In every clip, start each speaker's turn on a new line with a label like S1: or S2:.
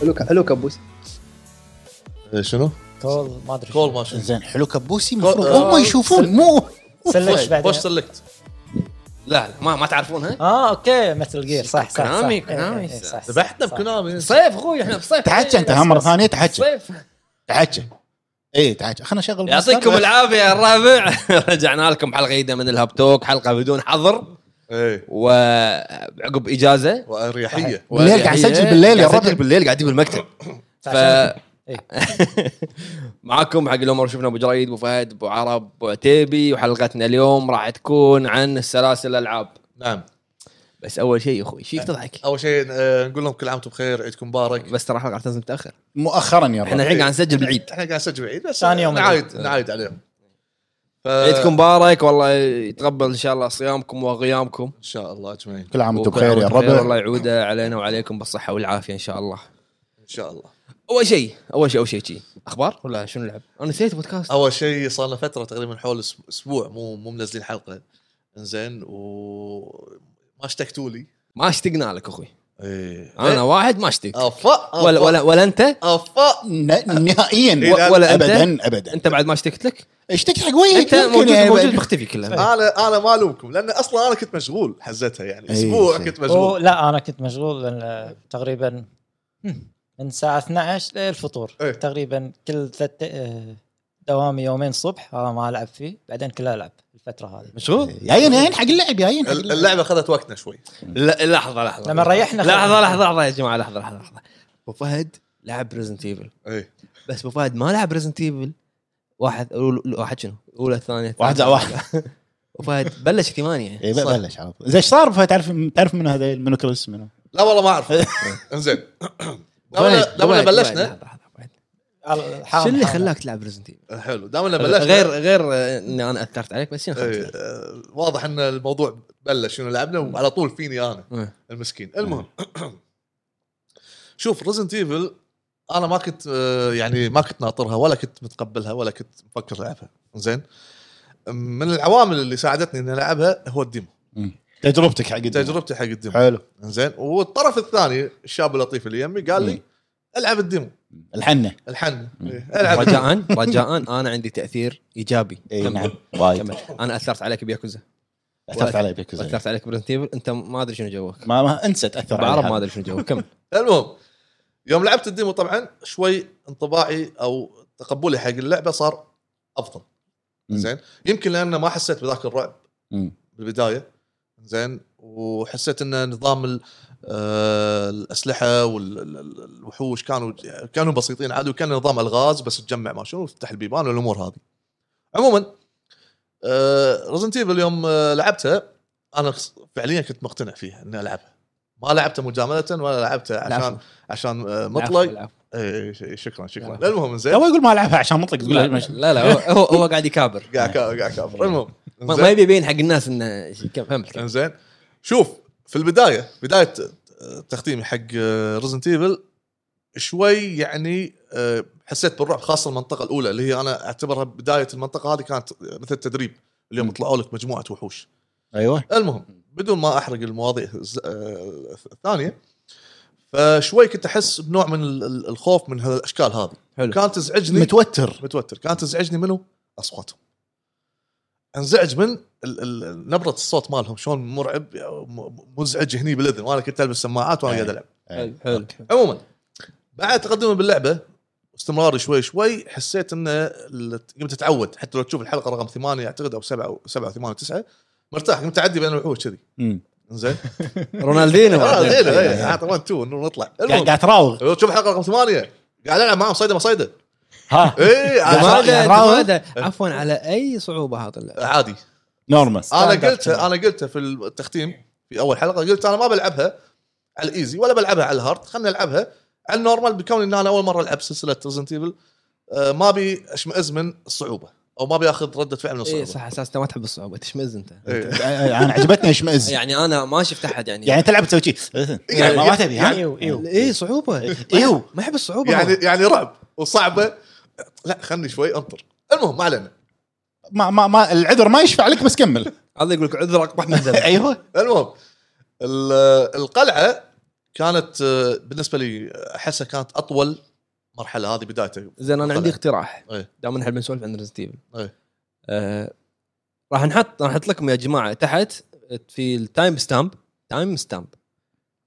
S1: حلو حلو كبوس
S2: إيه، شنو؟
S3: كول ما ادري
S4: كول ماشن
S5: زين حلو كبوسي المفروض
S4: آه،
S5: هم يشوفون مو
S3: سلكت
S4: بوش
S3: بعدين
S4: سلكت لا لا ما ما تعرفونها
S3: اه اوكي مثل جير صح صح
S4: كونامي
S3: صح. إيه،
S4: كونامي
S3: إيه، إيه، صح، إيه، صح،
S4: ذبحنا
S3: صح.
S4: بكونامي صيف اخوي احنا بصيف
S5: تحكي انت ها مره ثانيه تحكي
S4: صيف
S5: تحكي اي تحكي خلنا نشغل
S4: يعطيكم العافيه يا الربع رجعنا لكم حلقه جديده من الهاب توك حلقه بدون حظر
S2: ايه
S4: وعقب اجازه
S2: واريحيه
S5: بالليل قاعد اسجل
S4: إيه،
S5: بالليل يا
S4: قاعد أسجل
S5: ربع
S4: بالليل قاعدين بالمكتب ف
S3: عشان- إيه.
S4: معاكم حق الامر شفنا ابو جريد ابو فهد ابو عرب ابو عتيبي وحلقتنا اليوم راح تكون عن السلاسل الالعاب
S2: نعم
S4: بس اول شيء يا اخوي شيك تضحك
S2: اول شيء آه، نقول لهم كل عام وانتم بخير عيدكم مبارك
S4: بس ترى الحلقه راح تنزل متاخر
S5: مؤخرا يا
S4: احنا
S5: ربع
S4: الحين قاعد نسجل بالعيد
S2: احنا قاعد نسجل عيد بس
S3: ثاني يوم
S2: نعايد نعايد عليهم ف-
S4: عيدكم مبارك والله يتقبل ان شاء الله صيامكم وغيامكم
S2: ان شاء الله اجمعين
S5: كل عام وانتم بخير يا
S4: الله
S5: ربع
S4: يعوده علينا وعليكم بالصحه والعافيه ان شاء الله
S2: ان شاء الله
S4: اول شيء اول شيء اول شيء شي. اخبار ولا شنو نلعب؟ انا نسيت بودكاست
S2: اول شيء صار لنا فتره تقريبا حول أس- اسبوع مو مو منزلين حلقه انزين وما اشتكتوا لي
S4: ما اشتقنا لك اخوي
S2: ايه
S3: إيه؟
S4: انا واحد ما اشتق
S2: افا
S4: ولا ولا ولا انت
S2: افا
S5: ن- نهائيا
S4: و- إيه، ولا أنت؟
S5: ابدا ابدا
S4: انت بعد ما اشتقت لك
S5: اشتكت حق
S3: إيه،
S5: وجهك
S4: انت
S5: ممكن
S4: موجود
S5: يعني
S4: موجود
S5: بعد-
S4: مختفي كله
S3: آه.
S2: انا انا ما الومكم لان اصلا انا كنت مشغول حزتها يعني
S5: إيه،
S2: اسبوع
S5: صح.
S2: كنت
S3: أوه،
S2: مشغول
S3: لا انا كنت مشغول لأن تقريبا من الساعه 12 للفطور
S2: إيه.
S3: تقريبا كل ثلاث آه، دوامي يومين الصبح هذا ما العب فيه بعدين كله العب الفتره هذه
S4: مشغول
S5: جايين جايين حق اللعب جايين حق
S2: ال-
S5: اللعب.
S2: اللعبه اخذت وقتنا شوي
S4: لا لحظه لحظه
S3: لما ريحنا
S4: لحظه
S3: خلنا-
S4: لحظه لحظه يا جماعه لحظه لحظه لحظه ابو فهد لعب ريزنت ايفل
S2: ايه
S4: بس ابو فهد ما لعب ريزنت ايفل واحد أول- واحد شنو؟ اولى ثانيه
S5: واحد زائد واحد
S4: ابو فهد بلش في ثمانيه
S5: اي
S2: صح.
S5: إيه، بلش على طول زين ايش صار فهد؟ تعرف تعرف من هذا منو كريس منو
S2: لا والله ما اعرف انزين
S4: أبو فهد،
S2: لما- لما
S4: أبو فهد،
S2: بلشنا-
S4: لحظة، لحظة، أبو فهد.
S3: حرام-
S4: شو اللي
S3: حرام.
S4: خلاك تلعب ريزنت ايفل؟
S2: حلو دامنا بلشنا
S4: غير غير آه، اني انا اثرت عليك بس شنو
S2: إيه،
S4: خلاك؟
S2: آه، واضح ان الموضوع بلش شنو لعبنا وعلى طول فيني انا
S4: إيه.
S2: المسكين المهم شوف ريزنت ايفل انا ما كنت آه، يعني ما كنت ناطرها ولا كنت متقبلها ولا كنت مفكر العبها زين من العوامل اللي ساعدتني اني العبها هو الديمو
S5: تجربتك حق الدنيا.
S2: تجربتي حق الديمو
S5: حلو
S2: زين والطرف الثاني الشاب اللطيف اللي يمي قال لي
S5: مم.
S2: العب الديمو
S5: الحنه
S2: الحن
S5: مم.
S2: إيه، العب الديمو.
S4: رجاء رجاء انا عندي تاثير ايجابي
S5: اي
S4: كمل،
S5: نعم وايد
S4: كمل. انا اثرت عليك بياكوزا
S5: اثرت علي بيك زين.
S4: اثرت عليك بريزنت ايفل انت ما ادري شنو جوك
S5: ما ما انسى تاثر علي
S4: بعرب
S5: هذا.
S4: ما ادري شنو جوك كمل
S2: المهم يوم لعبت الديمو طبعا شوي انطباعي او تقبلي حق اللعبه صار افضل
S5: مم.
S2: زين يمكن لان ما حسيت بذاك الرعب
S5: مم.
S2: بالبدايه زين وحسيت ان نظام ال- آه، الاسلحه والوحوش كانوا كانوا بسيطين عادي وكان نظام الغاز بس تجمع ما شنو تفتح البيبان والامور هذه. عموما رزنت ايفل يوم آه، لعبتها انا فعليا كنت مقتنع فيها اني العبها. ما لعبتها مجامله ولا لعبتها عشان
S4: العفو.
S2: عشان آه،
S4: العفو،
S2: مطلق
S4: العفو.
S2: إيه، ش- شكرا شكرا
S4: العفو.
S2: المهم زين
S5: هو يقول ما العبها عشان مطلق تقول
S4: لا
S5: له مش-
S4: لا, لا هو- هو هو قاعد يكابر
S2: قاعد كا- قاعد كافر المهم
S4: ما-
S2: زين.
S4: ما يبي يبين حق الناس انه شي- كم- كمل كمل.
S2: انزين شوف في البدايه بدايه تختيمي حق ريزنت ايفل شوي يعني آه، حسيت بالرعب خاصه المنطقه الاولى اللي هي انا اعتبرها بدايه المنطقه هذه كانت مثل تدريب اليوم طلعوا لك مجموعه وحوش
S4: أيوه.
S5: ايوه
S2: المهم بدون ما احرق المواضيع الز- آه، الثانيه فشوي كنت احس بنوع من ال- ال- الخوف من هالاشكال هذه
S4: حلو
S2: كانت تزعجني
S5: متوتر
S2: متوتر كانت تزعجني منه اصواتهم انزعج من ال- ال- نبره الصوت مالهم شلون مرعب م- مزعج هني بالاذن وانا كنت البس سماعات وانا قاعد العب
S5: أيوه.
S4: حلو حلو
S2: عموما بعد تقدمي باللعبه واستمراري شوي شوي حسيت ان ال- قمت اتعود حتى لو تشوف الحلقه رقم ثمانيه اعتقد او سبعه او سبعه ثمانيه تسعه مرتاح قمت اعدي بين الوحوش كذي
S5: مم.
S2: زين آه،
S4: رونالدينو
S2: عطى 1 2 ونطلع
S5: إيه. قاعد
S2: المهم
S5: قاعد تراوغ
S2: لو تشوف الحلقه رقم ثمانيه قاعد العب معاهم إيه، صيده ما صيده
S5: ها
S2: اي
S5: قاعد
S4: تفادى-
S5: تراوغ.
S4: تفادى.
S2: إيه.
S4: عفوا على اي صعوبه هذا اللعب.
S2: عادي
S5: نورمال
S2: انا
S3: Standard
S2: قلتها انا قلتها في التختيم في اول حلقه قلت انا ما بلعبها على الايزي ولا بلعبها على الهارد خلينا العبها على النورمال بكون ان انا اول مره العب سلسله ريزنت ايفل آه، ما ابي اشمئز من الصعوبه او ما ابي اخذ رده فعل من
S4: اي
S2: الصعوبه
S4: إيه، صح اساس انت ما تحب الصعوبه تشمز انت
S2: إيه.
S5: انا عجبتني اشمئز
S4: يعني انا ما شفت احد يعني
S5: يعني تلعب تسوي شيء يعني إيه. ما ما تبي ها أيوه.
S3: ايوه ايوه
S4: اي صعوبه
S5: ايوه.
S4: ما يحب الصعوبه
S2: يعني
S4: يعني
S2: يعني رعب وصعبه لا خلني شوي انطر المهم ما علينا
S5: ما ما ما العذر ما يشفع لك بس كمل
S4: أيوه. هذا يقول لك عذر اقبح من ذنب
S5: ايوه
S2: المهم ال- القلعه كانت آه، بالنسبه لي احسها كانت اطول مرحله هذه بدايته
S4: زين انا عندي
S2: طلع.
S4: اقتراح
S2: إيه.
S4: دام نحب نسولف عن ريزنت ايفل
S2: إيه.
S4: راح نحط راح نحط لكم يا جماعه تحت في التايم ستامب تايم ستامب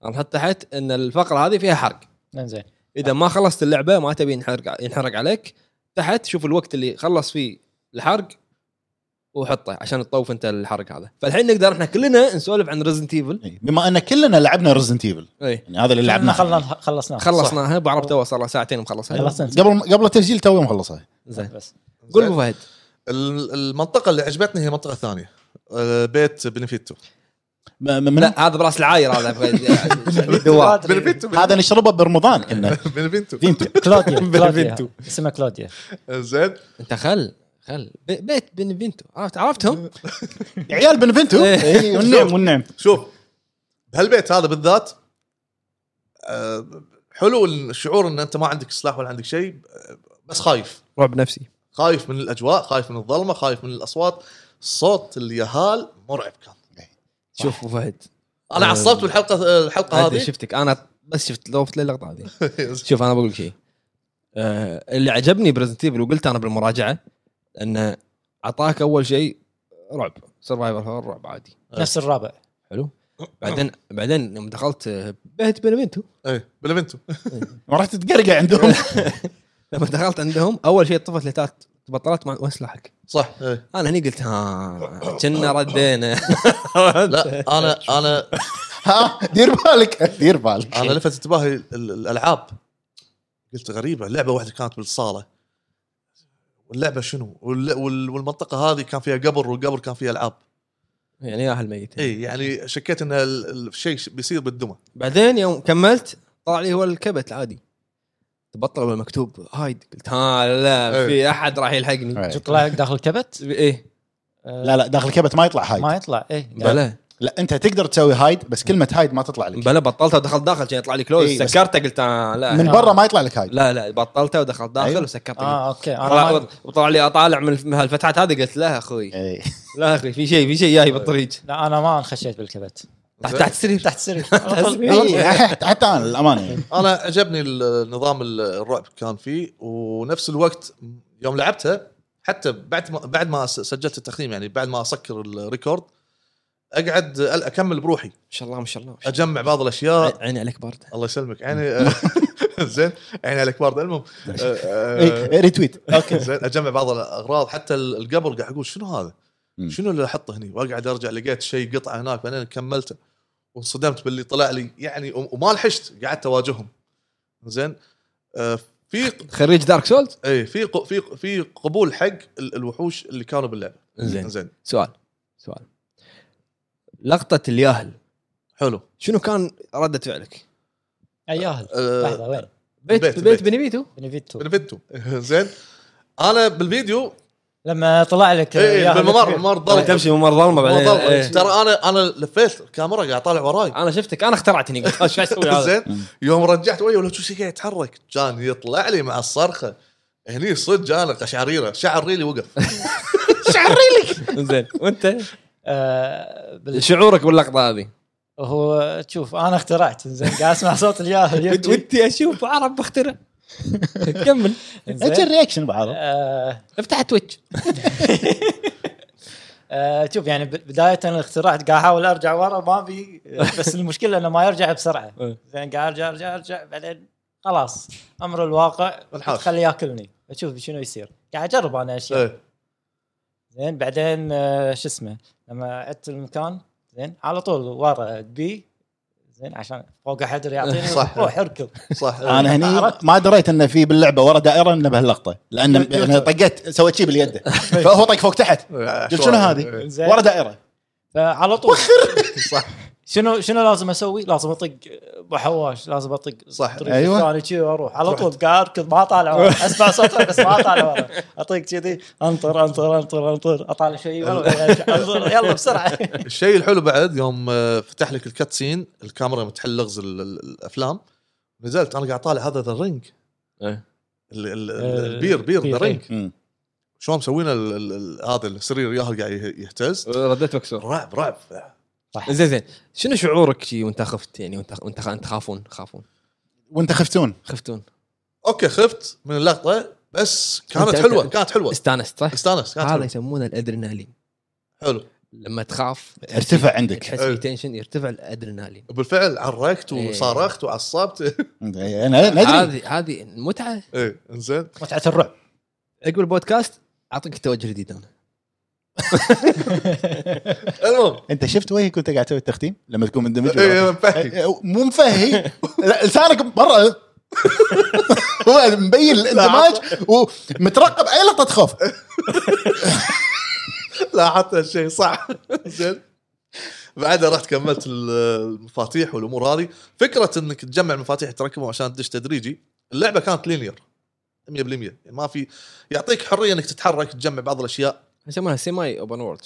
S4: راح نحط تحت ان الفقره هذه فيها حرق
S3: انزين
S4: اذا ما خلصت اللعبه ما تبي ينحرق ينحرق عليك تحت شوف الوقت اللي خلص فيه الحرق وحطه عشان تطوف انت الحرق هذا فالحين نقدر احنا كلنا نسولف عن ريزنت ايفل
S5: إي، بما ان كلنا لعبنا ريزنت ايفل
S2: إيه.
S4: اي
S5: يعني هذا اللي
S3: لعبنا
S5: لعبناه
S3: خلصنا خلصناها
S4: آه، خلصناها ابو عرب تو صار له ساعتين مخلصها
S3: خلصنا
S5: قبل قبل التسجيل توي مخلصها
S4: زين
S3: بس
S4: قول
S2: زين.
S4: ابو فهد
S2: ال- المنطقه اللي عجبتني هي المنطقه الثانيه آه، بيت بنفيتو
S5: م- من
S4: لا هذا براس العاير هذا أبو فهد. دوار
S3: أدري.
S5: هذا نشربه برمضان كنا
S2: بنفيتو
S5: فينتو
S3: كلوديا
S5: بالفينتو.
S3: كلوديا اسمها كلوديا
S2: زين
S4: انت خل خل بي- بيت بنفنتو عرفت عرفتهم
S5: عيال بنفنتو
S4: إيه.
S5: إي، والنعم والنعم
S2: شوف بهالبيت هذا بالذات آه، حلو الشعور ان انت ما عندك سلاح ولا عندك شيء آه، بس خايف
S4: رعب نفسي
S2: خايف من الاجواء خايف من الظلمه خايف من الاصوات صوت اليهال مرعب كان
S4: شوف ابو فهد
S2: انا عصبت بالحلقه الحلقه
S4: أدري
S2: هذه
S4: شفتك انا بس شفت لوفت للقطه هذه شوف انا بقول لك شيء آه، اللي عجبني بريزنت ايفل وقلت انا بالمراجعه انه اعطاك اول شيء رعب سرفايفر هور رعب عادي
S3: نفس الرابع
S4: حلو بعدين بعدين يوم دخلت آه، بيت بنفنتو
S2: ايه بلفنتو
S5: رحت تقرقع عندهم
S4: لما دخلت عندهم اول شيء طفت لتات بطلت مع سلاحك
S2: صح إيه.
S4: انا هني قلت ها كنا ردينا
S2: لا انا انا
S5: ها دير بالك دير بالك
S2: انا لفت انتباهي ال- ال- الالعاب قلت غريبه لعبه واحده كانت بالصاله واللعبه شنو وال- وال- والمنطقه هذه كان فيها قبر والقبر كان فيها العاب
S4: يعني يا اهل ميت
S2: اي يعني شكيت ان ال- الشيء ش- بيصير بالدمى
S4: بعدين يوم كملت طلع لي هو الكبت العادي تبطل المكتوب هايد قلت ها لا في احد راح يلحقني
S5: إيه.
S3: تطلع داخل الكبت
S4: ايه
S5: لا لا داخل كبت ما يطلع
S3: ما
S5: هايد
S3: يطلع إيه، اي
S4: بلا
S5: لا انت تقدر تسوي هايد بس كلمه هايد ما تطلع لك
S4: بلا بطلته ودخلت داخل كان يطلع لي كلوز
S5: إيه، بس-
S4: سكرته قلت آه لا
S5: من
S3: آه.
S5: برا ما يطلع لك هايد
S4: لا لا بطلته ودخلت داخل
S5: أيوة.
S4: وسكرته
S3: اه اوكي
S4: طلع-
S3: انا ما-
S4: وطلع لي اطالع من هالفتحات هذه قلت لا اخوي
S5: إي.
S4: لا اخوي في شيء في شيء جاي بالطريق
S3: لا انا ما انخشيت بالكبت
S4: تحت تحت إيه. السرير
S3: تحت سرير
S5: إي، حتى إيه. حتى انا للامانه يعني.
S2: انا عجبني ال- نظام ال- الرعب كان فيه ونفس الوقت يوم لعبتها حتى بعد ما بعد ما س- سجلت التقييم يعني بعد ما اسكر الريكورد اقعد ال- اكمل بروحي
S4: ما شاء الله ما شاء الله ما شاء
S2: اجمع بعض الاشياء
S4: الله. عيني عليك بارده
S2: الله يسلمك يعني آه، زين عيني عليك بارد المهم آه، آه،
S5: إي، ريتويت اوكي
S2: زين اجمع بعض الاغراض حتى ال- القبر قاعد اقول شنو هذا؟
S5: مم.
S2: شنو اللي احطه هني؟ واقعد ارجع لقيت شيء قطعه هناك بعدين كملته وانصدمت باللي طلع لي يعني وم- وما لحشت قعدت اواجههم زين آه، في
S4: خريج دارك سولز
S2: اي في ق- في في قبول حق ال- الوحوش اللي كانوا باللعبه
S4: زين
S2: زين
S4: سؤال سؤال لقطه الياهل
S2: حلو
S4: شنو كان رده فعلك؟
S3: اياهل
S5: أه،
S2: آه،
S3: لحظه وين؟
S2: بيت-
S4: بيت
S2: بيت.
S4: بيت, بيت بنبيتو
S3: بنفيتو
S2: بنفيتو زين انا بالفيديو إيه،
S3: لما طلع لك
S4: إيه،
S2: اي
S3: إياهل
S2: بالممر
S3: بنفيتو.
S2: ممر
S4: طبعا
S2: ضلمه
S4: تمشي ممر ظلمه بعدين
S2: ممر ضلمة.
S4: إيه.
S2: ترى انا انا لفيت الكاميرا قاعد طالع وراي
S4: انا شفتك انا اخترعت هني قلت ايش اسوي هذا؟
S2: زين يوم رجعت وجهي ولا شو شي قاعد يتحرك كان يطلع لي مع الصرخه هني صدق انا قشعريره شعر ريلي وقف
S4: زين وانت
S3: آه، بال-
S4: شعورك باللقطه هذه؟
S3: هو تشوف انا اخترعت زين قاعد اسمع صوت الياهل يبكي
S4: ودي اشوف عرب بخترع كمل
S3: إنزين.
S5: اجل رياكشن بعض
S3: آه،
S4: افتح تويتش
S3: آه، شوف يعني ب- بدايه أنا اخترعت قاعد احاول ارجع ورا ما بي بس المشكله انه ما يرجع بسرعه
S4: إيه.
S3: زين قاعد ارجع ارجع ارجع بعدين خلاص امر الواقع
S2: انحاش.
S3: خليه ياكلني بشوف شنو يصير قاعد اجرب انا اشياء
S2: إيه.
S3: زين بعدين آه، شو اسمه لما عدت المكان زين على طول ورا دبي زين عشان فوق احد يعطيني
S2: صح.
S3: روح اركض
S2: صح
S5: انا هني ما دريت انه في باللعبه ورا دائره انه بهاللقطه لان أنا طقيت سويت شي باليد فهو طق فوق تحت قلت شنو هذه؟
S3: زين
S5: ورا دائره
S3: فعلى طول
S2: صح
S3: شنو شنو لازم اسوي؟ لازم اطق بحواش لازم اطق
S2: صح.
S3: طريق
S5: أيوة.
S3: الثاني كذي واروح على طول قاعد اركض ما طالع ورا اسمع صوته بس ما طالع ورا اطق كذي انطر انطر انطر انطر اطالع شوي ورا بعدين أرجع. انطر يلا بسرعه
S2: الشيء الحلو بعد يوم آه، فتح لك الكاتسين الكاميرا متحل لغز ال- ال- الافلام نزلت انا قاعد طالع هذا ذا رينج
S4: إيه.
S2: البير بير ذا
S3: بير،
S2: رينج
S5: مم.
S2: شلون مسوينا ال- ال- ال- هذا السرير ياهل قاعد يه- يهتز
S4: رديت مكسور
S2: رعب رعب
S3: صح
S4: زين زين شنو شعورك شي وانت خفت يعني وانت وانت خ- انت خافون خافون
S5: وانت خفتون
S4: خفتون
S2: اوكي خفت من اللقطه بس كانت
S4: أنت-
S2: حلوه
S4: أنت-
S2: كانت حلوه
S4: استانست صح؟
S2: استانس كانت
S4: هذا
S2: حلوه
S4: يسمونه الادرينالين
S2: حلو
S4: لما تخاف
S5: ارتفع عندك
S4: تحس
S2: أي.
S4: في تنشن يرتفع الادرينالين
S2: بالفعل عركت
S4: إيه.
S2: وصرخت وعصبت
S5: انا ندري
S4: هذه هذه متعه
S2: ايه انزين
S3: متعه الرعب
S4: عقب البودكاست اعطيك توجه جديد انا
S2: المهم
S5: انت شفت وجهك وانت قاعد تسوي التختيم لما تكون مندمج
S2: إيه، مفهي.
S5: إيه، مو مفهي لا، لسانك برا هو مبين الاندماج ومترقب اي لقطه تخاف
S2: لاحظت هالشيء صح زين بعدها رحت كملت ال- المفاتيح والامور هذه فكره انك تجمع المفاتيح تركبهم عشان تدش تدريجي اللعبه كانت لينير 100% يعني ما في يعطيك حريه انك تتحرك تجمع بعض الاشياء
S4: يسمونها سيماي اوبن وورد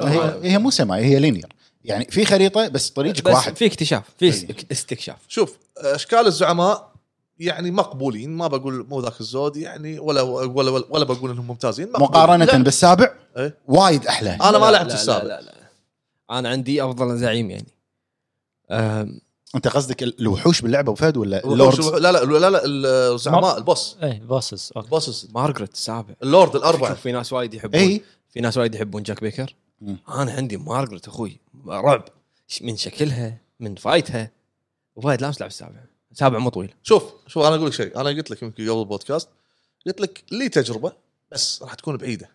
S5: هي هي مو سماء هي لينير يعني في خريطه بس طريقك
S4: بس
S5: واحد
S4: في اكتشاف في
S5: أي.
S4: است- استكشاف
S2: شوف اشكال الزعماء يعني مقبولين ما بقول مو ذاك الزود يعني ولا ولا ولا, ولا بقول انهم ممتازين مقبولين. لا،
S5: مقارنه بالسابع
S2: إيه.
S5: وايد احلى
S2: انا ما
S4: لا،
S2: لعبت
S4: لا،
S2: السابع
S4: لا لا لا انا عندي افضل زعيم يعني أم،
S5: انت قصدك ال- الوحوش باللعبه وفهد ولا
S2: شو-
S5: اللوردز
S2: لا لا لا لا الزعماء البوس
S3: اي بوسس اوكي
S2: البوسز
S4: مارغريت السابع
S2: اللورد
S4: شوف،
S2: الاربعه
S4: في ناس وايد يحبون
S5: اي
S4: في ناس وايد يحبون جاك بيكر
S5: إيه. مم.
S4: انا عندي مارغريت اخوي رعب ش- من شكلها من فايتها وفايد لامس لعب السابع السابع مو طويل
S2: شوف شوف انا اقول لك شيء انا قلت لك يمكن قبل البودكاست قلت لك لي تجربه بس راح تكون بعيده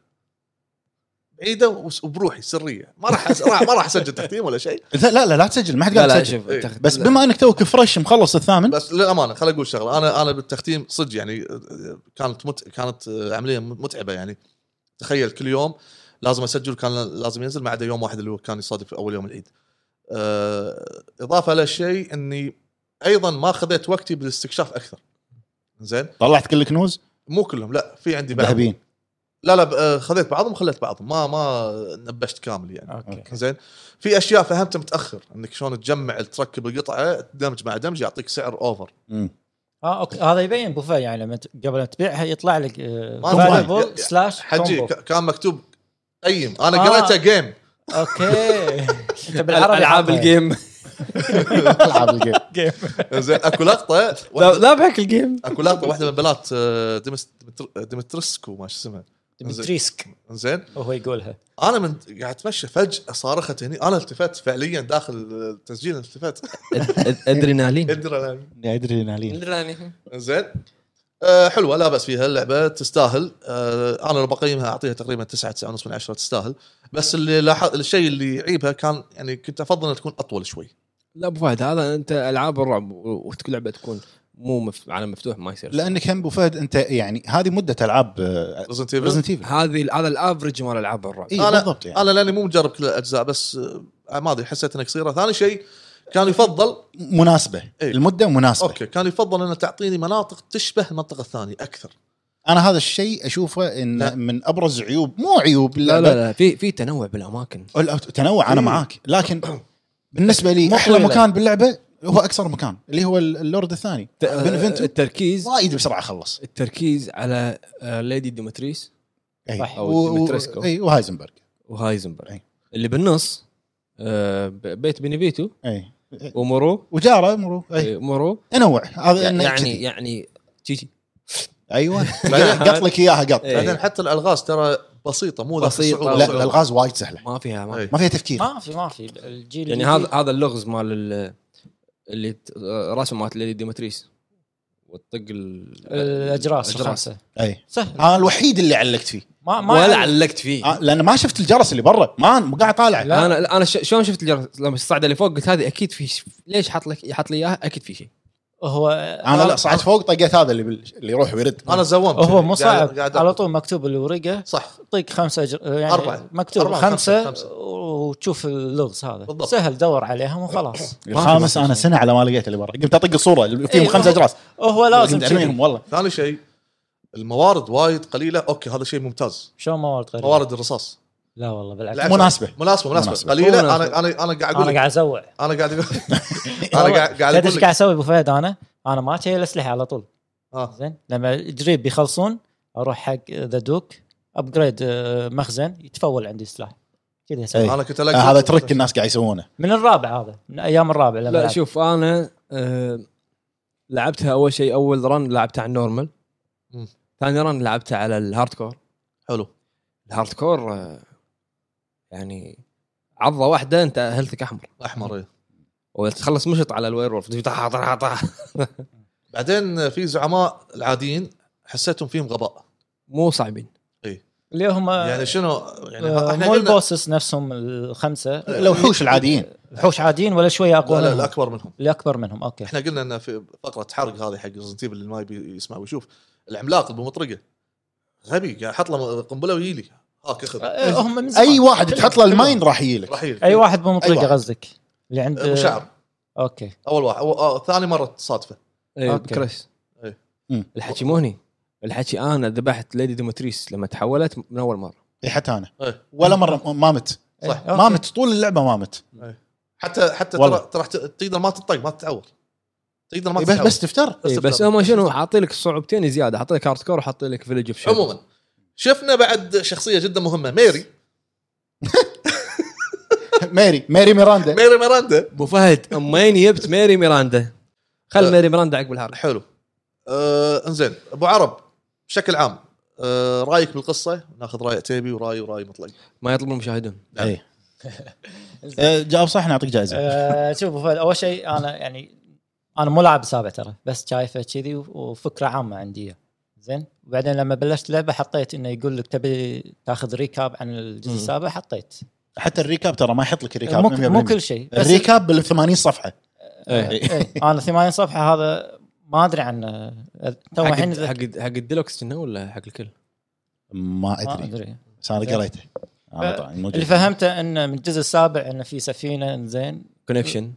S2: بعيده وس- وبروحي سريه ما راح أس- راح- ما راح اسجل تختيم ولا شيء
S5: لا لا لا, لا تسجل ما حد قال تسجل
S4: شوف
S2: إيه.
S4: أنت-
S5: بس
S4: لا.
S5: بما انك توك فريش مخلص الثامن
S2: بس للامانه خل اقول شغله انا انا بالتختيم صدق يعني آه، كانت مت... كانت آه، عمليه متعبه يعني تخيل كل يوم لازم اسجل كان لازم ينزل ما عدا يوم واحد اللي هو كان يصادف اول يوم العيد. آه، اضافه للشيء اني ايضا ما خذيت وقتي بالاستكشاف اكثر. زين
S5: طلعت كل كنوز
S2: مو كلهم لا في عندي بعض
S5: ذهبيين
S2: لا لا ب- آه، خذيت بعضهم وخليت بعضهم ما ما نبشت كامل يعني.
S3: اوكي
S2: زين في اشياء فهمتها متاخر انك شلون تجمع تركب القطعه دمج مع دمج يعطيك سعر اوفر
S5: مم.
S3: اه اوكي هذا يبين بوفيه يعني لما ت- قبل ما تبيعها يطلع لك آه،
S2: ما
S3: فاليبل سلاش
S2: حجي
S3: كومبو.
S2: ك- كان مكتوب قيم انا
S3: آه.
S2: قريته جيم
S3: اوكي انت بالعربي يعني.
S4: العاب
S3: حاطها.
S4: الجيم
S5: العاب الجيم
S2: زين اكو لقطه
S4: لا
S2: واحدة-
S4: لا بحكي الجيم
S2: اكو لقطه واحده من البنات آه، ديمس- ديمتر- ديمترسكو ما شو اسمها
S3: ديمتريسك
S2: زين
S3: وهو يقولها
S2: انا من قاعد اتمشى فجاه صارخت هني انا التفت فعليا داخل التسجيل التفت
S4: ادرينالين
S2: ادري
S5: ادرينالين
S4: ادرينالين
S2: زين أه حلوه لا باس فيها اللعبه تستاهل أه انا لو بقيمها اعطيها تقريبا 9 9 ونص من 10 تستاهل بس اللي لاحظ الشيء اللي يعيبها كان يعني كنت افضل انها تكون اطول شوي
S4: لا ابو فهد هذا انت العاب الرعب وتكون لعبه تكون مو مف... عالم مفتوح ما يصير
S5: لانك هم ابو فهد انت يعني هذه آه، مده العاب
S2: ريزنت
S5: ريزنت ايفل
S4: هذه هذا الافرج مال العاب الرعب
S5: اي
S2: أنا-
S5: بالضبط يعني
S2: انا لاني مو مجرب كل الاجزاء بس آه، ما ادري حسيت انها قصيره ثاني شيء كان يفضل
S5: مناسبه
S2: إيه.
S5: المده مناسبه أوكي.
S2: اوكي كان يفضل انها تعطيني مناطق تشبه المنطقه الثانيه اكثر
S5: انا هذا الشيء اشوفه
S2: لا.
S5: ان من ابرز عيوب مو عيوب
S4: لا لا لا في في تنوع بالاماكن
S5: لا تنوع انا
S2: إيه.
S5: معاك لكن بالنسبه لي
S3: مو
S5: احلى
S3: طويلة.
S5: مكان باللعبه هو اكثر مكان اللي هو ال- اللورد الثاني
S4: ت-
S5: بنفنتو
S4: آه، التركيز
S5: وايد بسرعه خلص
S4: التركيز على آه، ليدي ديمتريس
S5: اي
S3: صح.
S5: إيه. و...
S4: أو
S5: و... إيه،
S4: ديمتريسكو.
S5: اي وهايزنبرغ
S4: وهايزنبرغ
S5: أي.
S4: اللي بالنص آه، ب- بيت بنيفيتو
S5: اي
S4: ومورو
S5: إيه. وجاره مرو اي
S4: آه، مورو
S5: تنوع هذا
S4: يعني
S5: إنه
S4: يعني,
S5: كذي.
S4: يعني جيجي
S5: ايوه قط لك اياها قط
S4: إيه.
S2: بعدين حتى الالغاز ترى بسيطه مو ذاك
S4: بسيطة.
S2: الصعوبة.
S5: لا الالغاز وايد سهله
S4: ما فيها ما
S2: إيه.
S5: ما فيها تفكير
S3: ما في ما في الجيل
S4: يعني
S3: الجديد.
S4: هذا هذا اللغز مال ال- اللي ت- آه، راسه مالت ليدي ديمتريس وتطق ال-
S3: الاجراس الخمسه
S5: اي
S3: سهل
S5: انا إيه. الوحيد اللي علقت فيه
S4: إيه.
S3: ما ما
S4: ولا
S3: يعلق.
S4: علقت فيه
S5: آه، لان ما شفت الجرس اللي برا ما ما قاعد طالع
S3: لا.
S4: انا انا ش- شلون شفت الجرس لما الصعده اللي فوق قلت هذه اكيد في ش- ليش حط لك حط لي اياها اكيد في شيء
S3: هو
S5: انا لا صعدت فوق طقيت هذا اللي بال... اللي يروح ويرد
S2: انا زومت يعني،
S3: هو مو
S2: قاعد-
S3: صعب
S2: قاعد-
S3: على طول مكتوب الورقه
S2: صح
S3: طيق خمسه أجر... يعني
S2: أربعة.
S3: مكتوب
S2: أربعة، خمسة،
S3: خمسه,
S2: خمسة.
S3: وتشوف اللغز هذا
S2: بالضبط.
S3: سهل دور عليهم وخلاص
S5: الخامس انا سنه على ما لقيت اللي برا قمت اطق الصوره اللي فيهم
S3: إيه،
S5: خمسه
S3: هو-
S5: اجراس
S3: هو لازم
S5: قمت ارميهم
S3: كذي.
S5: والله
S2: ثاني شيء الموارد وايد قليله اوكي هذا شيء ممتاز
S3: شلون موارد غير
S2: موارد الرصاص
S3: لا والله بالعكس
S2: العكس.
S5: مناسبه
S2: مناسبه مناسبه
S5: مناسبة.
S2: قليله
S4: مو
S2: انا انا انا قاعد اقول
S3: انا
S2: لك-
S3: قاعد ازوع
S2: انا قاعد آه. اقول انا قاعد قاعد
S3: تدري
S2: اقول
S3: ايش
S2: لك
S3: قاعد اسوي ابو فهد انا؟ انا ما شايل الاسلحه على طول
S2: آه.
S3: زين لما جريب بيخلصون اروح حق ذا دوك ابجريد مخزن آه، يتفول عندي سلاح كذا
S5: إيه.
S3: يسوي
S2: انا كنت
S5: آه،
S2: ألاقي-
S5: هذا ترك الناس قاعد يسوونه
S3: من الرابع هذا من ايام الرابع لما
S4: لا
S3: لعب.
S4: شوف انا آه لعبتها اول شيء اول رن لعبتها على النورمال
S2: مم.
S4: ثاني رن لعبتها على الهارد كور
S2: حلو
S4: الهارد كور آه يعني عضه واحده انت هيلثك احمر
S2: احمر إيه.
S4: وتخلص مشط على الوير وولف طح طح طح
S2: بعدين في زعماء العاديين حسيتهم فيهم غباء
S4: مو صعبين
S3: اللي هم
S2: يعني شنو يعني
S3: آه،
S2: احنا
S3: مو
S2: قلنا
S3: البوسس نفسهم الخمسه
S5: الوحوش العاديين
S3: وحوش عاديين ولا شويه اقوى
S2: لا لا
S3: منهم
S2: الاكبر منهم
S3: اللي اكبر منهم اوكي
S2: احنا قلنا ان في فقره حرق هذه حق ريزنت اللي ما يبي يسمع ويشوف العملاق اللي بمطرقه غبي قاعد حط له قنبله ويجي لي هاك اخذ
S3: آه، هم من زمان.
S5: اي واحد تحط له الماين راح يجيلك
S2: راح يجيلك.
S3: اي واحد آه. مو
S5: أي واحد.
S3: مطلقه قصدك اللي عند
S2: ابو شعر
S3: اوكي
S2: اول واحد أو- أو- ثاني مره صادفه
S4: اي
S3: أوكي.
S4: كريس
S2: إيه.
S5: مم.
S4: الحكي مو هني الحكي انا ذبحت ليدي دومتريس لما تحولت من اول مره
S5: إي، حتى انا
S2: إيه.
S5: ولا مره ما مت
S2: صح.
S3: إيه،
S5: ما
S3: أوكي.
S5: مت طول اللعبه ما مت
S2: حتى حتى
S5: والله.
S2: ترى ترى ت- تقدر ما تطق ما تتعور تقدر ما
S5: إي، بس
S2: تتعور
S5: بس تفتر
S4: إيه بس
S2: تفتر.
S4: هم شنو حاطين لك صعوبتين زياده حاطين لك هارد كور وحاطين لك فيلج اوف
S2: عموما شفنا بعد شخصيه جدا مهمه ميري
S5: ماري ماري ميراندا
S2: ميري ميراندا
S4: ابو فهد امين جبت ميري ميراندا خل
S2: أه.
S4: ميري ميراندا عقب الحرب
S2: حلو آه انزين ابو عرب بشكل عام آه رايك بالقصه ناخذ راي عتيبي وراي وراي مطلق
S4: ما يطلب المشاهدون
S5: إي. آه، جاوب إيه. صح نعطيك جائزه
S3: آه، شوف أبو فهد، اول شيء انا يعني انا مو لاعب سابع ترى بس شايفه كذي و- وفكره عامه عندي إياه. زين وبعدين لما بلشت لعبه حطيت انه يقول لك تبي تاخذ ريكاب عن الجزء
S4: مم.
S3: السابع حطيت
S5: حتى الريكاب ترى ما يحط لك الريكاب
S3: مو,
S5: 100%
S3: مو كل شيء بس
S5: الريكاب بال 80 صفحه
S4: ايه
S3: إيه، انا 80 صفحه هذا ما ادري عنه تو
S4: حق
S3: الحين
S4: الد- حق الد- حق الديلوكس كنا ولا حق الكل؟
S5: ما
S3: ما
S5: ادري
S3: ادري
S5: بس انا
S3: زين.
S5: قريته أنا طبعاً موجود.
S3: اللي فهمته انه من الجزء السابع انه في سفينه زين
S4: كونكشن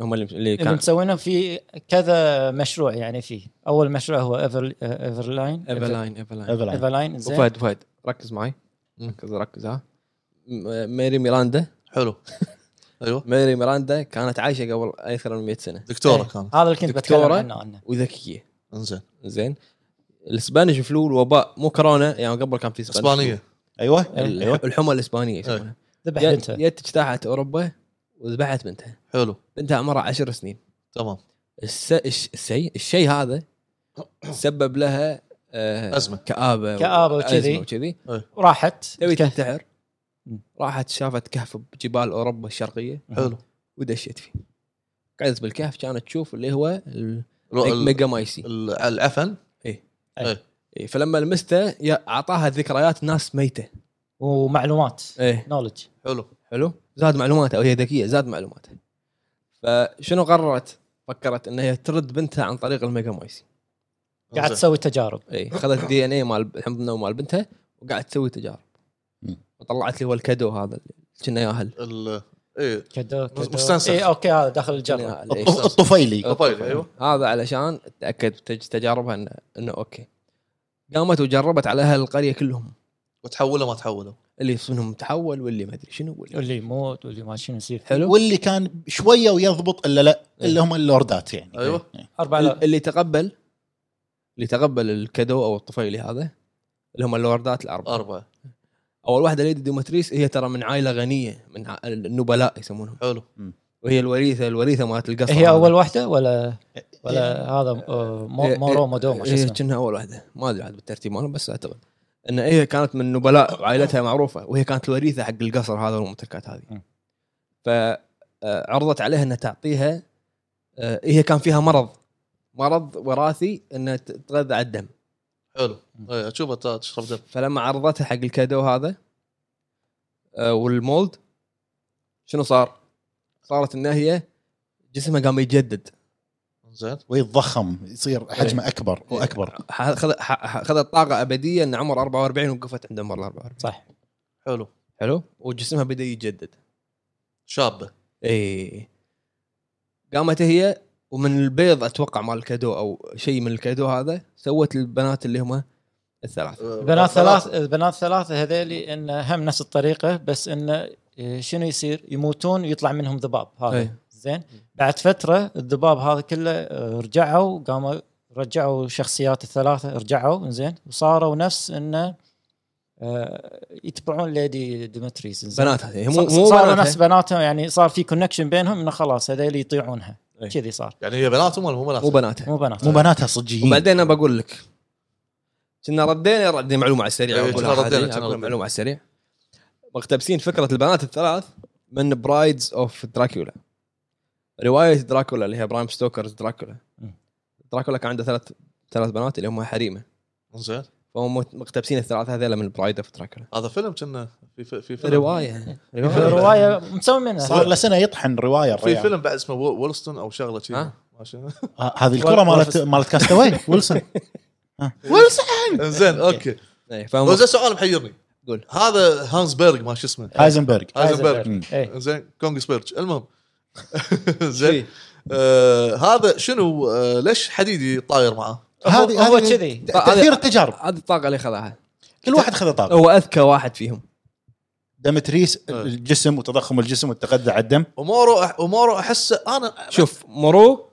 S4: هم اللي اللي
S3: اللي
S4: كان
S3: مسوينه في كذا مشروع يعني فيه اول مشروع هو ايفر ايفرلاين
S4: ايفلاين ايفلاين
S5: Evelyn.
S3: ايفرلاين إيه، زين
S4: فهد فهد ركز معي
S2: مم.
S4: ركز ركز ها م- ميري ميراندا
S2: حلو ايوه
S4: ميري ميراندا كانت عايشه قبل اكثر من 100 سنه
S2: دكتوره
S3: إيه.
S2: كانت
S3: هذا اللي كنت بتكلم
S4: دكتورة.
S3: عنه انا
S4: وذكيه
S2: انزين
S4: زين الاسبانيش فلو الوباء مو كورونا يعني قبل كان في Spanish flu.
S2: اسبانيه
S3: إيه.
S5: ايوه
S4: ال-
S5: أيوة.
S4: الحمى الاسبانيه يسمونها
S3: ذبح
S4: جت
S3: بنته
S4: جت اجتاحت اوروبا وذبحت بنتها
S2: حلو
S4: بنتها عمرها عشر سنين
S2: تمام
S4: الس... الش... السي... الشيء هذا سبب لها آه
S2: أزمة.
S4: كآبة و-
S3: كآبة وكذي.
S4: أزمة وكذي
S3: وراحت
S4: تبي
S3: الكهف.
S4: تنتحر
S3: مم.
S4: راحت شافت كهف بجبال اوروبا الشرقيه
S2: حلو
S4: ودشت فيه قعدت بالكهف كانت تشوف اللي هو ال-
S2: الو- ال-
S4: ميجا مايسي
S2: ال- العفن
S4: إيه، فلما لمسته يا- اعطاها ذكريات ناس ميته
S3: ومعلومات
S2: إيه.
S4: ايه
S3: نولج
S2: حلو
S4: حلو زاد معلوماتها وهي ذكيه زاد معلوماتها فشنو قررت؟ فكرت ان هي ترد بنتها عن طريق الميجا مايسي
S3: قاعد
S2: إنزين.
S3: تسوي تجارب
S4: اي إيه، خذت دي ان اي مال حمضنا ومال بنتها وقاعد تسوي تجارب
S5: مم.
S4: وطلعت لي هو الكادو هذا اللي كنا ياهل
S2: ال ايه
S3: كدو كدو
S2: مستنسخ.
S3: اي اوكي هذا داخل الجره
S4: كنا ياهل، إيه.
S5: الط- الطفيلي
S2: طفيلي، أيوة.
S4: هذا علشان تاكد بتج- تجاربها انه انه اوكي قامت وجربت على اهل القريه كلهم
S2: وتحوله ما تحوله
S4: اللي منهم تحول واللي ما ادري شنو واللي
S3: واللي يموت واللي ما شنو يصير
S4: حلو
S5: واللي كان شويه ويضبط الا لا
S3: إيه.
S5: اللي هم اللوردات يعني
S2: أيوة.
S5: إيه.
S3: اربع لا-
S4: اللي تقبل اللي تقبل الكادو او الطفيلي هذا اللي هم اللوردات الاربعه
S2: اربعه
S4: اول واحده ليدي دوماتريس هي ترى من عائله غنيه من ع- النبلاء يسمونهم
S2: حلو
S4: وهي الوريثه الوريثه مالت القصر
S3: هي
S4: هذا.
S3: اول واحده ولا ولا هذا آه، مو-
S4: إيه،
S3: مورو
S4: إيه،
S3: مودوما شو
S4: هي
S3: اسمه
S4: كأنها اول واحده ما ادري عاد بالترتيب مالهم بس اعتقد ان هي كانت من نبلاء وعائلتها معروفه وهي كانت الوريثه حق القصر هذا والممتلكات هذه
S3: مم.
S4: فعرضت عليها انها تعطيها آه، هي كان فيها مرض مرض وراثي انها ت- تتغذى على الدم
S2: حلو ايه اشوفه تا- تشرب دم
S4: فلما عرضتها حق الكادو هذا آه، والمولد شنو صار؟ صارت ان هي جسمها قام يتجدد
S2: انزين
S5: ويتضخم يصير
S3: إيه.
S5: حجمه اكبر واكبر
S4: خذ- ح- خذت طاقه ابديه ان عمر 44 وقفت عند عمر 44
S3: صح
S2: حلو
S4: حلو وجسمها بدا يتجدد
S2: شابه
S4: اي إيه. قامت هي ومن البيض اتوقع مال الكادو او شيء من الكادو هذا سوت البنات اللي هم الثلاث
S2: آه،
S3: البنات ثلاث البنات ثلاثه هذيلي انه هم نفس الطريقه بس انه آه، شنو يصير يموتون ويطلع منهم ذباب
S2: آه.
S3: هذا
S4: أي.
S3: زين بعد فتره الذباب هذا كله آه، رجعوا قاموا رجعوا شخصيات الثلاثه رجعوا زين وصاروا نفس انه آه، يتبعون ليدي ديمتريس زين.
S4: بناتها هي مو مو
S3: صار
S4: بناتها.
S3: نفس بناتهم يعني صار في كونكشن بينهم انه خلاص هذول يطيعونها
S4: إيه.
S3: كذي صار
S2: يعني هي بناتهم ولا مو
S4: مو
S2: بناتهم؟
S4: بناتها
S3: مو بنات
S5: مو بناتها صجيين
S4: وبعدين انا بقول لك كنا ردينا ردي معلومه على السريع
S2: إيه،
S4: أقولها
S2: كنا
S4: عادي،
S2: ردينا، كنا
S4: أقول
S2: ردينا.
S4: معلومه على السريع مقتبسين فكره البنات الثلاث من برايدز اوف دراكولا روايه دراكولا اللي هي برايم ستوكرز دراكولا
S3: مم.
S4: دراكولا كان عنده ثلاث ثلاث بنات اللي هم حريمه
S2: زين
S4: فهم مقتبسين الثلاثه هذيلا من برايد اوف دراكولا
S2: هذا فيلم كنا في في, في فيلم
S4: روايه
S3: روايه مسوي منها
S5: صار له سنه يطحن روايه
S2: في
S5: الريال.
S2: فيلم بعد اسمه وول- وولستون او شغله شي
S4: ها؟
S2: ما شنو.
S5: ه- آه، هذه الكره مالت مالت كاستاوي ويلسون ها. ويلسون
S2: زين اوكي
S4: إيه، فهم
S2: زين سؤال محيرني
S4: قول.
S2: هذا هانز بيرغ ما شو اسمه
S5: هايزنبرغ
S2: هايزنبرغ
S5: هايزنبرغ.
S3: إيه.
S2: زين كونغ سبيرج المهم
S4: شي.
S2: زين آه هذا شنو آه ليش حديدي طاير معاه؟
S3: هذه
S5: هذه
S3: هو
S5: هذه
S3: كذي
S5: ت- تاثير التجارب
S4: هذه الطاقه اللي خذاها
S5: كل واحد خذ طاب
S4: هو اذكى واحد فيهم
S5: دمتريس الجسم وتضخم الجسم والتغذى على الدم
S2: امورو امورو احسه انا
S4: شوف مورو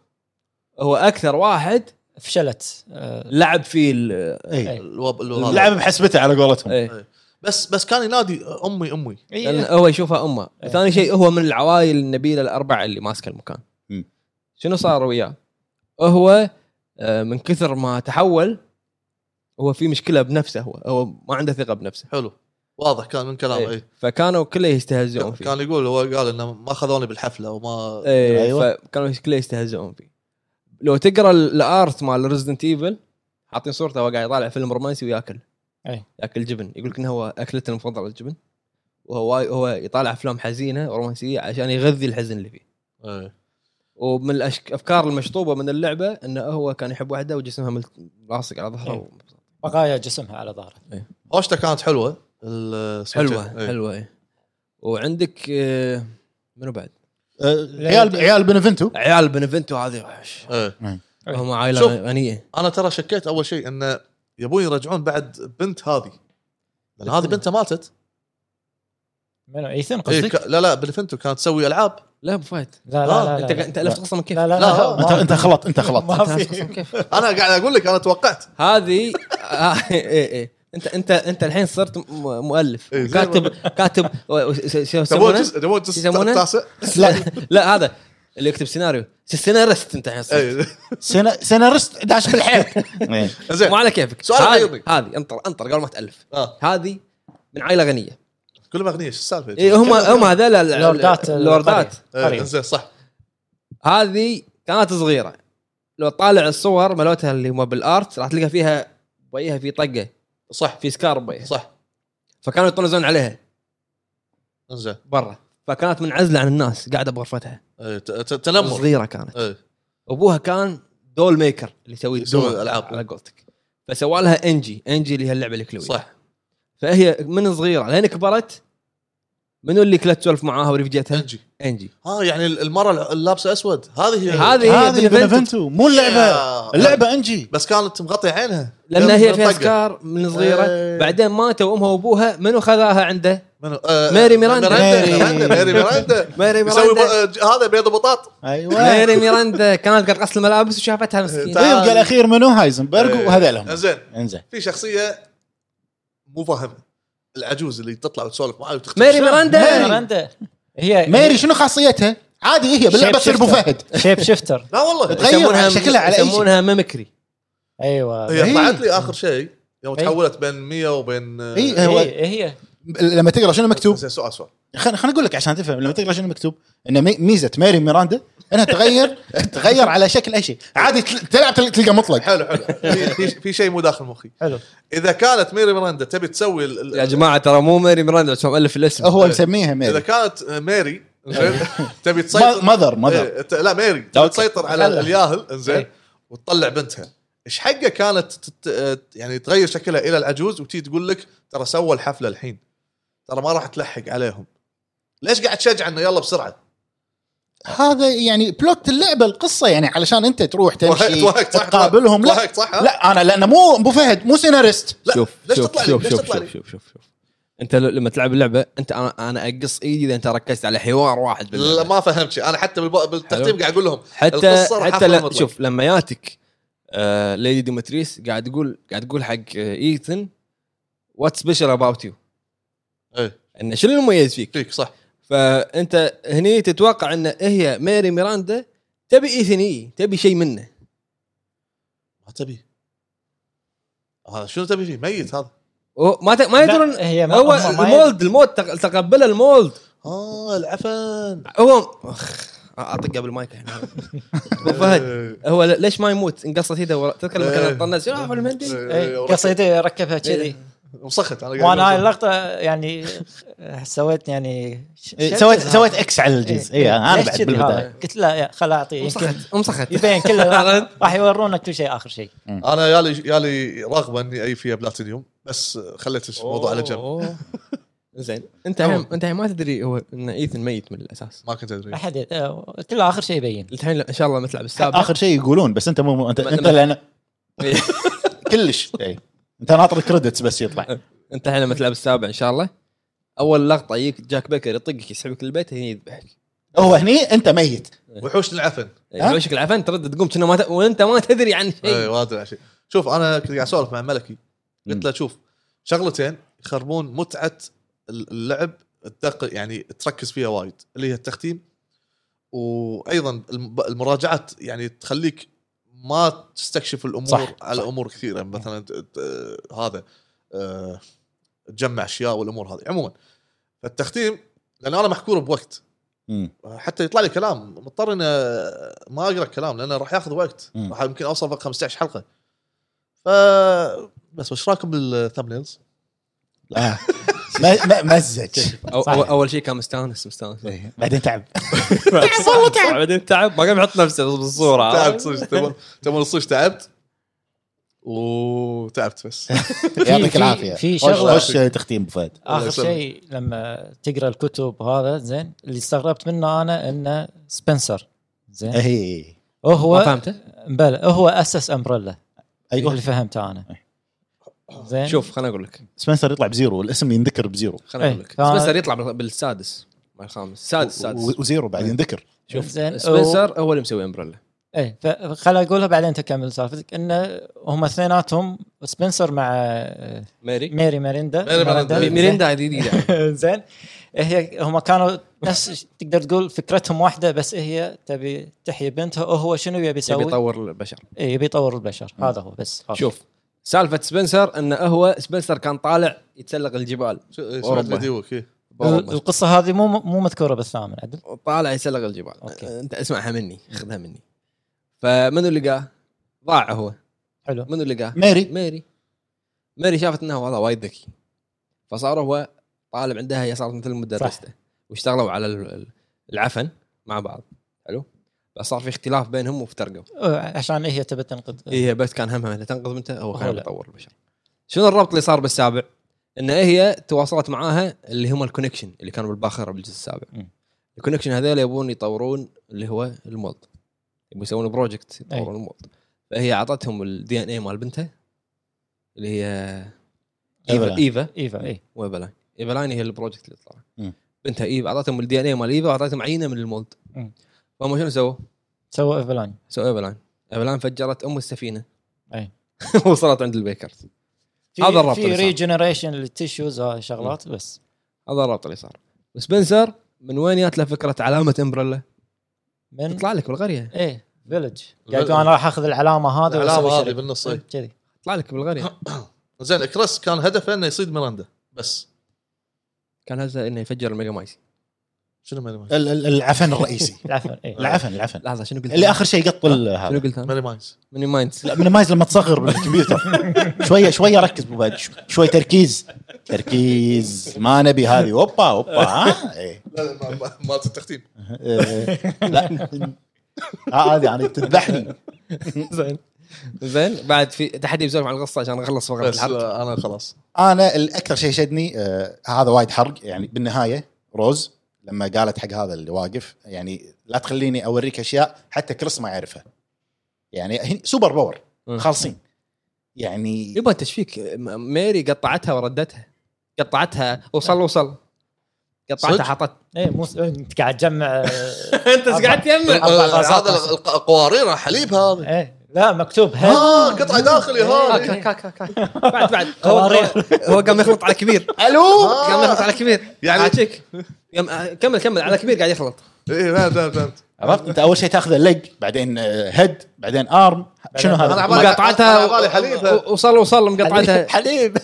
S4: هو اكثر واحد
S3: فشلت آه، إيه.
S4: لعب فيه ال-
S2: إيه.
S5: اي
S2: الوب... الوب...
S5: اللعب بحسبته على قولتهم
S4: إيه.
S2: بس بس كان ينادي امي امي
S4: لان هو يشوفها امه
S3: إيه.
S4: ثاني شيء هو من العوائل النبيله الاربعه اللي ماسكه المكان
S5: مم.
S4: شنو صار وياه هو آه، من كثر ما تحول هو في مشكله بنفسه هو هو ما عنده ثقه بنفسه
S2: حلو واضح كان من كلامه
S4: إيه.
S2: اي
S4: فكانوا كله يستهزئون فيه
S2: كان يقول هو قال انه ما خذوني بالحفله وما
S5: أيوة.
S4: ايه أيوة. فكانوا كله يستهزئون فيه لو تقرا ال- الارت مال ريزدنت ايفل حاطين صورته وهو قاعد يطالع فيلم رومانسي وياكل
S3: أي.
S4: ياكل جبن يقول لك انه هو اكلته المفضله الجبن وهو هو يطالع افلام حزينه ورومانسيه عشان يغذي الحزن اللي فيه
S2: إيه.
S4: ومن الافكار المشطوبه من اللعبه انه هو كان يحب واحده وجسمها مل- لاصق على ظهره
S3: إيه.
S4: و-
S3: بقايا جسمها على ظهره
S2: هوشته كانت حلوه السويتش.
S4: حلوه
S2: إيه.
S4: حلوه إيه. وعندك آه، منو بعد؟
S5: آه، عيال عيال بنفنتو
S4: عيال بنفنتو هذه وحش.
S2: إيه.
S3: إيه.
S4: هم
S2: شوف.
S4: عائله غنيه
S2: انا ترى شكيت اول شيء انه يبون يرجعون بعد بنت هذه لان هذه بنته ماتت
S3: منو ايثن
S2: إيه
S3: قصدك؟
S2: ك... لا لا بنفنتو كانت تسوي العاب
S4: لا ابو فهد
S3: لا
S2: آه،
S3: لا لا
S4: انت
S3: لا
S4: انت الفت قصه من كيف؟
S3: لا
S2: لا،
S3: لا لا
S5: انت
S3: ما-
S5: انت خلط انت خلط
S3: ما
S4: ألفت قصة
S3: في
S4: من كيف؟
S2: انا قاعد اقول لك انا توقعت
S4: هذه آه، ايه ايه انت انت انت الحين صرت م- مؤلف
S2: إيه، زين.
S4: كاتب كاتب و- س- س-
S2: تبون
S4: شو يسمونه؟
S2: جزء- تبون جزء
S4: يسمونه؟
S2: التاسع
S4: لا لا هذا اللي يكتب سيناريو سيناريست انت الحين صرت
S2: إيه.
S5: سينا- سيناريست داش بالحيط إيه.
S2: زين
S4: مو على كيفك
S2: سؤال
S4: هذه
S2: غيري.
S4: هذه انطر انطر قبل ما تالف
S2: آه.
S4: هذه من عائله غنيه
S2: كلهم اغنياء شو السالفه؟
S4: إيه، هم هم هذول ال-
S3: لوردات
S4: اللوردات
S2: إيه،
S3: قريب.
S2: زين صح
S4: هذه كانت صغيره لو طالع الصور مالتها اللي هم بالارت راح تلقى فيها بيها في طقه
S2: صح
S4: في سكار بيها
S2: صح
S4: فكانوا يطنزون عليها
S2: زين
S4: برا فكانت منعزله عن الناس قاعده بغرفتها
S2: إيه، ت- ت- تنمر
S4: صغيره كانت
S2: إيه.
S4: ابوها كان دول ميكر اللي يسوي
S2: يسوي
S4: دول
S2: ألعاب.
S4: على قولتك فسوى لها انجي انجي اللي هي اللعبه الكلوية
S2: صح
S4: فهي من صغيره لين كبرت منو اللي كلت تسولف معاها ورفجتها؟
S2: انجي
S4: انجي
S2: اه يعني المره اللابسه اسود هذه هي
S4: هذه هي
S5: هذه
S4: بنفنت
S5: بنفنتو مو اللعبه
S2: آه.
S5: اللعبه انجي
S2: بس كانت مغطيه عينها
S4: لان هي فيها
S2: طقة.
S4: سكار من صغيره
S2: إيه.
S4: بعدين ماتوا امها وابوها منو خذاها عنده؟
S2: منو آه
S4: ماري ميراندا.
S5: ماري.
S2: ميراندا ماري ميراندا
S4: ماري
S2: يسوي ب-
S4: ميراندا
S2: آه، ج- هذا بيض بطاط
S5: ايوه
S4: ماري ميراندا كانت قد غسل الملابس وشافتها مسكينه
S2: تعال.
S5: طيب قال اخير منو هايزنبرغ
S2: إيه.
S5: وهذيلهم
S2: زين
S5: انزين
S2: في شخصيه مو فاهمه العجوز اللي تطلع وتسولف معاه وتختم
S4: ماري ميراندا
S3: ميراندا
S4: إيه.
S3: هي
S5: ميري شنو خاصيتها؟ عادي هي باللعبه تصير ابو فهد
S3: شيب شيفتر
S2: لا والله
S5: تغير
S4: يسمونها-
S5: على شكلها على اي شيء
S4: يسمونها ميمكري
S3: ايوه هي
S2: هي
S5: إيه.
S2: طلعت لي اخر شيء يوم
S3: إيه.
S2: تحولت بين 100 وبين آه،
S5: إيه. هو-
S3: هي
S5: لما تقرا شنو مكتوب
S2: زين سؤال سؤال
S5: خليني خل اقول لك عشان تفهم لما تقرا شنو مكتوب ان مي- ميزه ماري ميراندا انها تغير تغير على شكل اي شيء عادي تل- تلعب تل- تلقى مطلق
S2: حلو حلو في- في- في شيء مو داخل مخي
S3: حلو
S2: اذا كانت ميري ميراندا تبي تسوي ال- ال-
S4: يا جماعه ترى مو ميري ميراندا بس هو الف الاسم
S5: هو مسميها
S2: اذا
S5: ماري
S2: كانت آه، ميري زين تبي تسيطر
S5: ماذر ماذر
S2: إيه، ت- لا ميري
S5: أوكي.
S2: تسيطر على
S3: خلها.
S2: الياهل انزين
S3: إيه.
S2: وتطلع بنتها ايش حقه كانت تت... آه، يعني تغير شكلها الى العجوز وتي تقول لك ترى سوى الحفله الحين ترى ما راح تلحق عليهم ليش قاعد تشجع انه يلا بسرعه
S5: هذا يعني بلوت اللعبه القصه يعني علشان انت تروح تمشي
S2: توهقت صح؟
S5: تقابلهم لا
S2: توهقت صح ها؟
S5: لا انا لانه مو ابو فهد مو سيناريست
S2: لا،
S4: شوف
S2: ليش
S4: شوف
S2: تطلع لي؟
S4: شوف
S2: ليش
S4: شوف
S2: تطلع لي؟
S4: شوف شوف شوف شوف انت ل- لما تلعب اللعبه انت انا انا اقص ايدي اذا انت ركزت على حوار واحد باللعبة.
S2: لا ما فهمت شيء انا حتى بالب... بالتختيم
S4: حلو.
S2: قاعد اقول لهم
S4: حتى
S2: القصة راح
S4: حتى
S2: أخذ
S4: لا
S2: المطلق.
S4: شوف لما ياتك آه ليدي ديمتريس قاعد تقول قاعد تقول حق آه ايثن وات سبيشال اباوت يو
S2: إيه.
S4: انه شنو المميز فيك؟
S2: فيك صح
S4: فانت هني تتوقع ان هي ميري ميراندا تبي ايثني تبي شيء منه
S2: ما تبي هذا شنو تبي فيه ميت هذا
S4: هو- ما ت... ما يدرون
S3: لا، هي ما-
S4: هو
S3: هم ما
S4: المولد المولد تق- تقبله المولد
S2: اه العفن
S4: هو أخ، اطق قبل المايك الحين. ابو فهد هو ل- ليش ما يموت انقصت يده ورا تذكر لما
S2: إيه.
S4: كان "آه، طنز يا أبو المهندس
S3: إيه، قصيده ركبها كذي
S2: وسخت انا
S3: وانا هاي
S2: قاعد
S3: اللقطه يعني سويت يعني ش-
S5: إيه،
S3: شد
S5: سويت
S3: هذا. إيه.
S5: سويت اكس على الجنس اي
S4: إيه،
S5: انا
S3: ليش
S5: بعد
S3: كذي
S5: بالبدايه
S3: هذا؟ قلت لا يا- خل اعطيه يمكن
S4: امسخت امسخت
S3: يبين كله راح يورونا كل شيء اخر شيء
S2: انا يالي يالي رغبه اني اي فيها بلاتينيوم بس خليت الموضوع على جنب
S4: أوه. زين انت الحين انت الحين ما تدري هو ان ايثن ميت من الاساس
S2: ما كنت ادري
S3: احد كله اخر شيء يبين
S4: الحين ان شاء الله لما تلعب السابع
S5: اخر شيء يقولون بس انت مو مو- انت
S4: ما-
S5: انت
S4: ما-
S5: لان كلش إي. انت ناطر الكريدتس بس يطلع
S4: انت الحين لما تلعب السابع ان شاء الله اول لقطه يجيك جاك بيكر يطقك يسحبك البيت هني يذبحك
S5: هو هني انت ميت
S2: وحوش العفن
S5: ها؟
S4: وشك العفن ترد تقوم كنا ما ت... وانت ما تدري عن
S2: اي
S4: شيء
S2: ما ادري عن شيء شوف انا كنت قاعد اسولف مع ملكي
S5: إيه. مم.
S2: قلت له شوف شغلتين يخربون متعه اللعب الدق يعني تركز فيها وايد اللي هي التختيم وايضا الم- المراجعات يعني تخليك ما تستكشف الامور
S5: صح،
S2: صح على
S5: صح.
S2: امور كثيره مثلا ت- ت- هذا آه، تجمع اشياء والامور هذه عموما فالتختيم لان انا محكور بوقت
S5: مم.
S2: حتى يطلع لي كلام مضطر اني ما اقرا الكلام لانه راح ياخذ وقت
S5: مم.
S2: راح يمكن اوصل فوق 15 حلقه ف بس وش رايكم بالثمبنيلز؟
S5: آه. ما- ما- مزج
S4: أو...
S5: صح.
S4: أو... اول شيء كان مستانس مستانس
S5: إي. بعدين تعب
S4: بعدين تعب ما قام يحط نفسه بالصوره
S2: تعبت صدق تبون- تبون صدق تعبت وتعبت بس
S5: يعطيك
S3: في-
S5: العافيه
S3: في
S5: وش-
S3: شغلة-
S5: وش تختيم أبو فهد
S2: الله
S3: اخر
S2: يسلمك.
S3: شيء لما تقرا الكتب وهذا زين اللي استغربت منه انا انه سبنسر زين
S5: اي
S4: إيه. ما
S3: هو
S4: فهمته؟
S3: بلى هو اسس امبريلا اللي
S5: ايوه
S3: فهمته انا زين
S4: شوف خليني اقول لك
S5: سبنسر يطلع بزيرو الاسم ينذكر بزيرو
S4: خليني
S3: إيه،
S4: اقول لك
S3: فأنا-
S4: سبنسر يطلع بال- بالسادس مع الخامس سادس
S5: و-
S4: سادس
S5: و- وزيرو بعد ينذكر
S4: شوف
S3: زين،
S4: سبنسر هو اللي مسوي امبريلا
S3: ايه فخل اقولها بعدين تكمل سالفتك انه هم اثنيناتهم سبنسر مع آه،
S4: ميري
S3: ميري ميريندا
S2: ميري ميريندا.
S4: مي-
S3: زين.
S4: ميريندا جديده
S3: زين هي هم كانوا نفس تقدر تقول فكرتهم واحده بس هي تبي تحيي بنتها وهو شنو يبي
S4: يبي
S3: يسوي؟
S4: يطور البشر
S3: إيه، يبي يطور البشر هذا هو بس خلاص.
S4: شوف سالفه سبنسر انه هو سبنسر كان طالع يتسلق الجبال
S2: سمعت
S4: أوروبا.
S2: فيديوك إيه.
S3: ال-
S4: بأوروبا.
S3: القصه هذه مو مو مذكوره بالثامن عدل
S4: طالع يسلق الجبال
S3: أوكي.
S4: انت اسمعها مني خذها مني فمنو لقاه؟ ضاع هو
S3: حلو
S4: منو لقاه؟
S5: ميري
S4: ميري ميري شافت انه والله وايد ذكي فصار هو طالب عندها هي صارت مثل مدرسته واشتغلوا على ال- ال- العفن مع بعض حلو فصار في اختلاف بينهم وافترقوا
S3: آه، عشان هي تبي تنقذ
S4: هي إيه، بس كان همها انها تنقذ بنتها هو
S3: هو
S4: خلينا
S3: لا.
S4: نطور البشر شنو الربط اللي صار بالسابع؟ ان هي تواصلت معاها اللي هم الكونكشن اللي كانوا بالباخره بالجزء السابع
S3: مم.
S4: الكونكشن هذول يبون يطورون اللي هو المولد يبون يسوون بروجكت يطورون المولد فهي اعطتهم الدي ان اي مال بنتها اللي هي ايفا
S5: إيفلاين.
S4: ايفا
S3: ايفا اي
S4: وايفلاين ايفلاين هي البروجكت اللي طلع
S5: مم.
S4: بنتها ايفا اعطتهم الدي ان اي مال ايفا واعطتهم عينه من المولد
S3: مم.
S4: فهم شنو سووا؟
S3: سوى ايفلاين
S4: سووا ايفلاين ايفلاين فجرت ام السفينه
S3: أي.
S4: وصلت عند البيكرز
S3: في-
S4: هذا الربط
S3: في
S4: اللي صار.
S3: ريجنريشن للتشوز هاي شغلات بس
S4: هذا الربط اللي صار وسبنسر من وين جات له فكره علامه امبريلا؟
S3: من
S4: تطلع لك بالقريه
S3: ايه فيلج قاعد يقول انا راح اخذ العلامه هذا
S2: العلامه
S3: وأسوي
S2: هذه
S3: شركة.
S2: بالنص إيه.
S3: كذي
S4: تطلع لك بالقريه
S2: زين كريس كان هدفه انه يصيد ميراندا بس
S4: كان هذا انه يفجر الميجا مايسي
S2: شنو ماني مايز؟
S5: ال- ال- العفن الرئيسي
S3: العفن ايه
S5: العفن العفن
S4: لحظه شنو قلت؟
S5: اللي اخر شيء قط ال-
S4: شنو
S5: هذا
S4: قلت
S3: أه.
S4: انا؟
S2: ماني مايز
S4: ماني مايندز
S5: لا من مايز لما تصغر بالكمبيوتر شويه شويه ركز أبو فهد شو- شوي تركيز تركيز ما نبي هذه اوبا اوبا ها إيه.
S2: مالت التختيم
S5: إيه. لا آه، هذه يعني تذبحني
S4: زين زين بعد في تحدي بسولف عن القصه عشان اخلص فقره
S2: بس
S4: الحرق
S2: آه، انا خلاص
S5: انا الاكثر شيء شدني آه هذا وايد حرق يعني بالنهايه روز لما قالت حق هذا اللي واقف يعني لا تخليني اوريك اشياء حتى كريس ما يعرفها يعني هن- سوبر باور
S4: مم.
S5: خالصين يعني
S4: يبا تشفيك م- ميري قطعتها وردتها قطعتها وصل وصل قطعتها
S2: صدق؟
S4: حطت
S3: ايه مو انت قاعد تجمع آه،
S4: انت ايش قاعد تجمع
S3: أربع غازات
S2: هذا الق- أه، القوارير حليب هذا
S3: ايه لا مكتوب هيد
S2: ها قطعه داخل يا
S4: هاك
S2: هذا
S4: هاك هاك هاك بعد بعد هو
S3: قوارير.
S4: هو قام يخلط على كبير
S5: الو
S4: قام يخلط على كبير
S2: يعني-
S4: يعني تشيك قام- آه، كمل كمل على كبير قاعد يخلط
S2: اي فهمت فهمت فهمت
S5: عرفت انت اول شيء تاخذ الليج بعدين آه، هيد بعدين ارم شنو
S2: أنا
S5: هذا؟
S2: عبالي- أنا عبالي حليب.
S4: و- وصل وصل مقطعتها
S5: حليب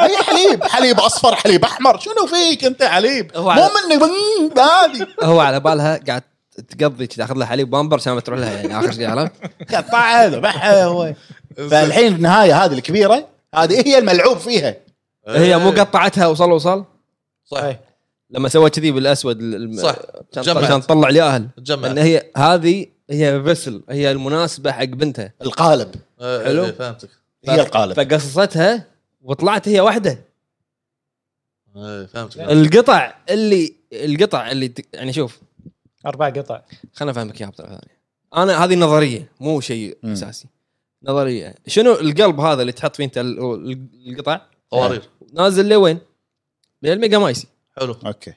S5: اي حليب حليب اصفر حليب احمر شنو فيك انت حليب
S4: هو
S5: مو
S4: على-
S5: منك بن- هذه
S4: هو على بالها قاعد تقضي تاخذ لها حليب بامبر عشان ما تروح لها يعني اخر شيء عرفت
S5: قطعها ذبحها هو فالحين النهايه هذه الكبيره هذه هي الملعوب فيها
S4: هي
S2: إيه.
S4: مو قطعتها وصل وصل
S2: صح
S3: إيه.
S4: لما سوت كذي بالاسود ال- الم-
S2: صح
S4: عشان
S2: جمعت.
S4: عشان تطلع لي اهل ان
S2: تجمع
S4: هي هذه هي فيسل هي المناسبه حق بنتها
S5: القالب
S4: حلو.
S2: حلو آه، فهمتك
S5: هي
S4: طيب.
S5: القالب
S4: فقصصتها وطلعت هي واحده
S2: إيه،
S4: يعني-
S2: فهمتك
S4: القطع اللي القطع اللي ت- يعني شوف
S3: اربع قطع
S4: خلنا افهمك اياها بطريقه ثانيه انا هذه نظريه مو شيء
S5: مم.
S4: اساسي نظريه شنو القلب هذا اللي تحط فيه انت ال- ال- القطع
S2: قوارير
S4: نازل لوين؟ للميجا مايسي
S2: حلو
S5: اوكي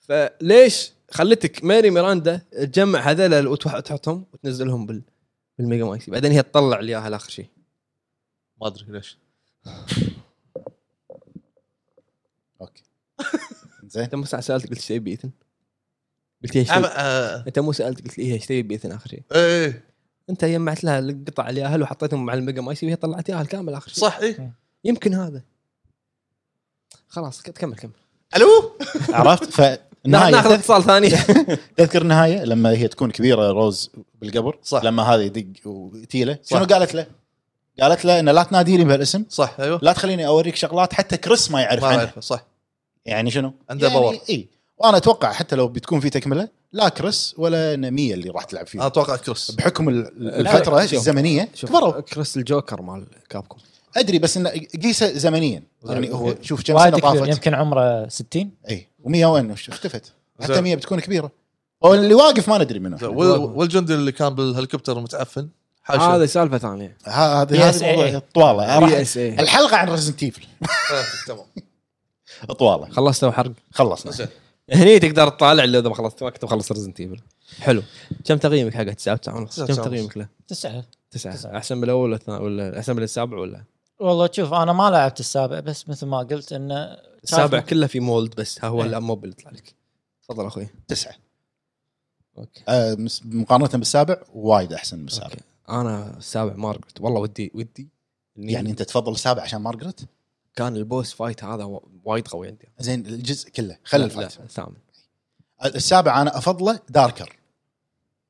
S4: فليش خلتك ماري ميراندا تجمع هذول وتحطهم وتنزلهم بال بالميجا مايسي بعدين هي تطلع لي اياها اخر شيء
S2: ما ادري ليش
S5: اوكي زين
S4: انت مو ساعة سالت قلت ايش تبي بايثن؟ قلت لي ايش
S2: أنا-
S4: تبي؟
S2: آه،
S4: انت مو سالت قلت لي ايش تبي بايثن اخر شيء
S2: إيه، ايه
S4: انت جمعت لها القطع اللي اهل وحطيتهم مع الميجا مايسي وهي طلعت اياها الكامل اخر شيء
S2: صح ايه
S4: يمكن هذا خلاص كت- كمل كمل
S2: الو
S5: عرفت
S4: نا- نعم، ناخذ
S5: فالنهايه
S4: اتصال ثاني
S5: تذكر النهايه لما هي تكون كبيره روز بالقبر
S2: صح.
S5: لما هذا يدق وتيله
S2: صح.
S5: شنو قالت له؟ قالت له انه لا تناديني بهالاسم
S2: صح ايوه
S5: لا تخليني اوريك شغلات حتى كريس ما يعرف
S2: ما
S5: عنها
S2: اعرفه صح
S5: يعني شنو؟
S2: عنده
S5: يعني
S2: باور.
S5: اي وانا اتوقع حتى لو بتكون في تكمله لا كريس ولا نميه اللي راح تلعب
S2: أنا
S5: فيها
S2: اتوقع كريس
S5: بحكم ال- الفتره
S4: شوف.
S5: الزمنيه كبروا
S4: كريس الجوكر مال كابكم
S5: ادري بس انه قيسه زمنيا يعني هو شوف كم
S3: وايد يعني
S5: سنه
S3: كبير
S5: طافت
S3: يمكن عمره 60
S5: اي و100 وين وش- اختفت حتى
S2: زين.
S5: 100 بتكون كبيره هو اللي واقف ما ندري منه
S2: وال- والجندي اللي كان بالهليكوبتر متعفن حاشا
S4: هذا سالفه ثانيه
S5: ه- هذا
S3: PSA.
S5: هذا موضوع طواله
S4: بي
S5: راح-
S4: اس اي
S5: الحلقه عن ريزنت ايفل
S2: فهمتك، تمام
S5: طواله
S4: خلصت وحرق
S5: خلصنا
S2: زين
S4: هني تقدر تطالع اللي اذا ما خلصت وقت وخلص ريزنت ايفل حلو كم تقييمك حقه 9 9 ونص
S2: تسعة
S4: كم
S2: وتسعة ونص.
S4: تقييمك له
S3: تسعه
S4: 9
S3: تسعة.
S4: احسن من الاول ولا الثاني- ولا احسن من السابع ولا
S3: والله شوف انا ما لعبت السابع بس مثل ما قلت انه
S4: السابع
S3: شايف-
S4: كله في مولد بس ها هو
S3: إيه.
S4: الموب اللي يطلع لك تفضل اخوي
S5: تسعه
S4: اوكي
S5: آه، مس- مقارنه بالسابع وايد احسن من السابع
S4: اوكي انا السابع مارجريت والله ودي ودي إني
S5: يعني انت تفضل السابع عشان مارجريت
S4: كان البوس فايت هذا و- وايد قوي عندي
S5: زين الجزء كله خلي
S4: لا،
S5: الفايت
S4: لا، الثامن
S5: السابع انا افضله داركر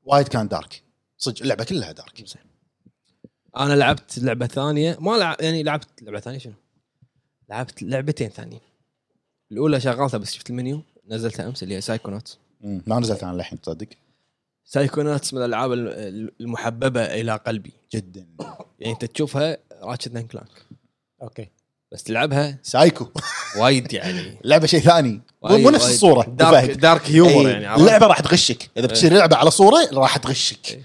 S5: وايد كان دارك صدق اللعبه كلها دارك
S4: انا لعبت لعبه ثانيه ما لعب يعني لعبت لعبه ثانيه شنو؟ لعبت لعبتين ثانيين الاولى شغلتها بس شفت المنيو نزلتها امس اللي هي سايكونوتس
S5: مم، ما نزلت عن الحين تصدق
S4: سايكوناتس من الالعاب ال- ال- المحببه الى قلبي
S5: جدا
S4: يعني انت تشوفها راتشت اند كلانك
S3: اوكي
S4: بس تلعبها
S5: سايكو
S4: وايد يعني
S5: اللعبه شيء ثاني مو مو نفس
S4: وايد-
S5: الصوره
S4: دارك
S5: دارك
S4: دارك هيومر يعني عرفت؟
S5: اللعبه إيه. راح تغشك اذا بتصير لعبه على صوره راح تغشك
S4: إيه.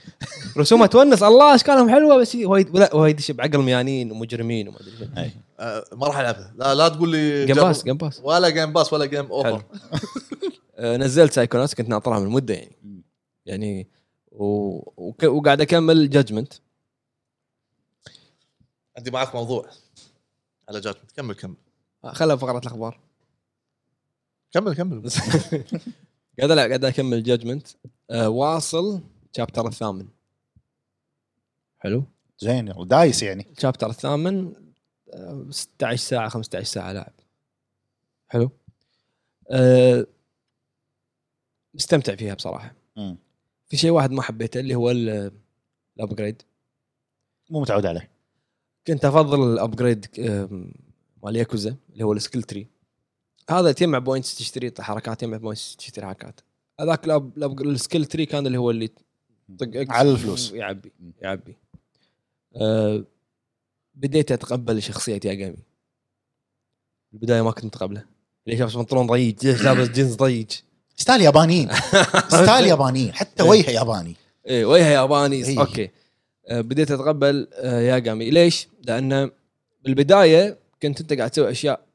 S4: رسومها تونس الله اشكالهم حلوه بس هي وايد لا وايد يشب عقل ميانين ومجرمين وما ادري شنو.
S2: آه، ما راح العبها لا لا تقول لي
S4: جيم
S2: جرب-
S4: باس جيم باس
S2: ولا جيم باس ولا جيم
S4: حلو
S2: اوفر
S4: آه، نزلت سايكوناتس كنت ناطرها من مده يعني
S5: مم.
S4: يعني و... وك... وقاعد اكمل جادجمنت
S2: عندي معك موضوع على جاجمنت كمل كمل
S4: خلها فقره الاخبار
S2: كمل كمل
S4: قاعد لا قاعد اكمل جادجمنت واصل شابتر الثامن حلو
S5: زين يلا، دايس يعني
S4: الشابتر الثامن آه، 16 ساعه 15 ساعه لاعب حلو أه مستمتع فيها بصراحه
S5: مم.
S4: في شيء واحد ما حبيته اللي هو ال- الابجريد
S5: مو متعود عليه
S4: كنت افضل الابجريد أم، مال ياكوزا اللي هو السكيل تري هذا تجمع بوينتس تشتري حركات تجمع بوينتس تشتري حركات هذاك الأب- الأب- السكيل تري كان اللي هو اللي طق إكس
S5: على الفلوس.
S4: يعبي يعبي أه بديت اتقبل شخصيه ياجامي البدايه ما كنت متقبله ليش لابس بنطلون ضيج ليش لابس جينز ضيج
S5: ستايل يابانيين ستايل يابانيين حتى وجهه ياباني
S4: ايه وجهه ياباني
S5: إيه.
S4: اوكي آه، بديت اتقبل آه، ياغامي ليش؟ لانه بالبدايه كنت انت قاعد تسوي اشياء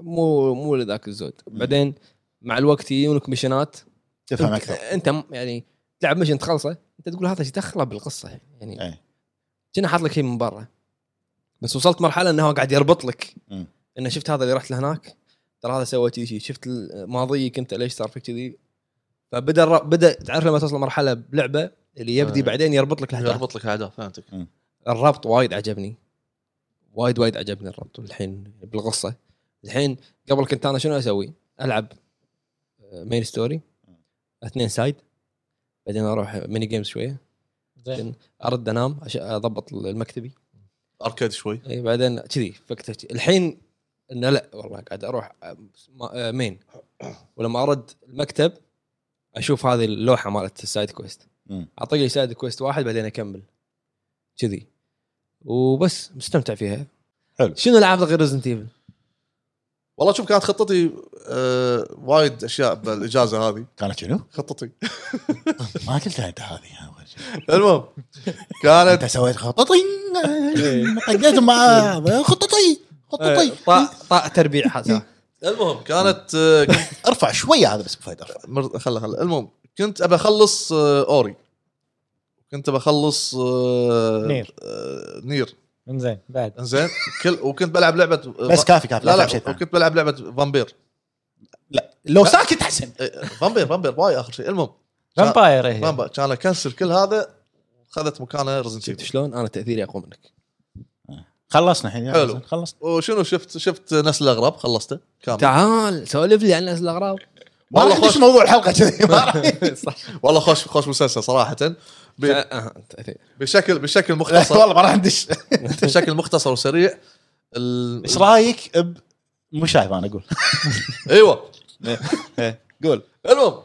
S4: مو مو لذاك الزود بعدين مع الوقت يجونك مشنات
S5: تفهم
S4: انت,
S5: اكثر
S4: انت م- يعني تلعب مشن تخلصه انت تقول هذا ايش دخله بالقصه يعني
S5: إيه.
S4: كنا حاط لك شيء من برا بس وصلت مرحله انه هو قاعد يربط لك
S5: مم.
S4: انه شفت هذا اللي رحت لهناك ترى هذا سوى كذي شفت ماضيك انت ليش صار فيك كذي فبدا الر- بدا تعرف لما توصل مرحله بلعبه اللي يبدي
S2: آه.
S4: بعدين يربط لك الاحداث
S2: يربط لك الاهداف فهمتك
S4: الربط وايد عجبني وايد وايد عجبني الربط الحين بالقصه الحين قبل كنت انا شنو اسوي؟ العب مين ستوري اثنين سايد بعدين اروح ميني جيمز شويه
S3: زين
S4: ارد انام أش- اضبط المكتبي
S2: اركيد شوي
S4: اي إيه، بعدين كذي فكته كذي. الحين انه لا والله قاعد اروح آه، ما- آه، مين ولما ارد المكتب اشوف هذه اللوحه مالت السايد كويست
S5: مم.
S4: اعطيك لي سايد كويست واحد بعدين اكمل كذي وبس مستمتع فيها
S5: حلو.
S4: شنو لعبت غير ريزنت ايفل؟
S2: والله شوف كانت خطتي آه وايد اشياء بالاجازه هذه
S5: كانت شنو؟
S2: خطتي
S5: ما قلتها انت هذه أول شيء.
S2: المهم
S5: انت
S2: كانت
S5: سويت خططي طقيت مع خططي خططي
S4: طاء طاء طيب. تربيع حسا
S5: إيه.
S2: المهم كانت آه كنت
S5: ارفع شويه هذا بس بفايد ارفع
S2: مر... خلا خلا المهم كنت ابى اخلص آه اوري كنت بخلص آه
S3: نير.
S2: آه نير
S3: زين بعد
S2: زين كل وكنت بلعب لعبه آه،
S5: بس كافي كافي
S2: لا
S5: تلعب شيء
S2: لا
S5: ثاني.
S2: كنت بلعب لعبه فامبير
S5: لو ساكت احسن
S2: آه، فامبير فامبير باي اخر شيء المهم
S3: فامباير هي
S2: فامبير كان اكنسل كل هذا وخذت مكانه ريزنت
S4: شفت شلون انا تاثيري اقوى منك
S5: خلصنا الحين
S2: حلو.
S5: خلصنا
S2: وشنو شفت شفت نسل الاغراب خلصته كامل
S4: تعال سولف لي عن ناس الاغراض
S5: ما
S2: والله
S5: راح ندش
S2: خوش.
S5: موضوع الحلقه كذي ما راح-
S4: صح
S2: والله خوش خوش مسلسل صراحه
S4: آه،
S2: ب- بشكل بشكل مختصر
S5: والله ما راح ندش
S2: بشكل مختصر وسريع ال...
S5: ايش رايك ب مو شايف انا اقول
S2: ايوه
S5: قول
S2: المهم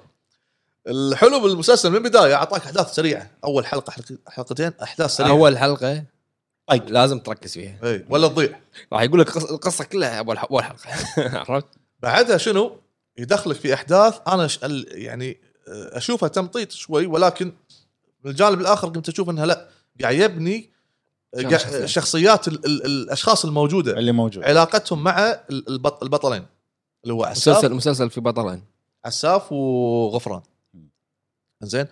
S2: الحلو بالمسلسل من البدايه اعطاك احداث سريعه اول حلقه حلق- حلقتين احداث سريعه اول
S4: اول حلقه
S5: طيق.
S4: لازم تركز فيها
S2: اي إيه، ولا تضيع
S4: راح يقول لك قص- القصه كلها اول ح- اول حلقه عرفت؟
S2: بعدها شنو يدخلك في احداث انا ش... ال- يعني آه، اشوفها تمطيط شوي ولكن من الجانب الاخر كنت اشوف انها لا قاعد يبني آه،
S4: شلون
S2: قاع-
S4: شخصية؟
S2: شخصيات ال... ال... الاشخاص الموجوده
S5: اللي موجود
S2: علاقتهم مع ال- البط... البطلين اللي هو عساف
S4: مسلسل مسلسل في بطلين
S2: عساف وغفران
S5: مم.
S2: زين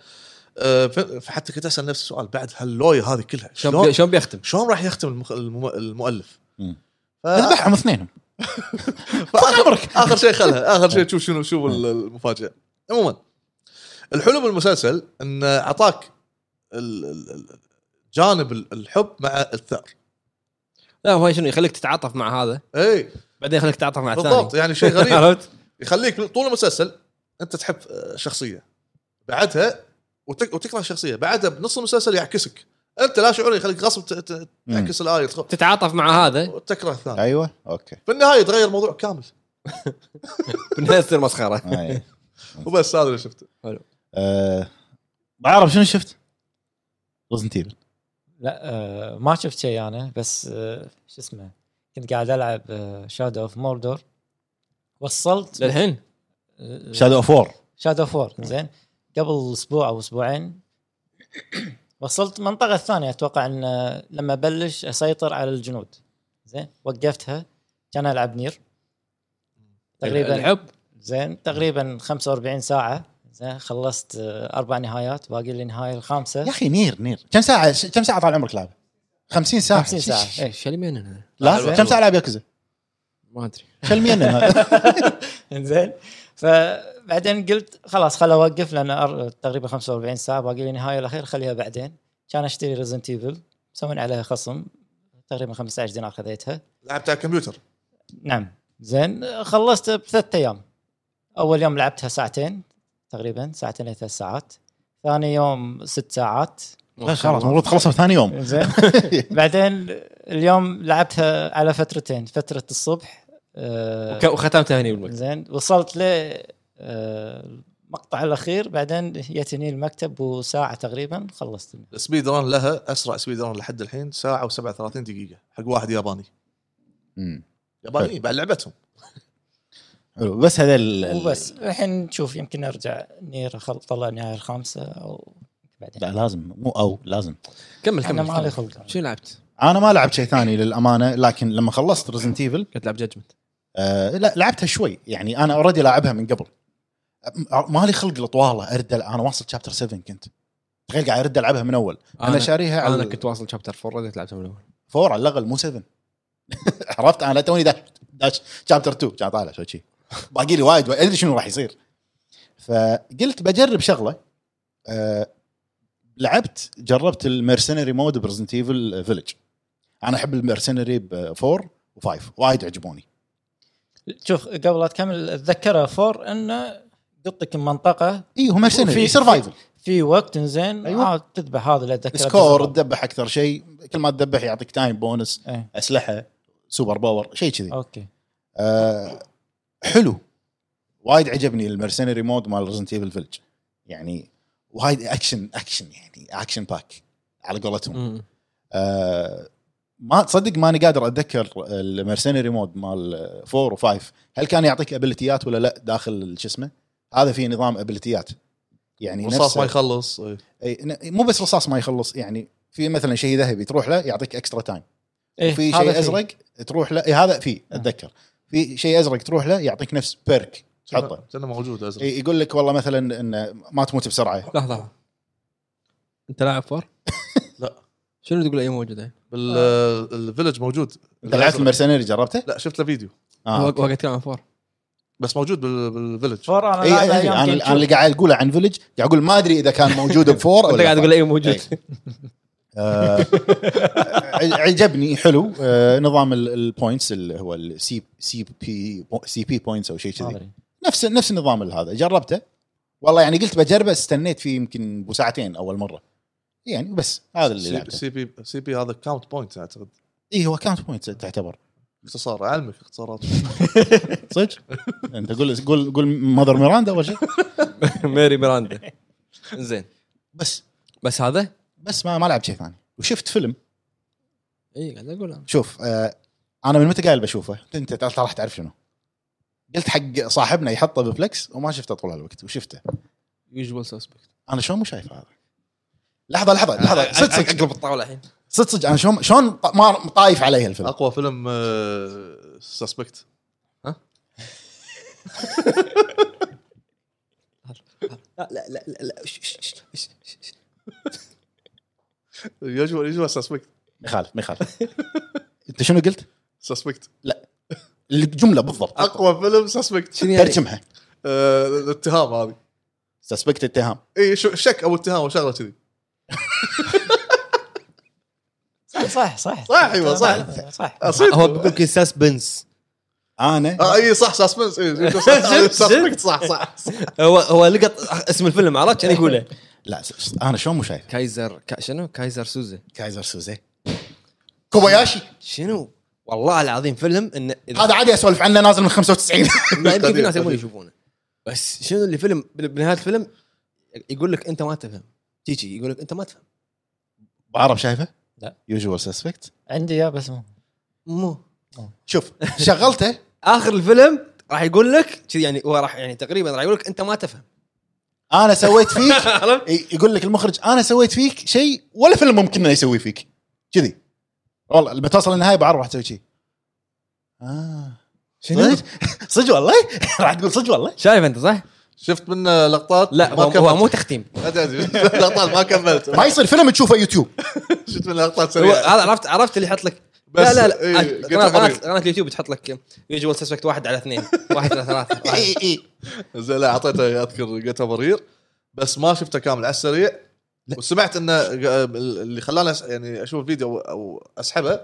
S2: آه، ف- فحتى كنت اسال نفس السؤال بعد هاللويا هذه كلها
S4: شلون بي-
S2: شلون
S4: شلون بيختم؟
S2: شلون راح يختم المخ... الم... المؤلف؟
S5: مم.
S2: ف...
S5: ذبحهم اثنينهم
S2: فآخر-
S5: عمرك
S2: اخر شيء خلها اخر شيء تشوف شنو شوف ال- المفاجاه عموما الحلو بالمسلسل انه اعطاك ال- ال- ال- جانب ال- الحب مع الثار
S4: لا هو شنو يخليك تتعاطف مع هذا
S2: اي
S4: بعدين يخليك تتعاطف مع الثاني
S2: إيه، بالضبط يعني شيء غريب
S4: عرفت؟
S2: يخليك طول المسلسل انت تحب آه، شخصيه بعدها وتك... وتكره شخصيه بعدها بنص المسلسل يعكسك انت لا شعوري يخليك غصب ت... ت... تعكس الايه تخ-
S4: تتعاطف مع هذا
S2: وتكره الثاني
S5: ايوه اوكي
S2: في النهايه تغير الموضوع كامل
S4: بالنهايه تصير مسخره
S5: أي.
S2: وبس هذا اللي شفته
S5: أه، ما اعرف شنو شفت رزنت ايفل
S3: لا آه، ما شفت شيء انا بس آه، شو اسمه كنت قاعد آه، العب شادو اوف موردور وصلت آه،
S4: للحين
S5: شادو اوف وور
S3: شادو اوف وور زين قبل اسبوع او اسبوعين وصلت المنطقه الثانيه اتوقع ان آه، لما بلش اسيطر على الجنود زين وقفتها كان العب نير تقريبا
S4: الحب
S3: زين تقريبا 45 ساعه زين خلصت آه، اربع نهايات باقي لي النهايه الخامسه
S5: يا اخي نير نير كم ساعه كم ساعه طال عمرك لعبه 50 ساعه
S3: 50 ساعه إيه.
S4: ايش اللي من هنا؟
S5: لا كم ساعه لعب ياكوزا
S4: ما ادري
S5: شلمينا
S3: انزين فبعدين قلت خلاص خل اوقف لان أر- تقريبا 45 ساعه باقي لي النهايه الاخير خليها بعدين كان اشتري ريزنت ايفل مسوين عليها خصم تقريبا 15 دينار خذيتها
S2: لعبت على الكمبيوتر
S3: نعم زين خلصت بثلاث ايام اول يوم لعبتها ساعتين تقريبا ساعتين الى ثلاث ساعات ثاني يوم ست ساعات
S5: لا خلاص المفروض تخلصها ثاني يوم
S3: زين بعدين اليوم لعبتها على فترتين فتره الصبح آه،
S4: وك- وختمتها هني بالمكتب
S3: زين وصلت ل آه، المقطع الاخير بعدين جتني المكتب وساعه تقريبا خلصت
S2: السبيد ران لها اسرع سبيد ران لحد الحين ساعه و37 دقيقه حق واحد ياباني
S5: مم.
S2: يابانيين بعد لعبتهم
S5: حلو بس هذا ال- ال-
S3: وبس الحين نشوف يمكن ارجع نير أخل- طلع النهايه الخامسه او بعدين
S5: لا لازم مو او لازم
S4: كمل
S3: انا
S4: كمل
S3: ما لي
S4: كمل.
S3: خلق
S4: شو لعبت؟
S5: انا ما لعبت شيء ثاني للامانه لكن لما خلصت ريزنت ايفل
S4: قلت لعب جادجمنت
S5: آه لا لعبتها شوي يعني انا اوريدي لاعبها من قبل مالي خلق لطواله اردل انا واصل شابتر 7 كنت تخيل قاعد ارد العبها من اول انا شاريها
S4: انا
S5: على
S4: كنت واصل شابتر 4 رديت لعبتها من الاول
S5: فور على الاقل مو 7 عرفت انا توني داش داش شابتر 2 كان طالع شو شي باقي لي وايد وايد ادري شنو راح يصير فقلت بجرب شغله أه لعبت جربت المرسنري مود برزنت ايفل فيلج انا احب المرسنري بفور وفايف وايد عجبوني
S3: شوف قبل لا تكمل اتذكرها فور انه قطك منطقه
S5: اي إيه، هو مرسنري
S3: في-
S5: سرفايفل
S3: في وقت زين
S5: أيوة.
S3: أيوة. عاد تذبح هذا اللي اتذكره
S5: سكور تذبح اكثر شيء كل ما تذبح يعطيك تايم بونس
S3: إيه.
S5: اسلحه سوبر باور شيء كذي
S3: اوكي
S5: آه، حلو وايد عجبني المرسنري مود مال ريزنت ايفل فيلج يعني وايد اكشن اكشن يعني اكشن باك على قولتهم آه، ما تصدق ماني قادر اتذكر المرسنري مود مال 4 و5 هل كان يعطيك ابيلتيات ولا لا داخل شو اسمه هذا في نظام ابيلتيات يعني
S2: رصاص
S5: نفسه-
S2: ما يخلص إيه.
S5: أي، ن- مو بس رصاص ما يخلص يعني في مثلا شيء ذهبي تروح له يعطيك اكسترا تايم
S3: إيه
S5: وفي
S3: هذا
S5: شيء ازرق تروح له إيه هذا في اتذكر في شيء ازرق تروح له يعطيك نفس بيرك تحطه
S2: كانه موجود ازرق
S5: إيه، يقول لك والله مثلا ان ما تموت بسرعه
S4: لحظه انت لاعب فور؟
S2: لا. آه،
S4: شنو تقول اي موجوده؟
S2: بال- الفيلج موجود
S5: انت لعبت
S2: الأزرق.
S5: المرسنري جربته؟
S2: لا شفت له فيديو
S5: اه
S4: وقت اتكلم عن فور
S2: بس موجود بال- بالفيلج
S3: فور انا
S5: اي
S3: لاعبها
S5: انا
S3: أيام
S5: انا
S3: GameCube.
S5: يعني اللي قاعد اقوله عن فيلج قاعد اقول ما ادري اذا كان موجود بفور او
S4: انت قاعد
S5: لا.
S4: تقول اي موجود
S2: إيه.
S5: آه، عجبني حلو آه، نظام ال- البوينتس اللي هو السي سي بي سي بي بوينتس او شيء
S3: ما
S5: كذي
S3: أدري.
S5: نفس نفس النظام هذا جربته والله يعني قلت بجربه استنيت فيه يمكن بو ساعتين اول مره يعني بس هذا اللي
S2: سي-
S5: لعبته
S2: سي بي سي بي هذا كاونت بوينت اعتقد
S5: اي هو كانت بوينت تعتبر
S2: اختصار اعلمك اختصارات
S5: صدق انت قول قول قول ماذر ميراندا اول شيء
S4: ميري ميراندا زين
S5: بس
S4: بس هذا؟
S5: بس ما ما لعبت شيء ثاني وشفت فيلم
S4: اي قاعد اقول انا
S5: شوف آه انا من متى قايل بشوفه انت ترى راح تعرف شنو قلت حق صاحبنا يحطه بفلكس وما شفته طول الوقت وشفته
S4: يوجوال سسبكت
S5: انا شلون مو شايف هذا لحظه لحظه
S2: آه،
S4: طيب،
S5: لحظه صدق صدق
S4: اقلب الطاوله الحين
S5: صدق صدق انا شلون شلون ط- ما طايف علي الفيلم
S2: اقوى فيلم آه، سسبكت
S4: لا لا لا لا, لا. ش- ش- ش- ش- ش- ش.
S2: يجوا يجوا سسبكت
S5: ما يخالف ما يخالف انت شنو قلت؟
S2: سسبكت
S5: الجمله بالضبط
S2: اقوى فيلم سسبكت
S4: شنو يعني؟
S5: ترجمها
S2: آه، الاتهام هذه
S5: سسبكت اتهام
S2: اي شو- شك او اتهام او شغله كذي
S3: صح صح صح
S2: صح، أيوة، صح.
S3: صح
S2: أصيب.
S4: هو بيقول لك سسبنس
S5: انا
S2: آه، اي صح سسبنس اي صح، سسبكت صح صح
S4: هو هو لقط اسم الفيلم عرفت كان يقوله
S5: لا س- س- انا شلون مو شايف
S4: كايزر كا شنو كايزر سوزا
S5: كايزر سوزي كوباياشي
S4: شنو والله العظيم فيلم ان إذا-
S5: هذا عادي اسولف عنه نازل من 95
S4: ما يمكن في
S2: قديم،
S4: ناس يبون
S2: قديم.
S4: يشوفونه بس شنو اللي فيلم بال- بنهايه الفيلم يقول لك انت ما تفهم تيجي يقول لك انت ما تفهم
S5: بعرف شايفه؟
S3: لا.
S5: يوجوال سسبكت
S3: عندي يا بس مو
S4: مو
S5: شوف شغلته
S4: اخر الفيلم راح يقول لك كذي يعني هو راح يعني تقريبا راح يقول لك انت ما تفهم
S5: انا سويت فيك
S4: عرفت؟
S5: ي- يقول لك المخرج انا سويت فيك شيء ولا فيلم ممكن انه يسوي فيك كذي والله لما توصل للنهايه بعرف راح تسوي شيء اه
S4: شنو؟
S5: صدق؟ صدق والله راح تقول صدق والله
S4: شايف انت صح؟
S2: شفت منه لقطات
S4: لا
S2: ما
S4: هو, هو مو
S2: كملت
S4: تختيم
S2: أدري، أدري. لقطات ما كملت
S5: ما يصير فيلم تشوفه يوتيوب
S2: شفت منه لقطات
S4: هو
S2: سريعه
S4: هذا عرفت عرفت اللي يحط لك
S2: طيب. بس،
S4: لا لا
S2: إيه،
S4: لا عاد
S2: قلت
S4: قناه قناه
S2: الخبر.
S4: قناة اليوتيوب تحط لك يوجوال سسبكت واحد على اثنين واحد على ثلاثه واحد.
S5: اي اي
S2: طيب. زين لا اعطيته اذكر جيتا برير بس ما شفته كامل على السريع وسمعت انه آه، اللي خلاني أس- يعني اشوف الفيديو أو- او اسحبه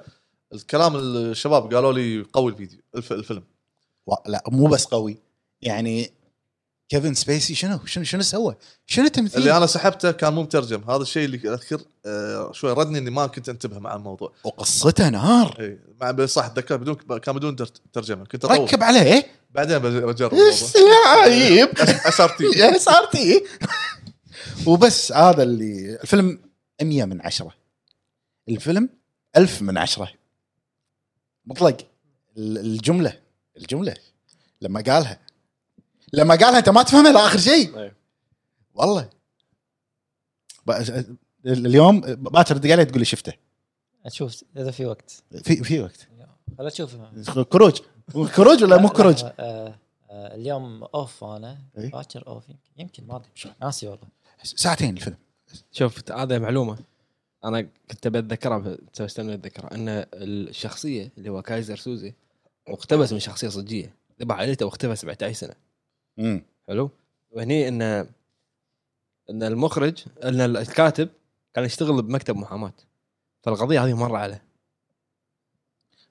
S2: الكلام الشباب قالوا لي قوي الفيديو الف- الفيلم
S5: وا- لا مو بس قوي يعني كيفن سبيسي شنو شنو شنو سوى؟ شنو
S2: اللي
S5: تمثيل؟
S2: انا سحبته كان مو مترجم هذا الشيء اللي اذكر آه، شوي ردني اني ما كنت انتبه مع الموضوع
S5: وقصته نار
S2: اي مع بس صح اتذكر بدون كان بدون تر- ترجمه كنت اطور
S5: إيه. ركب عليه
S2: بعدين بج- بجرب الموضوع
S5: إيش يا عيب
S2: اس ار تي
S5: اس ار تي وبس هذا اللي الفيلم 100 من عشرة الفيلم 1000 من عشرة مطلق ال- الجملة الجملة لما قالها لما قالها انت ما تفهمها لاخر شيء
S4: أيوه.
S5: والله بقى- اليوم باكر دقيقة تقول لي شفته
S3: اشوف اذا في وقت
S5: في في وقت
S3: خل اشوف
S5: كروج كروج ولا مو كروج
S3: آه، آه، آه، اليوم اوف انا
S5: إيه.
S3: باكر اوف يمكن يمكن ما ادري ناسي والله
S5: ساعتين الفيلم
S4: شوف هذا معلومه انا كنت بتذكرها بس استنى اتذكرها ان الشخصيه اللي هو كايزر سوزي مقتبس من شخصيه صجيه ذبح عائلته واختفى 17 سنه
S5: امم
S4: حلو وهني ان ان المخرج ان الكاتب كان يشتغل بمكتب محاماه فالقضيه هذه مره عليه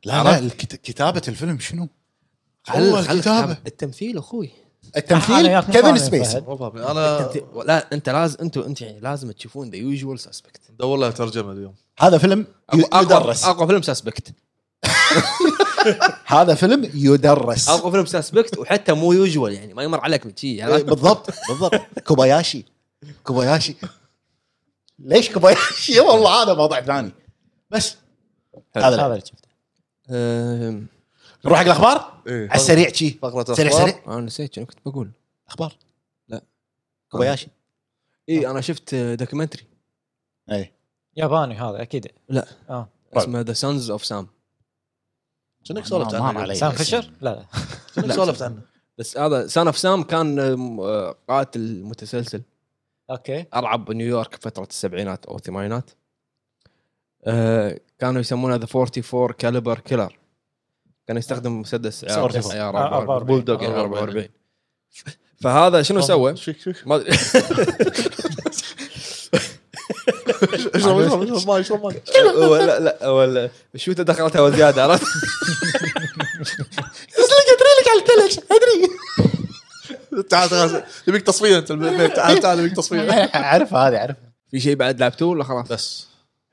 S5: لا لا الكت- كتابه الفيلم شنو؟ أول كتابة.
S4: التمثيل اخوي
S3: أنا
S5: التمثيل
S3: وياك
S5: كيفن
S3: مقارنة
S5: سبيسي
S3: فهد.
S2: انا
S4: التمثيل- لا انت لازم انتم انت يعني لازم تشوفون ذا يوجوال سسبكت
S2: دور لها ترجمه اليوم
S5: هذا فيلم
S4: اقوى
S5: يدرس
S4: اقوى فيلم سسبكت
S5: هذا فيلم يدرس
S4: اقوى فيلم سسبكت وحتى مو يوجوال يعني ما يمر عليك من شيء
S5: إيه، بالضبط بالضبط كوباياشي كوباياشي ليش كوباياشي والله هذا موضوع ثاني بس هذا
S3: هذا
S5: لا.
S3: اللي شفته
S4: أم،
S5: نروح حق الاخبار
S2: ايه
S5: على السريع شي
S2: فقره
S5: سريع
S2: أخبار.
S5: سريع
S4: انا نسيت شنو كنت بقول
S5: اخبار
S4: لا.
S5: كوباياشي
S4: اي
S5: إيه.
S4: انا شفت دوكيومنتري
S5: اي
S3: ياباني هذا اكيد
S5: إيه،
S4: لا.
S3: اه
S5: طيب.
S4: اسمه ذا سانز اوف سام
S2: شنو سولفت
S5: ما- ما
S2: عنه
S5: عليه.
S2: اليوم؟
S3: سام
S5: بس-
S3: فيشر لا لا
S2: شنو
S4: لا.
S2: سولفت عنه؟
S4: بس هذا سان اوف سام كان أم، آه، قاتل متسلسل
S3: اوكي
S4: ارعب بنيويورك فتره السبعينات او الثمانينات آه، كانوا يسمونه ذا 44 كاليبر كيلر كان يستخدم مسدس عيار
S5: 44.
S3: آه،
S4: 44
S3: 44.
S4: بول دوغ 44 فهذا شنو سوى؟
S2: شيك شيك
S4: ما أدري.
S2: اشرب اشرب اشرب ماي اشرب ماي
S4: ولا لا ولا الشوته دخلتها وزياده عرفت؟
S2: تعال تعال يبيك تصفيه انت البيت تعال تعال يبيك تصفيه
S5: اعرف هذه اعرف
S4: في شيء بعد لعبتوه ولا خلاص؟
S2: بس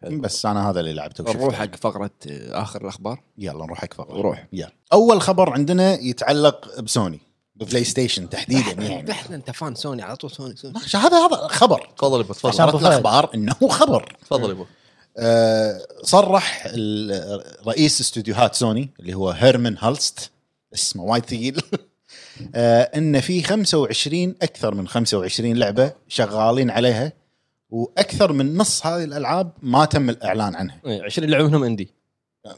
S5: بس انا هذا اللي لعبته وشفته.
S4: نروح حق فقره آه، اخر الاخبار
S5: يلا نروح حق فقره
S4: روح.
S5: يلا اول خبر عندنا يتعلق بسوني ببلاي ستيشن تحديدا يعني
S4: احنا انت فان سوني على طول سوني سوني
S5: ماشي، هذا هذا خبر
S2: تفضل يبا
S5: عشان
S2: تفضل
S3: أبو فهد.
S5: الاخبار انه خبر
S2: تفضل يبا
S5: آه، صرح ال- رئيس استوديوهات سوني اللي هو هيرمان هالست اسمه وايد ثقيل آه، ان في 25 اكثر من 25 لعبه شغالين عليها واكثر من نص هذه الالعاب ما تم الاعلان عنها
S4: 20 لعبه إيه، منهم اندي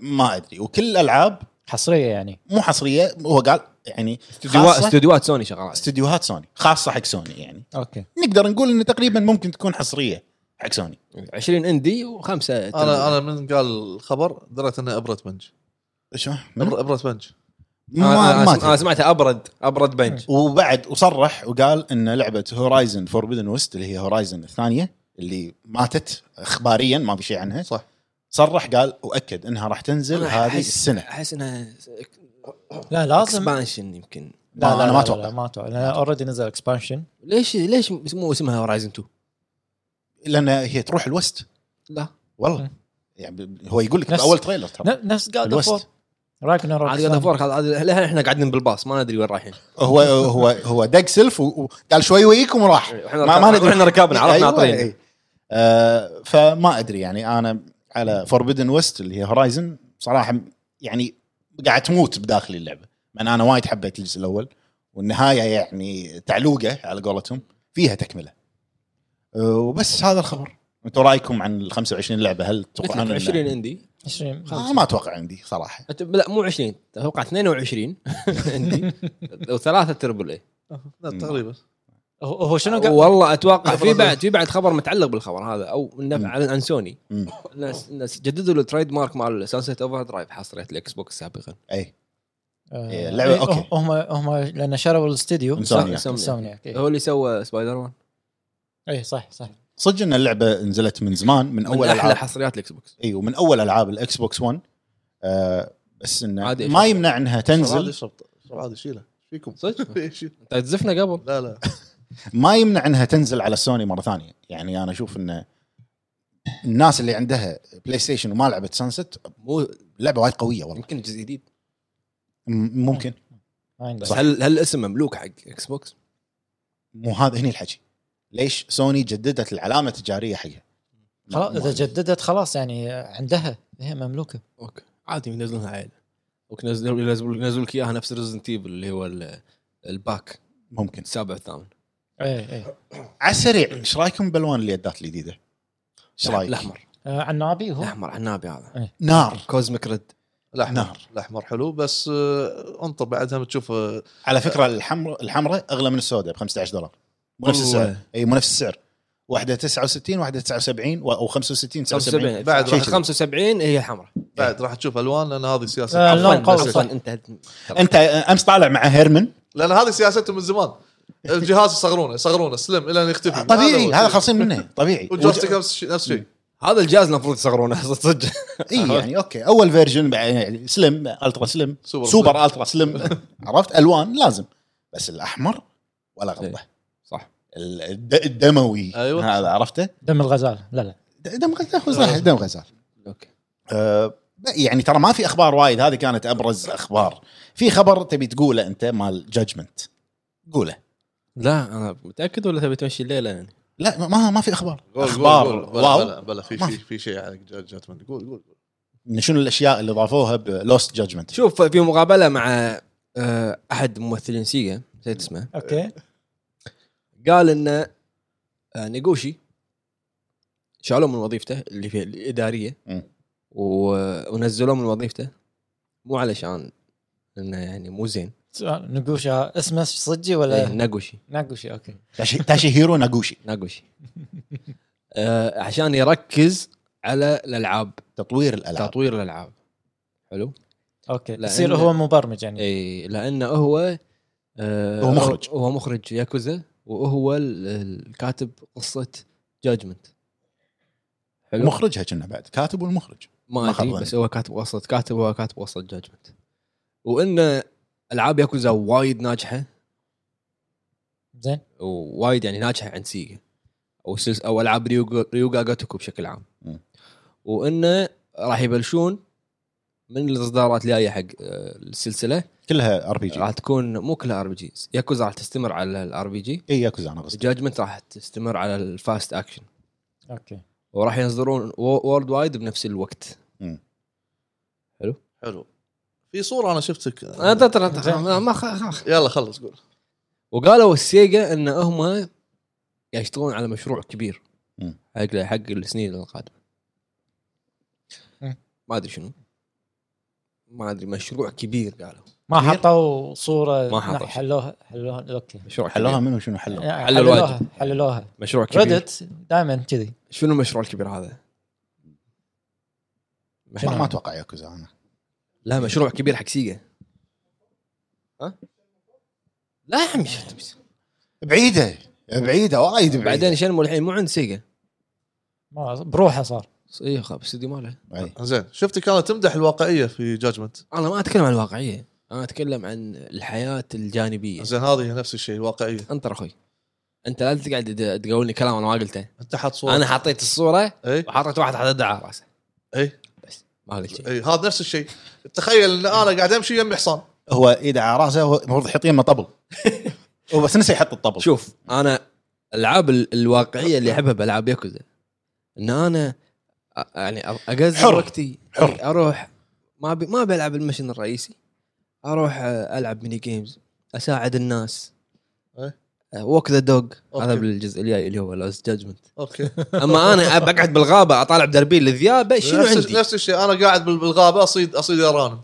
S5: ما ادري وكل الالعاب
S3: حصريه يعني
S5: مو حصريه هو قال يعني
S4: استوديوهات
S5: خاصة-
S4: استوديوهات سوني شغالات
S5: استديوهات سوني خاصه حق سوني يعني
S3: اوكي
S5: نقدر نقول انه تقريبا ممكن تكون حصريه حق سوني
S4: 20 اندي وخمسه
S2: انا انا من قال الخبر دريت انه ابره بنج
S5: شو ما,
S2: ابره ابرة بنج
S4: انا,
S5: ما, ما
S4: أنا, سم... أنا
S5: أدري.
S4: سمعتها ابرد ابرد بنج
S5: وبعد وصرح وقال ان لعبه هورايزن فوربدن ويست اللي هي هورايزن الثانيه اللي ماتت اخباريا ما في شيء عنها
S2: صح
S5: صرح قال واكد انها راح تنزل
S4: أنا
S5: هذه
S4: أحس-
S5: السنه
S4: احس انها
S3: لا لازم لا
S4: اكسبانشن يمكن
S5: لا لا انا ما اتوقع
S3: ما اتوقع لان اوريدي نزل اكسبانشن
S4: ليش ليش مو اسمها هورايزن 2
S5: لان هي تروح الوست
S4: لا
S5: والله
S3: مم.
S5: يعني ب- هو يقول لك
S3: نفس-
S5: باول تريلر ترى
S3: نفس جاد
S5: الوست.
S3: اوف راجنر
S4: عاد قاعد افورك هذا احنا قاعدين بالباص ما ندري وين رايحين
S5: هو هو هو دق سلف و- وقال شوي ويكم وراح
S4: احنا ركبنا احنا ركبنا عرفنا
S5: أيوة،
S4: عطرين
S5: أي. آه، فما ادري يعني انا على فوربدن ويست اللي هي هورايزن صراحه يعني قاعد تموت بداخلي اللعبه من انا وايد حبيت الجزء الاول والنهايه يعني تعلوقه على قولتهم فيها تكمله آه، وبس هذا الخبر انتم رايكم عن ال 25 لعبه هل
S4: قلت
S5: تتوقعون
S4: لك
S5: إن-
S4: 20 اندي
S3: 20
S5: آه ما اتوقع عندي صراحه
S4: أت- لا مو 20 اتوقع 22 اندي وثلاثه تربل اي
S2: لا تقريبا
S3: هو هو شنو قال
S4: والله اتوقع في
S2: أبرز-
S4: بعد في بعد خبر متعلق بالخبر هذا او إنه
S5: مم.
S4: عن عن سوني
S5: مم.
S4: الناس الناس جددوا له التريد مارك مال سانسيت اوفر درايف حصريه الاكس بوكس سابقا
S5: اي
S3: آه،
S5: اللعبة،
S3: إيه،
S5: أوكي.
S3: هم هم لان شروا الاستديو
S5: إنسانية.
S4: سوني.
S3: سوني إيه.
S4: هو اللي سوى سبايدر مان
S3: اي إيه، صح صح
S5: صدق ان اللعبه نزلت من زمان من
S4: من
S5: اول
S4: احلى
S5: العاب
S4: حصريات الاكس بوكس
S5: اي إيه، ومن اول العاب الاكس بوكس 1 آه بس انه
S4: عادي
S5: ما
S4: يشوف.
S5: يمنع انها
S2: عادي
S5: تنزل
S2: اشرب اشرب عادي شيله فيكم
S4: صدق
S2: شيل.
S4: انت تزفنا قبل
S2: لا لا
S5: ما يمنع انها تنزل على سوني مره ثانيه يعني انا اشوف انه الناس اللي عندها بلاي ستيشن وما لعبت سانست
S4: مو
S5: لعبه وايد قويه والله
S4: يمكن جزء جديد
S5: م- ممكن
S3: ما عندي.
S4: بس هل هل الاسم مملوك حق اكس بوكس؟
S5: مو هذا هني الحكي ليش سوني جددت العلامه التجاريه حقها ما-
S3: خلاص
S5: مو
S3: اذا
S5: عندي.
S3: جددت خلاص يعني عندها هي مملوكه
S4: اوكي عادي ينزلونها عيل اوكي ينزلوا ينزلوا لك اياها نفس ريزنت ايفل اللي هو ال- الباك
S5: ممكن
S4: السابع الثامن
S3: اي اي
S5: على السريع ايش رايكم بالوان اليدات الجديده؟ ايش رايك؟
S4: الاحمر
S3: آه، عنابي هو
S4: الاحمر عنابي هذا
S5: نار
S4: كوزميك ريد
S2: الاحمر
S5: نار.
S2: الاحمر حلو بس آه، انطر بعدها بتشوف
S5: نعم.
S2: آه،
S5: على فكره الحمر الحمراء اغلى من السوداء ب 15 دولار مو نفس
S4: والله.
S5: السعر اي مو نفس السعر واحده 69 واحده 79 و- او 65 79
S4: 75
S2: بعد
S4: بعد
S2: راح-
S4: 75 هي الحمراء
S2: بعد راح تشوف الوان لان هذه
S3: آه،
S2: سياسه
S3: اللون
S4: إيه، عفواً،
S3: قوي
S4: بس
S3: صح.
S4: عفواً، انت
S5: انت امس طالع مع هيرمن
S2: لان هذه سياسته من زمان الجهاز يصغرونه يصغرونه سلم الى ان يختفي
S5: آه، طبيعي
S2: هو.
S5: هذا خالصين منه طبيعي
S2: والجويستيك نفس الشيء نفس الشيء
S4: هذا الجهاز المفروض يصغرونه صدق
S5: اي يعني اوكي اول فيرجن بع- يعني سلم الترا سلم
S2: سوبر
S5: سوبر, سوبر الترا سلم عرفت الوان لازم بس الاحمر ولا غضه
S4: صح
S5: ال- الد- الدموي
S2: أيوة.
S5: هذا عرفته
S3: دم الغزال لا لا
S5: د- دم غزال هو صحيح دم غزال
S4: اوكي
S5: أه يعني ترى ما في اخبار وايد هذه كانت ابرز اخبار في خبر تبي تقوله انت مال جادجمنت قوله
S4: لا انا متاكد ولا تبي تمشي الليله يعني
S5: لا ما- ما ما في اخبار
S2: قول، قول،
S5: اخبار
S2: قول. بلا-
S5: واو
S2: بلا بلا في
S5: ما
S2: شيء في شيء على جادجمنت قول قول قول.
S5: إن شنو الاشياء اللي ضافوها بلوست جادجمنت
S4: شوف في مقابله مع آه، احد ممثلين سيجا نسيت اسمه
S3: اوكي
S4: قال ان آه، نيغوشي شالوه من وظيفته اللي في الاداريه
S5: مم.
S4: و- ونزلوه من وظيفته مو علشان انه يعني مو زين
S3: سؤال، نقوشة اسمه صجي
S4: إيه،
S3: ولا
S4: ناغوشي
S3: نقوشي اوكي
S5: تاشي تاشي هيرو ناغوشي
S4: ناغوشي آه، عشان يركز على الالعاب
S5: تطوير الالعاب
S4: تطوير الالعاب حلو
S3: اوكي
S4: لأن-
S3: يصير هو مبرمج يعني
S4: اي لانه هو آه،
S5: هو مخرج.
S4: هو مخرج ياكوزا وهو ال- الكاتب قصه جاجمنت حلو
S5: مخرجها كنا بعد كاتب والمخرج
S4: ما
S5: ما
S4: ادري
S5: خاب
S4: بس هو كاتب وسط كاتب هو كاتب وسط جاجمنت وان العاب ياكوزا وايد ناجحه
S3: زين
S4: ووايد يعني ناجحه عند سيجا او سلس او العاب ريوغا ريوغا جاتوكو بشكل عام
S5: مم.
S4: وانه راح يبلشون من الاصدارات الجايه حق آه، السلسله
S5: كلها ار بي جي
S4: راح تكون مو كلها ار بي جي ياكوزا راح تستمر على الار بي جي
S5: اي إيه، ياكوزا انا قصدي
S4: جاجمنت راح تستمر على الفاست اكشن
S3: اوكي
S4: وراح ينزلون وورد وايد بنفس الوقت
S2: حلو في صوره انا شفتك
S4: أنا آه، ترى- ترى- ما خ- خ-
S2: يلا خلص قول
S4: وقالوا السيجا ان هم قاعد يشتغلون على مشروع كبير
S5: مم.
S4: حق حق السنين القادمه
S3: مم.
S4: ما ادري شنو ما ادري مشروع كبير قالوا
S3: ما حطوا صوره
S4: ما حطوا
S3: نح- حلوها حلوها اوكي
S4: مشروع كبير
S5: حلوها منو شنو حلوها
S3: يعني
S4: حلوا
S3: حللوها
S4: واجد.
S3: حللوها
S4: مشروع كبير
S3: ريدت دائما كذي
S4: شنو المشروع الكبير هذا؟
S5: ما, ما
S4: مشروع.
S5: اتوقع ياكوزا انا
S4: لا مشروع كبير حق سيجا ها؟ لا يا عمي شو تبي؟
S5: بعيده بعيده وايد بعيده
S4: بعدين شنمو الحين مو عند سيجا
S3: ما بروحه صار
S4: اي خاب استديو ماله
S5: أي.
S2: زين شفتك انا تمدح الواقعيه في جاجمنت
S4: انا ما اتكلم عن الواقعيه انا اتكلم عن الحياه الجانبيه
S2: زين هذه نفس الشيء واقعيه
S4: انت اخوي انت لا تقعد تد- تقولني كلام انا ما قلته
S2: انت حاط صوره
S4: انا حطيت الصوره
S2: اي
S4: وحطيت واحد حط يده على راسه
S2: اي
S4: بس ما قلت شيء
S2: اي هذا نفس الشيء تخيل ان انا قاعد امشي يمي حصان
S5: هو ايده على راسه هو المفروض يحط يمه طبل هو بس نسى يحط الطبل
S4: شوف انا الالعاب ال- الواقعيه اللي احبها بالعاب ياكوزا ان انا أ- يعني أ- اقزر
S5: حر.
S4: وقتي
S5: حر.
S4: اروح ما بي ما بلعب المشن الرئيسي اروح أ- العب ميني جيمز اساعد الناس
S2: إيه.
S4: ووك ذا دوغ هذا
S2: أوكي.
S4: بالجزء الجاي اللي هو لاست جادجمنت
S2: اوكي
S4: اما انا أب- اقعد بالغابه اطالع بدربين للذيابه شنو
S2: نفس,
S4: عندي؟
S2: نفس الشيء انا قاعد بال- بالغابه اصيد اصيد ارانب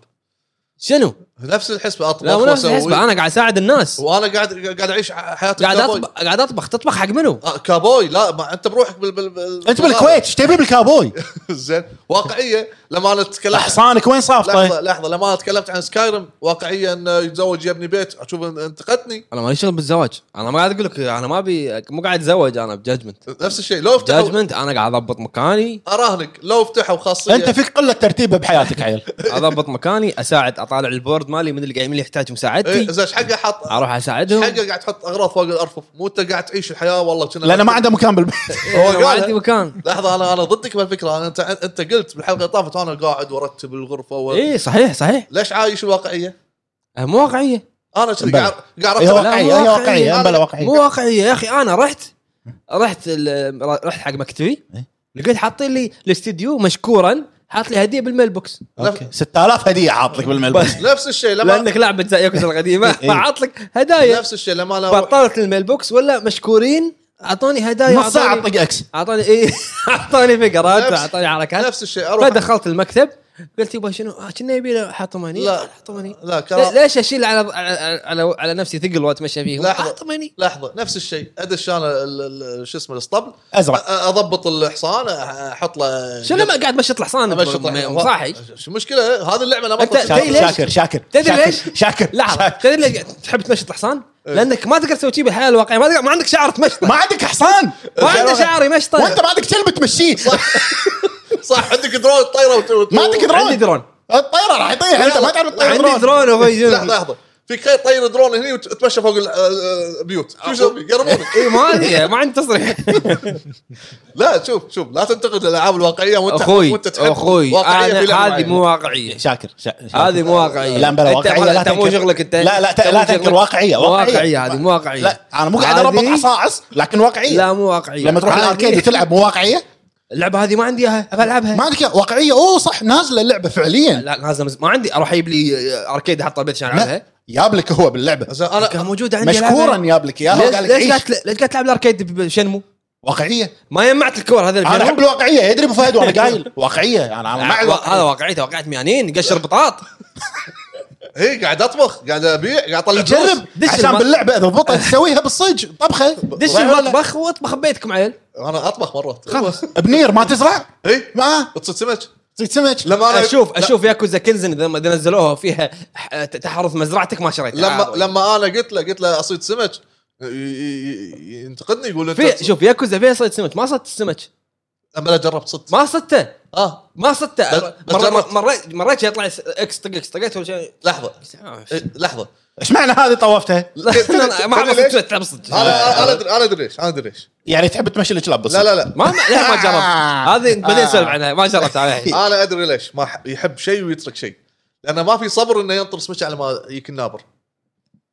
S4: شنو؟
S2: نفس الحسبه اطبخ
S4: لا مو نفس
S2: وأسوي.
S4: الحسبه انا قاعد اساعد الناس
S2: وانا قاعد قاعد اعيش حياه
S4: قاعد
S2: الكابوي.
S4: اطبخ قاعد اطبخ تطبخ حق منو؟
S2: آه، كابوي لا ما انت بروحك بال, بال... بال...
S5: انت بالكويت ايش تبي بالكابوي؟
S2: زين واقعيه لما انا تكلمت
S5: حصانك وين طيب. صافطه؟
S2: لحظه لحظه لما انا تكلمت عن سكايرم واقعيه انه يتزوج يبني بيت اشوف إن- انتقدني
S4: انا مالي شغل بالزواج انا ما قاعد اقول لك انا ما ابي مو قاعد اتزوج انا بجاجمنت
S2: نفس الشيء لو فتحوا
S4: جاجمنت انا قاعد اضبط مكاني
S2: اراهنك لو فتحوا خاصيه
S5: انت فيك قله ترتيبه بحياتك عيل
S4: اضبط مكاني اساعد اطالع البورد مالي من اللي قاعد من اللي يحتاج
S2: إيه،
S4: مساعدتي إيه،
S2: زين ايش حقه حاط
S4: اروح اساعدهم
S2: حقه قاعد تحط اغراض فوق الارفف مو انت قاعد تعيش الحياه والله كنا
S5: لانه ما عنده مكان بالبيت
S4: إيه، أنا ما
S2: قالها.
S4: عندي مكان
S2: لحظه انا انا ضدك بالفكره انا انت انت قلت بالحلقه اللي طافت انا قاعد وارتب الغرفه و...
S4: اي إيه، صحيح صحيح
S2: ليش عايش الواقعيه؟
S4: أه، مو واقعيه
S2: انا كذي
S5: بلى. إيه،
S2: قاعد قاعد
S5: هي
S2: ارتب
S5: واقعيه
S4: لا، مو
S5: هي
S4: واقعية.
S5: واقعيه بلا
S4: مو
S5: واقعيه
S4: واقعيه يا اخي انا رحت رحت ال- رحت حق مكتبي
S5: إيه.
S4: لقيت حاطين لي الاستديو مشكورا حاط لي هديه بالميل بوكس
S5: اوكي 6000 هديه حاط لك بالملبس
S2: نفس الشيء لما
S4: لانك لعبه زي ياكوزا القديمه
S5: إيه.
S4: فعط لك هدايا
S2: نفس الشيء لما انا أروح-
S4: بطلت الميل بوكس ولا مشكورين اعطوني هدايا
S5: نص ساعه
S4: اعطوني
S5: طق اكس
S4: اعطوني اي اعطوني فقرات
S2: نفس-
S4: اعطوني حركات
S2: نفس الشيء اروح
S4: فدخلت المكتب قلت يبا شنو آه، كنا يبي له حطمني
S2: لا.
S4: آه، حطمني
S2: لا
S4: لي-
S2: كرا...
S4: ليش اشيل على على على, على نفسي ثقل واتمشى فيه
S2: لحظة.
S4: حطمني
S2: لحظه نفس الشيء ادش انا ال- ال- شو اسمه الاسطبل أ-
S5: ازرق
S2: اضبط الحصان احط له
S4: شنو ما قاعد بشط الحصان
S2: أبشط
S4: م-
S2: الحصان.
S4: مصاحي
S2: شو المشكله هذه اللعبه انا ما
S4: أنت-
S2: أطلع-
S4: تدري
S5: شاكر
S4: ليش؟
S5: شاكر شاكر
S4: تدري
S5: شاكر،
S4: ليش؟
S5: شاكر
S4: لحظه
S5: شاكر.
S4: تدري ليش تحب تمشط الحصان؟
S2: إيه.
S4: لانك ما تقدر تسوي شيء بالحياه الواقعيه يعني ما تقدر ما عندك شعر تمشطه
S5: ما عندك حصان
S4: ما عنده شعر يمشطه
S5: وانت ما عندك كلب تمشيه
S2: صح عندك درون طايره وت- وت-
S5: ما عندك درون
S4: عندي درون
S5: الطيره راح يطيح انت ما تعرف تطير
S4: عندي درون
S2: لحظه
S4: وغير
S2: لحظه في خير طاير درون هني وتتمشى فوق ال- آه، البيوت شو يسوي؟ يقربونك
S4: اي إيه، ما ادري ما عندي تصريح
S2: لا شوف شوف لا تنتقد الالعاب الواقعيه وانت
S4: اخوي
S2: وانت تحب
S4: اخوي
S2: واقعية في
S4: انا
S2: لعبة
S4: هذه
S2: معينة.
S4: مو واقعيه
S5: شاكر شا- شاكر.
S4: هذه مو واقعيه
S5: لا بلا
S4: أنت-
S5: واقعية، لا
S4: انت مو
S5: تنكر.
S4: شغلك انت
S5: لا لا ت-
S4: أنت مو
S5: لا
S4: شغلك.
S5: تنكر واقعيه
S4: واقعية هذه، مو واقعية.
S5: لا انا مو قاعد اربط
S4: هذه-
S5: عصاعص لكن واقعيه
S4: لا مو واقعيه
S5: لما تروح
S4: عادي.
S5: الاركيد وتلعب مو واقعيه
S4: اللعبه هذه ما عندي اياها ابى العبها
S5: ما عندك واقعيه اوه صح نازله اللعبه فعليا
S4: لا لازم ما عندي اروح اجيب لي اركيد احطه البيت عشان العبها
S5: لا جاب لك هو باللعبه
S2: زين انا
S4: كان موجوده عندي
S5: مشكورا جاب لك اياها
S4: ليش
S5: وقال لك
S4: ليش
S5: عيش
S4: قاعد ليش قاعد تلعب الاركيد بشنمو؟
S5: واقعيه
S4: ما جمعت الكور هذا
S5: انا
S4: الفيلم.
S5: احب الواقعيه يدري ابو فهد وانا قايل واقعيه انا انا مع
S4: وا- هذا
S5: الواقعيه
S4: واقعيته واقعت ميانين قشر بطاط
S2: هي قاعد اطبخ قاعد ابيع قاعد اطلع فلوس.
S5: جرب
S4: دش
S5: عشان
S4: الم-
S5: باللعبه تضبطها تسويها بالصج طبخه
S4: دش
S5: ولا-
S4: المطبخ واطبخ ببيتكم عيل
S2: انا اطبخ مرات
S4: خلاص
S5: بنير ما تزرع
S2: اي
S5: ما
S2: تصيد سمك
S5: تصيد سمك
S2: لما انا
S4: اشوف
S2: لا،
S4: اشوف ياكوزا كنزن اذا ما نزلوها فيها ح- تحرث مزرعتك ما شريتها
S2: لما
S4: عادي.
S2: لما انا قلت له قلت له اصيد سمك ي- ي- ينتقدني يقول انت
S4: في شوف ياكوزا فيها صيد سمك ما صدت السمك
S2: لما لا جربت صدت
S4: ما صدته
S2: اه
S4: ما صدته
S2: بس- بس
S4: مرة-
S2: جربت.
S4: مريت مريت يطلع س- اكس طق اكس طقت ولا شيء
S2: لحظه إيه، لحظه
S5: ايش معنى هذه طوفتها؟
S4: لا أنا ما اعرف
S2: تدري ليش؟
S4: السمك تلعب صدق
S2: انا أنا- انا ادري انا ادري ليش انا ادري ليش
S5: يعني تحب تمشي الكلاب بس
S2: لا لا لا
S4: ما ما- ليه ما جربت هذه بعدين نسولف عنها ما جربت عليها
S2: انا ادري ليش ما ح- يحب شيء ويترك شيء لانه ما في صبر انه ينطر سمك على ما يجيك النابر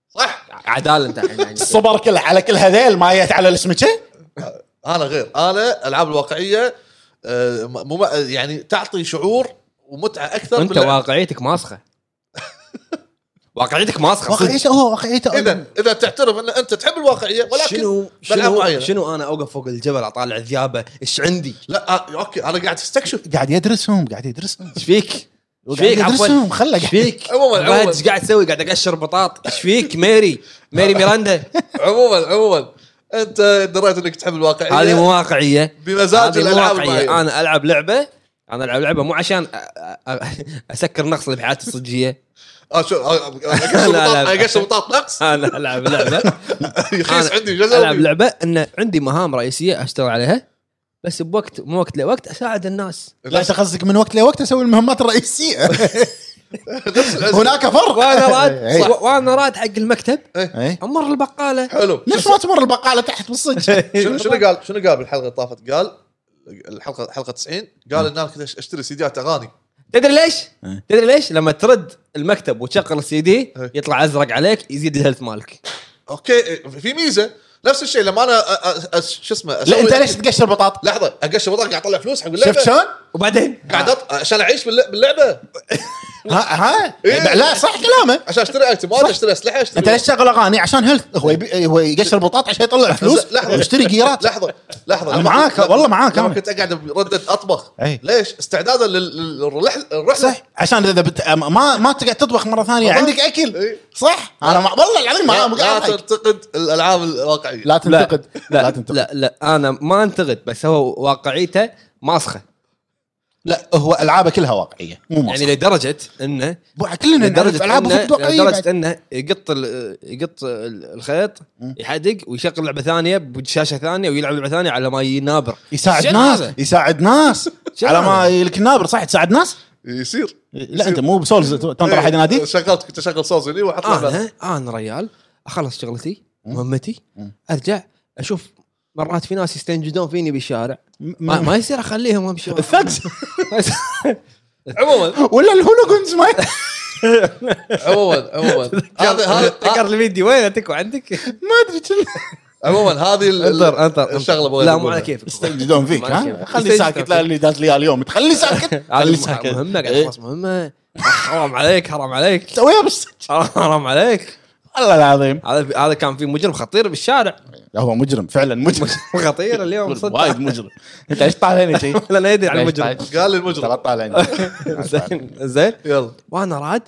S2: صح
S4: عداله انت الحين يعني.
S5: الصبر كله على كل هذيل ما جت على السمكه
S2: انا غير انا العاب الواقعيه آه، م- مو يعني تعطي شعور ومتعه اكثر
S4: انت
S2: باللعب.
S4: واقعيتك ماسخه واقعيتك ماسخه صدق.
S5: واقعيته هو واقعيته
S2: اذا اذا تعترف ان انت تحب الواقعيه ولكن
S4: شنو
S2: بألعاب
S4: شنو
S2: معينة.
S4: شنو انا اوقف فوق الجبل اطالع الذيابه ايش عندي؟
S2: لا آه، اوكي انا قاعد استكشف
S5: قاعد يدرسهم قاعد يدرسهم
S4: ايش فيك؟ ايش
S5: قاعد
S4: فيك عفوا؟
S5: يدرسهم خله
S4: ايش
S5: قاعد
S4: فيك؟
S2: عموماً- عموماً.
S4: بعد ايش قاعد تسوي؟ قاعد اقشر بطاط ايش فيك ميري؟ ميري ميراندا
S2: عموما عموما انت دريت انك تحب الواقعيه
S4: هذه مو واقعيه
S2: بمزاج
S4: هذه مو
S2: الالعاب
S4: واقعيه
S2: المعينه
S4: انا العب لعبه انا العب لعبه مو عشان أ- أ- اسكر نقص اللي بحياتي الصجيه
S2: اه شو آه، آه، اقشر
S4: لا، لا، لا.
S2: بطاط- اقشر بطاط نقص
S4: انا العب لعبه
S2: يخيس
S4: أنا
S2: عندي
S4: العب
S2: جزاء
S4: لعبه ان عندي مهام رئيسيه اشتغل عليها بس بوقت مو وقت لوقت اساعد النس
S5: لا أنت قصدك من وقت لوقت اسوي المهمات الرئيسيه هناك فرق
S4: وانا راد
S5: إيه.
S4: وانا راد حق المكتب
S5: إيه.
S4: امر البقاله
S2: حلو
S5: ليش ما تمر البقاله تحت بالصج
S2: شنو شنو قال شنو قال بالحلقه اللي طافت قال الحلقه حلقه 90 قال ان انا كنت اشتري سيديات اغاني
S4: تدري ليش؟
S5: إيه.
S4: تدري ليش؟ لما ترد المكتب وتشغل السي دي
S2: إيه.
S4: يطلع ازرق عليك يزيد الهيلث مالك
S2: اوكي في ميزه نفس الشيء لما انا أ- أ- أ- شو اسمه
S5: لا
S2: أسوي-
S5: انت ليش تقشر بطاط
S2: لحظه اقشر بطاقه قاعد اطلع فلوس حق
S5: شفت
S2: اللعبه
S5: شلون؟
S4: وبعدين
S2: قاعد أط- عشان اعيش بالل- باللعبه
S5: ها ها
S2: إيه.
S5: لا صح كلامه
S2: عشان اشتري ايتمات اشتري اسلحه اشتري
S5: انت ليش تشغل اغاني عشان هيلث هو يبي هو يقشر بطاط عشان يطلع فلوس
S2: لحظة.
S5: ويشتري جيرات
S2: لحظه لحظه
S5: أنا
S2: لما-
S5: معاك،
S2: لما-
S5: والله معاك،
S2: لما
S5: أنا.
S2: كنت اقعد برده اطبخ
S5: أي.
S2: ليش استعدادا لل- للرحله الرحله
S5: صح عشان اذا بت... ما ما تقعد تطبخ مره ثانيه
S2: طبعاً.
S5: عندك اكل
S2: إي.
S5: صح انا ما... والله العظيم ما
S2: لا,
S5: ما
S2: لا
S5: قاعد أضحك.
S2: تنتقد الالعاب الواقعيه
S5: لا تنتقد
S4: لا لا,
S5: تنتقد
S4: لا, لا انا ما انتقد بس هو واقعيته ماسخه
S5: لا هو العابه كلها واقعيه مو
S4: يعني
S5: مصر.
S4: لدرجه انه
S5: يعني كلنا نعرف
S4: لدرجه
S5: العاب
S4: انه
S5: المفروض واقعيه بعد.
S4: لدرجه انه يقط ال- يقط ال- الخيط
S5: مم.
S4: يحدق ويشغل لعبه ثانيه بشاشه ثانيه ويلعب لعبه ثانيه على ما ينابر
S5: يساعد
S4: شنو
S5: ناس
S4: هذا؟
S5: يساعد ناس
S4: شنو
S5: على
S4: هذا؟
S5: ما يلك النابر صح تساعد ناس
S2: يصير
S5: لا انت مو بسولز تنطر احد يناديك
S2: إيه، شغلت كنت اشغل صوز هني واحط له بس.
S4: انا انا ريال اخلص شغلتي
S5: مم.
S4: مهمتي
S5: مم.
S4: ارجع اشوف مرات في ناس يستنجدون فيني بالشارع ما,
S5: م-
S4: ما يصير اخليهم امشي وراهم.
S5: الثقز
S2: عموما
S5: ولا الهولوجنز ما
S2: عموما عموما هذا
S4: ذكر
S2: هذا
S4: الفيديو وين تكو عندك
S5: ما ادري كنا-
S2: عموما هذه ال-
S4: انطر انطر
S2: الشغله بغير
S4: لا مو
S2: أقولها.
S4: على كيفك
S5: يستنجدون فيك
S4: ما
S5: ها
S4: يصير.
S5: خلي
S4: يستنجدون
S5: ساكت لا اللي داز لي إياه اليوم تخلي ساكت خلي إيه.
S4: هذه
S5: ساكت
S4: مهمه قاعد
S5: إيه.
S4: اخلص مهمه حرام عليك حرام عليك
S5: سويها بس
S4: حرام عليك
S5: والله العظيم
S4: هذا هذا كان في مجرم خطير بالشارع
S5: لا هو مجرم فعلا مجرم
S4: خطير اليوم صدق
S5: وايد مجرم انت ايش طالعني شيء؟
S4: لا ادري عن المجرم
S3: طيب.
S2: قال لي
S5: ترى
S2: المجرم
S5: طالعني
S4: زين زين
S2: يلا
S4: وانا راد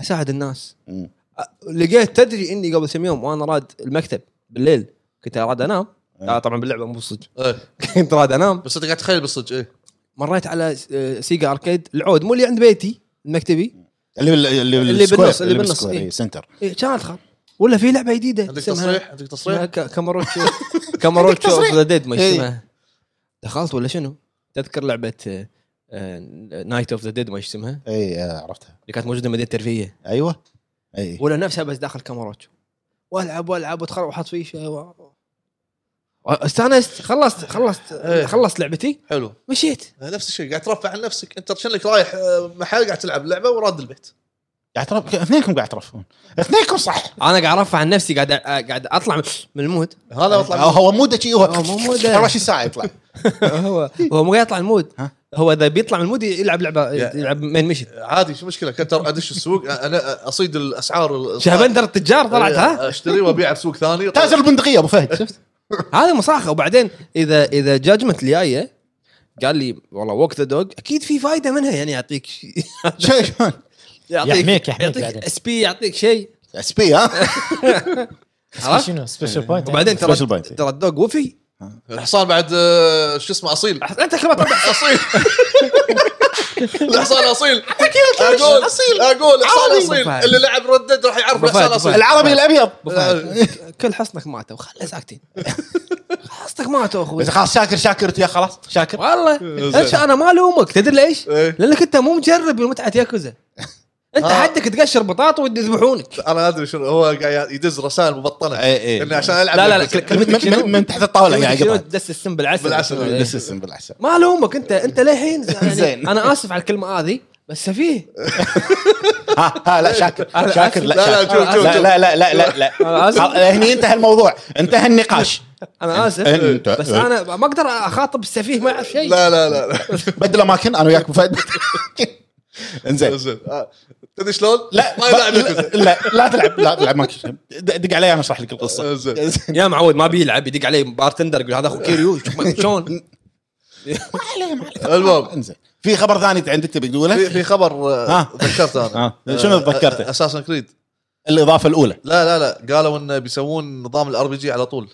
S4: اساعد الناس
S5: مم.
S4: أ- لقيت تدري اني قبل كم يوم وانا راد المكتب بالليل كنت راد انام
S5: إيه.
S4: آه، طبعا باللعبه مو صدق
S2: إيه.
S4: كنت راد انام
S2: بس انت قاعد تخيل بالصدق ايه
S4: مريت على س- آه، سيجا اركيد العود مو اللي عند بيتي المكتبي
S5: اللي بال- اللي
S4: اللي
S5: بالسكوير-
S4: بالنص- اللي
S5: اللي
S4: بالنص،
S5: بالسكوير
S4: إيه.
S5: إيه، سنتر
S4: إيه، كان ادخل ولا في لعبه جديده
S2: عندك
S4: اسمها-
S2: تصريح طيب. عندك
S4: اسمها
S2: تصريح
S4: ك- كاماروتشو كاماروتشو اوف ذا ديد ما
S5: إيه.
S4: اسمها دخلت ولا شنو؟ تذكر آه، لعبه نايت اوف ذا ديد ما إيش اسمها
S5: اي آه، عرفتها
S4: اللي كانت موجوده مدينه الترفيه
S5: ايوه اي
S4: ولا نفسها بس داخل كاماروتشو والعب والعب واتخرب واحط فيشه و... استانست خلصت خلصت
S2: إيه.
S4: خلصت لعبتي
S2: حلو
S4: مشيت
S2: نفس الشيء قاعد ترفع عن نفسك انت شنك رايح آه، محل قاعد تلعب لعبه وراد البيت
S5: قاعد ترف اثنينكم قاعد ترفون اثنينكم صح
S4: انا قاعد ارفع عن نفسي قاعد أ- قاعد اطلع من- من المود
S2: هذا اطلع
S5: هو- هو مودك إيه، هو
S4: هو آه، مو موده.
S5: 24 ساعه يطلع
S4: هو هو مو قاعد يطلع من المود
S5: ها؟
S4: هو اذا بيطلع من المود يلعب لعبه
S2: يا-
S4: يلعب مين مشن
S2: عادي شو مشكله كنت ادش السوق انا اصيد الاسعار ال-
S4: شهبندر التجار
S2: إيه.
S4: طلعت ها
S2: اشتري وابيع بسوق ثاني
S5: تاجر البندقيه ابو فهد
S4: شفت هذا مصاخه وبعدين اذا اذا جاجمنت اللي جايه قال لي والله ووك ذا دوج اكيد في فائده منها يعني يعطيك شيء-
S5: شو- شلون
S4: يعطيك
S3: يحميك- يحميك
S4: يعطيك
S3: بعدين.
S4: اس بي يعطيك شيء
S5: اس بي ها
S4: عرفت؟
S3: شنو سبيشل بوينت
S4: أه؟ وبعدين ترى
S5: Special point.
S4: ترى الدوج وفي
S2: الحصان بعد آه، شو اسمه اصيل
S4: انت كلمه طبع
S2: اصيل الحصان اصيل اقول اصيل اقول حصان
S4: عربي.
S2: اصيل
S4: بفهد.
S2: اللي لعب ردد راح يعرف
S4: بفهد،
S2: الحصان
S4: بفهد.
S2: اصيل
S5: العربي آه. الابيض
S4: آه، كل حصنك ماتوا خلنا ساكتين حصنك ماتوا اخوي
S5: بس خلاص شاكر شاكر يا خلاص شاكر
S4: والله أنت انا ما الومك تدري ليش؟
S2: إيه.
S4: لانك انت مو مجرب متعه ياكوزا انت
S2: آه.
S4: حدك تقشر بطاطا ويذبحونك
S2: انا ادري شنو هو قاعد يدز رسائل مبطنه
S5: إيه، إيه.
S2: انه عشان العب
S4: لا لا لا
S2: بالكوسة.
S5: من-
S4: كلمتك
S5: من-
S4: شنو؟
S5: من تحت الطاوله قاعد
S4: كلمتك شنو؟
S5: يقطع
S4: دس السم بالعسل
S2: بالعسل.
S4: إيه.
S5: بس اسم بالعسل
S4: ما الومك انت انت للحين يعني
S5: زين.
S4: انا اسف على الكلمه هذه بس سفيه
S5: ها ها لا شاكر
S4: أنا
S5: شاكر لا
S2: لا، لا،
S5: شاكر.
S2: شوف، شوف،
S5: لا
S2: شوف.
S5: لا لا لا لا
S4: أنا آسف.
S5: لا هني انتهى الموضوع انتهى النقاش
S2: إيه.
S4: انا اسف
S5: أنت-
S4: بس انا ما اقدر اخاطب السفيه ما يعرف شيء
S2: لا لا لا لا
S5: بدل اماكن انا وياك فهد انزين
S2: زين آه. تدري شلون؟
S5: لا
S2: ما يلعب
S5: لا,
S2: الكوسة.
S5: لا لا تلعب لا تلعب ماكش دق علي انا اشرح لك القصه
S2: آه، زين.
S4: يا معود ما بيلعب يدق عليه بارتندر يقول هذا اخو كيريو شوف شلون
S5: ما عليه ما عليه
S2: المهم.
S5: انزين في خبر ثاني عندك تبي
S2: في
S5: تقوله؟
S2: في خبر آه،
S5: ها.
S2: ذكرت انا
S5: ها شنو تذكرته؟
S2: اساسن كريد
S5: الاضافه الاولى
S2: لا لا لا قالوا انه بيسوون نظام الار بي جي على طول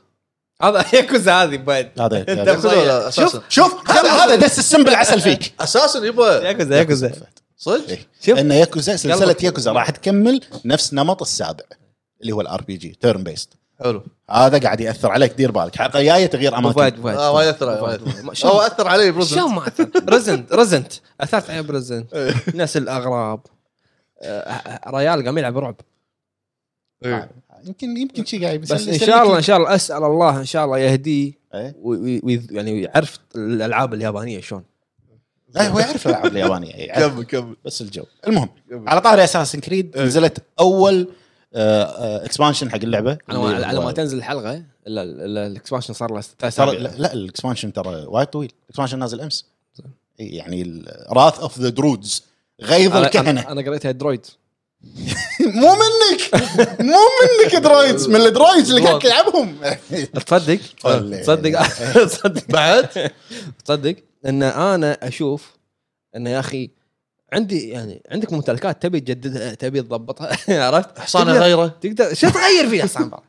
S4: هذا ياكوزا هذه بعد
S5: هذا
S4: أنت
S5: هذا.
S4: مضيع.
S2: يعني ياكوزا اساسا
S5: شوف هذا هذا دس السم بالعسل فيك
S2: اساسا يبا
S4: ياكوزا ياكوزا
S2: صدق
S5: إيه.
S4: شوف.
S5: ان ياكوزا سلسله
S4: يلا.
S5: ياكوزا راح تكمل نفس نمط السابع اللي هو الار بي جي تيرن بيست
S2: حلو
S5: هذا قاعد ياثر عليك دير بالك الحلقه الجايه تغيير
S4: أبو فهد
S5: اماكن
S4: أبو فهد
S2: آه، ما يأثر عليه، ما
S4: أبو
S2: يأثر.
S4: فهد. شلون-
S2: او اثر علي برزنت
S4: شلون ما أثر؟ رزنت رزنت اثرت عليه برزنت
S2: إيه.
S4: ناس الاغراب آه، ريال قام يلعب رعب آه،
S2: إيه.
S5: آه، يمكن يمكن شيء قاعد
S4: بس ان شاء الله ان شاء الله اسال الله ان شاء الله يهديه
S5: إيه.
S4: وي- وي- يعني يعرف الالعاب اليابانيه شلون
S5: لا هو يعرف الالعاب اليابانيه يعرف
S2: كمل كمل
S5: بس الجو المهم
S2: كمل.
S5: على طاري اساسن
S4: إيه.
S5: كريد نزلت اول اكسبانشن حق اللعبه
S2: إيه،
S4: على ما على ما تنزل الحلقه الا الا الاكسبانشن صار له ثلاث
S5: ترى
S4: اسابيع
S5: لا- لا الاكسبانشن ترى وايد طويل الاكسبانشن نازل امس إي، يعني راث اوف ذا درودز غيظ
S4: أنا-
S5: الكهنه
S4: أنا- انا قريتها درويد
S5: مو منك مو منك درويدز من الدرويدز اللي قاعد يلعبهم
S4: تصدق تصدق تصدق بعد تصدق ان انا اشوف ان يا اخي عندي يعني عندك ممتلكات تبي تجددها تبي تضبطها عرفت؟
S2: حصان
S4: تقدر-
S2: اغيره
S4: تقدر شو تغير فيها حصان بارك؟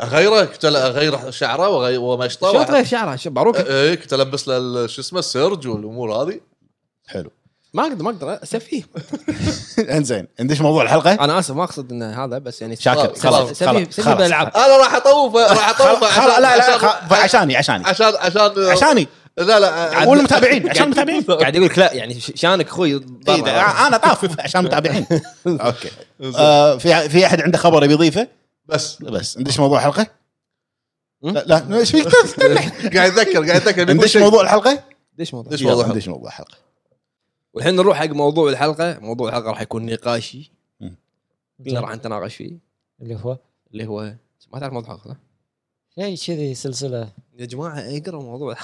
S2: اغيره كنت اغير شعره وغي- ومشطه
S4: شو
S2: وأ-
S4: تغير شعرها شو باروك
S5: أه.
S2: ايه كنت البس له ال- شو اسمه السيرج والامور هذه
S5: حلو
S4: ما اقدر ما اقدر سفيه
S5: انزين ندش موضوع الحلقه
S4: انا اسف ما اقصد ان هذا بس يعني
S5: شاكر
S2: خلاص،
S5: خلاص
S4: سفيه
S5: خلاص
S4: سفيه
S5: خلاص
S4: بالالعاب
S2: انا راح اطوف راح اطوف
S5: خلاص، لا لا لا خ-
S2: عشان
S5: عشاني عشاني
S2: عشان عشان
S5: عشاني
S2: لا لا
S5: والمتابعين عشان المتابعين
S4: قاعد يقول لك لا يعني ش- شانك اخوي برا.
S5: إيه، ده- انا طاف عشان متابعين اوكي آه، في في احد عنده خبر يبي يضيفه
S2: بس
S5: بس ندش موضوع الحلقه
S4: مم؟
S5: لا لا ايش فيك تستنى
S2: قاعد اتذكر قاعد اتذكر بيقول
S5: ندش
S2: شيء.
S5: موضوع الحلقه
S4: ليش موضوع
S2: ندش موضوع
S5: يلا،
S2: الحلقة.
S5: ندش موضوع الحلقه
S4: والحين نروح حق موضوع الحلقه موضوع الحلقه راح يكون نقاشي
S5: مم. نعم.
S4: كلنا راح نتناقش فيه
S3: يعني. اللي هو
S4: اللي هو ما تعرف موضوع الحلقه صح؟
S3: شيء كذي سلسله
S4: يا جماعه اقرا الموضوع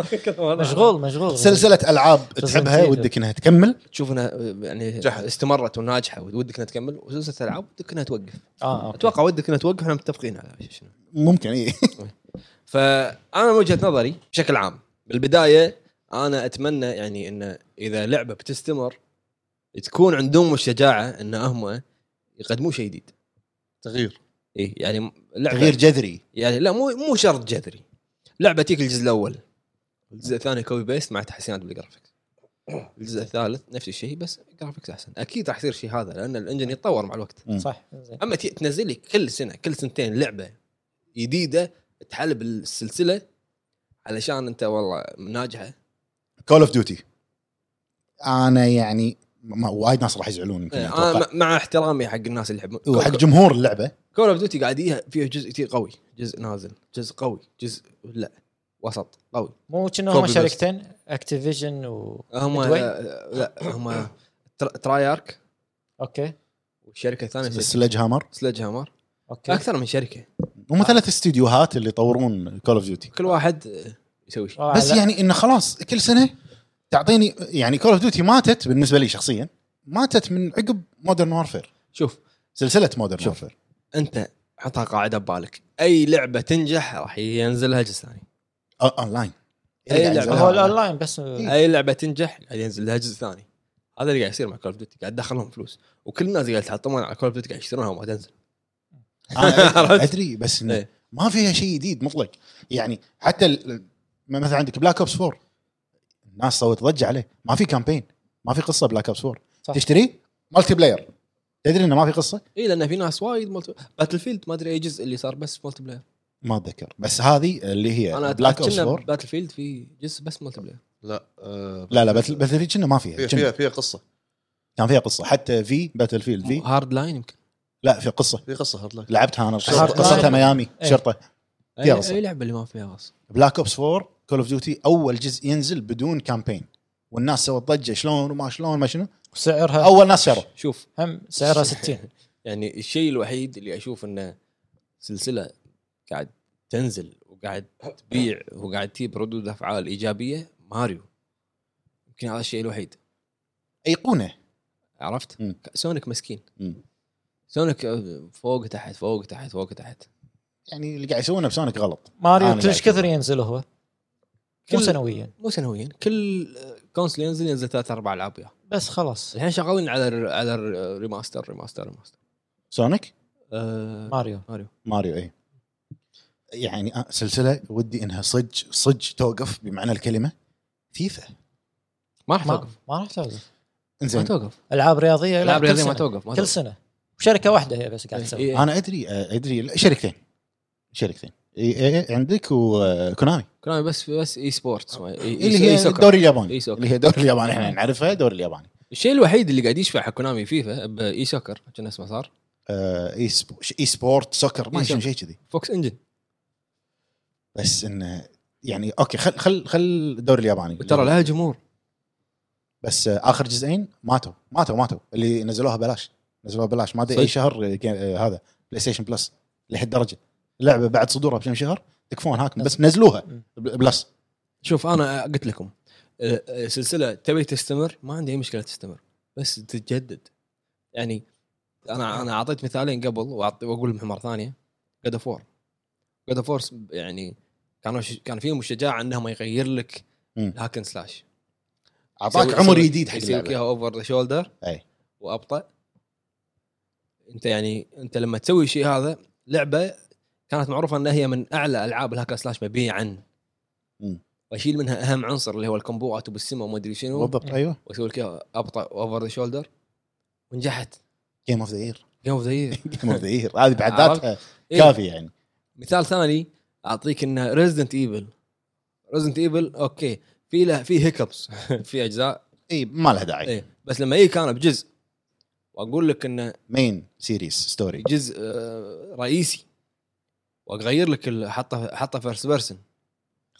S4: مشغول
S3: مشغول مشغول
S5: سلسله العاب تحبها
S3: كيدو.
S5: ودك انها تكمل
S4: تشوف انها يعني
S2: جحد.
S4: استمرت وناجحه ودك انها تكمل وسلسله العاب ودك انها توقف
S3: اه أوكي.
S4: اتوقع ودك انها توقف احنا متفقين على شنو
S5: ممكن إيه. اي
S4: فانا من وجهه نظري بشكل عام بالبدايه انا اتمنى يعني انه اذا لعبه بتستمر تكون عندهم الشجاعه ان هم يقدموا شيء جديد
S2: تغيير
S4: إيه يعني لعبه
S5: تغيير جذري
S4: يعني لا مو مو شرط جذري لعبه تيك الجزء الاول الجزء الثاني كوبي بيست مع تحسينات بالجرافيكس الجزء الثالث نفس الشيء بس جرافيكس احسن اكيد راح يصير شيء هذا لان الانجن يتطور مع الوقت
S3: صح زين
S4: اما تي- تنزل لي كل سنه كل سنتين لعبه جديده تحلب السلسله علشان انت والله ناجحه
S5: كول اوف ديوتي انا يعني ما وايد ناس راح يزعلون يمكن
S4: انا
S5: اتوقع
S4: م- مع احترامي حق الناس اللي يحبون
S5: وحق جمهور اللعبه
S4: كول اوف ديوتي قاعد يها فيها جزء كتير قوي جزء نازل جزء قوي جزء لا وسط قوي
S3: مو كنا هم
S2: Copy paste.
S3: شركتين اكتيفيجن و
S4: هم آه،
S3: Midway؟
S4: لا هم ترايارك
S3: اوكي
S4: والشركه الثانيه سل-
S5: السلج هامر
S4: سلج هامر
S3: اوكي
S4: اكثر من شركه
S5: هم ثلاث استديوهات اللي يطورون كول اوف ديوتي
S4: كل واحد آه، يسوي شيء
S3: آه،
S5: بس
S3: لا.
S5: يعني انه خلاص كل سنه تعطيني يعني كول اوف ديوتي ماتت بالنسبه لي شخصيا ماتت من عقب مودرن وارفير
S4: شوف
S5: سلسله مودرن
S4: شوف.
S5: وارفير
S4: انت حطها قاعده ببالك اي لعبه تنجح راح ينزلها جزء ثاني
S5: اونلاين
S4: أي
S5: إيه،
S4: لعبة.
S5: يعني
S3: هو الاونلاين بس
S4: اي لعبه تنجح قاعد ينزل لها جزء ثاني هذا اللي قاعد يصير مع كول اوف ديوتي قاعد دخلهم فلوس وكل الناس قاعد يتحطمون على كول اوف ديوتي قاعد يشترونها وما تنزل
S5: أنا
S4: عرفت؟
S5: ادري آه، بس انه
S4: إيه.
S5: ما فيها شيء جديد مطلق يعني حتى ال- م- مثلا عندك بلاك اوبس 4 الناس سوت ضجه عليه ما في كامبين ما في قصه بلاك اوبس 4
S3: صح.
S5: تشتريه مالتي بلاير تدري انه ما في قصه
S4: اي لان في ناس وايد ملتي باتل فيلد ما ادري اي جزء اللي صار بس ملتي بلاير
S5: ما اتذكر بس هذه اللي
S4: انا
S5: هي بلاك اوبس
S4: كنا
S5: 4
S4: باتل فيلد في جزء بس ملتي بلاير
S2: لا آه،
S5: لا لا باتل باتل فيلد كنا ما فيها
S2: فيها
S5: كنا-
S2: فيها فيها قصه
S5: كان فيها قصه حتى في باتل فيلد في
S4: هارد لاين يمكن
S5: لا في قصه
S2: في قصه هارد لايك
S5: لعبتها انا
S3: شرطة.
S5: قصتها ميامي
S3: إيه.
S5: شرطه فيها
S4: اي
S5: قصة.
S4: أي لعبه اللي ما فيها قصه
S5: بلاك اوبس 4 كول اوف ديوتي اول جزء ينزل بدون كامبين والناس سوت ضجه شلون وما شلون ما شنو
S3: سعرها
S5: اول ناس شروا
S4: شوف
S3: هم سعرها 60
S4: يعني الشيء الوحيد اللي اشوف انه سلسله قاعد تنزل وقاعد تبيع وقاعد تجيب ردود افعال ايجابيه ماريو يمكن هذا الشيء الوحيد
S5: ايقونه
S4: عرفت؟
S5: مم.
S4: سونيك مسكين
S5: مم.
S4: سونيك آه، فوق تحت فوق تحت فوق تحت
S5: يعني اللي قاعد يسوونه بسونيك غلط أنا
S3: ماريو كلش
S5: قاعد
S3: كثر ينزل هو كم
S4: كل-
S3: سنويا
S4: مو سنويا كل آه، كونسل ينزل ينزل ثلاث اربع العاب وياه
S3: بس خلاص
S4: الحين شغالين على الر- على الريماستر ريماستر ريماستر
S5: سونيك
S4: آه،
S3: ماريو
S5: ماريو اي يعني أ- سلسله ودي انها صج صج توقف بمعنى الكلمه فيفا
S4: ما راح
S3: ما
S4: توقف
S3: ما راح توقف
S4: ما
S5: انزين
S4: توقف
S3: العاب رياضيه لا،
S4: العاب
S3: كل
S4: رياضيه ما
S3: سنة.
S4: توقف ما
S3: كل
S4: توقف
S3: سنه شركه واحده هي بس قاعد تسوي
S4: إيه، إيه.
S5: انا ادري آه، ادري لا، شركتين شركتين اي اي عندك وكونامي
S4: كلامي بس بس اي سبورتس ما- إيه، إي- إي-
S5: اللي هي
S4: إي سوكر.
S5: الدوري الياباني
S4: اي سوكر
S5: اللي هي الدوري الياباني احنا نعرفها الدوري الياباني
S4: الشيء الوحيد اللي قاعد يشفع حق كونامي فيفا باي سوكر كان اسمه صار
S5: آه، اي سب- اي سبورت سوكر ما
S4: إي
S5: شنو
S4: سوكر.
S5: شيء كذي
S4: فوكس انجن
S5: بس انه يعني اوكي خل خل خل الدوري الياباني
S4: ترى لها جمهور
S5: بس آه، اخر جزئين ماتوا ماتوا ماتوا اللي نزلوها بلاش نزلوها بلاش ما ادري اي
S4: صدق؟
S5: شهر آه، كان- آه، هذا بلاي ستيشن بلس لهالدرجه اللعبه بعد صدورها بكم شهر تكفون هاكم بس نزلوها
S3: مم.
S5: بل- بلس
S4: شوف انا قلت لكم آه، آه، سلسله تبي تستمر ما عندي اي مشكله تستمر بس تتجدد يعني انا انا اعطيت مثالين قبل وأعطي- واقول لهم مره ثانيه جاد اوف وور جاد اوف وور يعني كانوا ش... كان فيهم الشجاعه انهم يغير لك
S5: مم.
S4: الهاكن سلاش
S5: اعطاك
S4: يسوي-
S5: عمر
S4: يسوي-
S5: جديد حق
S4: يسويك
S5: اللعبه
S4: اياها اوفر ذا شولدر
S5: أي.
S4: وابطا انت يعني انت لما تسوي شيء هذا لعبه كانت معروفه انها هي من اعلى العاب الهاكر سلاش مبيعا
S5: مم.
S4: واشيل منها اهم عنصر اللي هو الكومبوات وبالسما وما ادري شنو
S5: بالضبط ايوه
S4: واسوي لك إياها ابطا اوفر ذا شولدر ونجحت
S5: جيم اوف ذا يير
S4: جيم اوف ذا يير.
S5: جيم اوف ذا يير هذه بحد ذاتها
S4: إيه.
S5: كافي يعني
S4: مثال ثاني اعطيك انه ريزدنت ايفل ريزدنت ايفل اوكي في له في هيكبس في اجزاء
S5: اي إيه، ما لها داعي
S4: ايه بس لما يجي كان بجزء واقول لك انه
S5: مين سيريس ستوري
S4: جزء آه، رئيسي واغير لك ال- حطه حطه فيرست بيرسون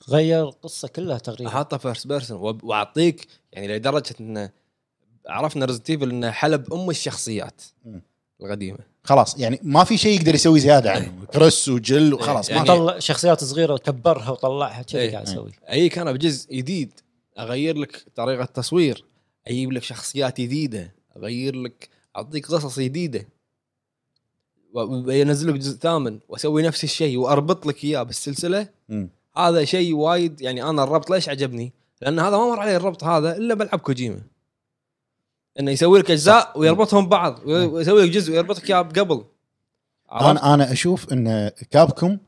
S3: غير القصه كلها تقريبا
S4: حطه فيرست بيرسون وأب- واعطيك يعني لدرجه انه عرفنا ريزنت ايفل انه حلب ام الشخصيات
S5: مم.
S4: القديمه
S5: خلاص يعني ما في شيء يقدر يسوي زياده عنه كريس وجل وخلاص
S4: إيه. يعني-
S5: ما في.
S3: طلع شخصيات صغيره وكبرها وطلعها كذي
S4: إيه.
S3: قاعد يسوي
S4: اجيك انا بجزء جديد اغير لك طريقه تصوير اجيب لك شخصيات جديده اغير لك اعطيك قصص جديده وانزل لك جزء ثامن واسوي نفس الشيء واربط لك اياه بالسلسله
S5: مم.
S4: هذا شيء وايد يعني انا الربط ليش عجبني؟ لان هذا ما مر عليه الربط هذا الا بالعاب كوجيما انه يسوي لك اجزاء ويربطهم ببعض وي- ويسوي لك جزء ويربطك اياه بقبل عرفت؟
S5: انا انا اشوف ان كابكم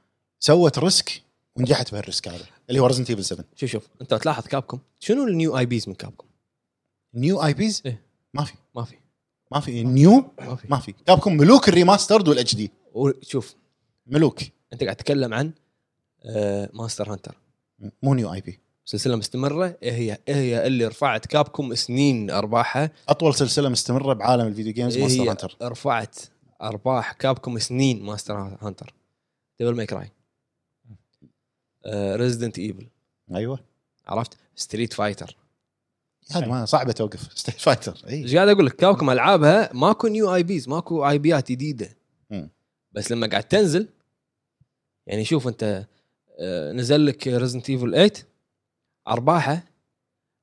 S5: سوت ريسك ونجحت بهالريسك هذا اللي هو ريزنت ايفل 7
S4: شوف شوف انت تلاحظ كابكم شنو النيو اي بيز من كابكم؟
S5: نيو اي بيز
S4: إيه.
S5: ما في
S4: ما في
S5: ما في نيو
S4: ما في
S5: ما في كابكم ملوك الريماسترد والاتش دي
S4: شوف
S5: ملوك
S4: انت قاعد تتكلم عن آه، ماستر هانتر
S5: مو نيو اي بي
S4: سلسله مستمره إيه هي إيه هي اللي رفعت كابكم سنين ارباحها
S5: اطول سلسله مستمره بعالم الفيديو جيمز
S4: إيه
S5: مونستر
S4: هي
S5: هانتر
S4: رفعت ارباح كابكم سنين ماستر هانتر ديفل ماي كراي ريزدنت ايفل
S5: ايوه
S4: عرفت ستريت فايتر إيه.
S5: هذه ما صعبه توقف إيه. ستيت فايتر اي
S4: ايش قاعد اقول لك كابكم العابها ماكو نيو اي بيز ماكو اي بيات جديده
S5: مم.
S4: بس لما قاعد تنزل يعني شوف انت آه، نزل لك ريزنت ايفل 8 ارباحه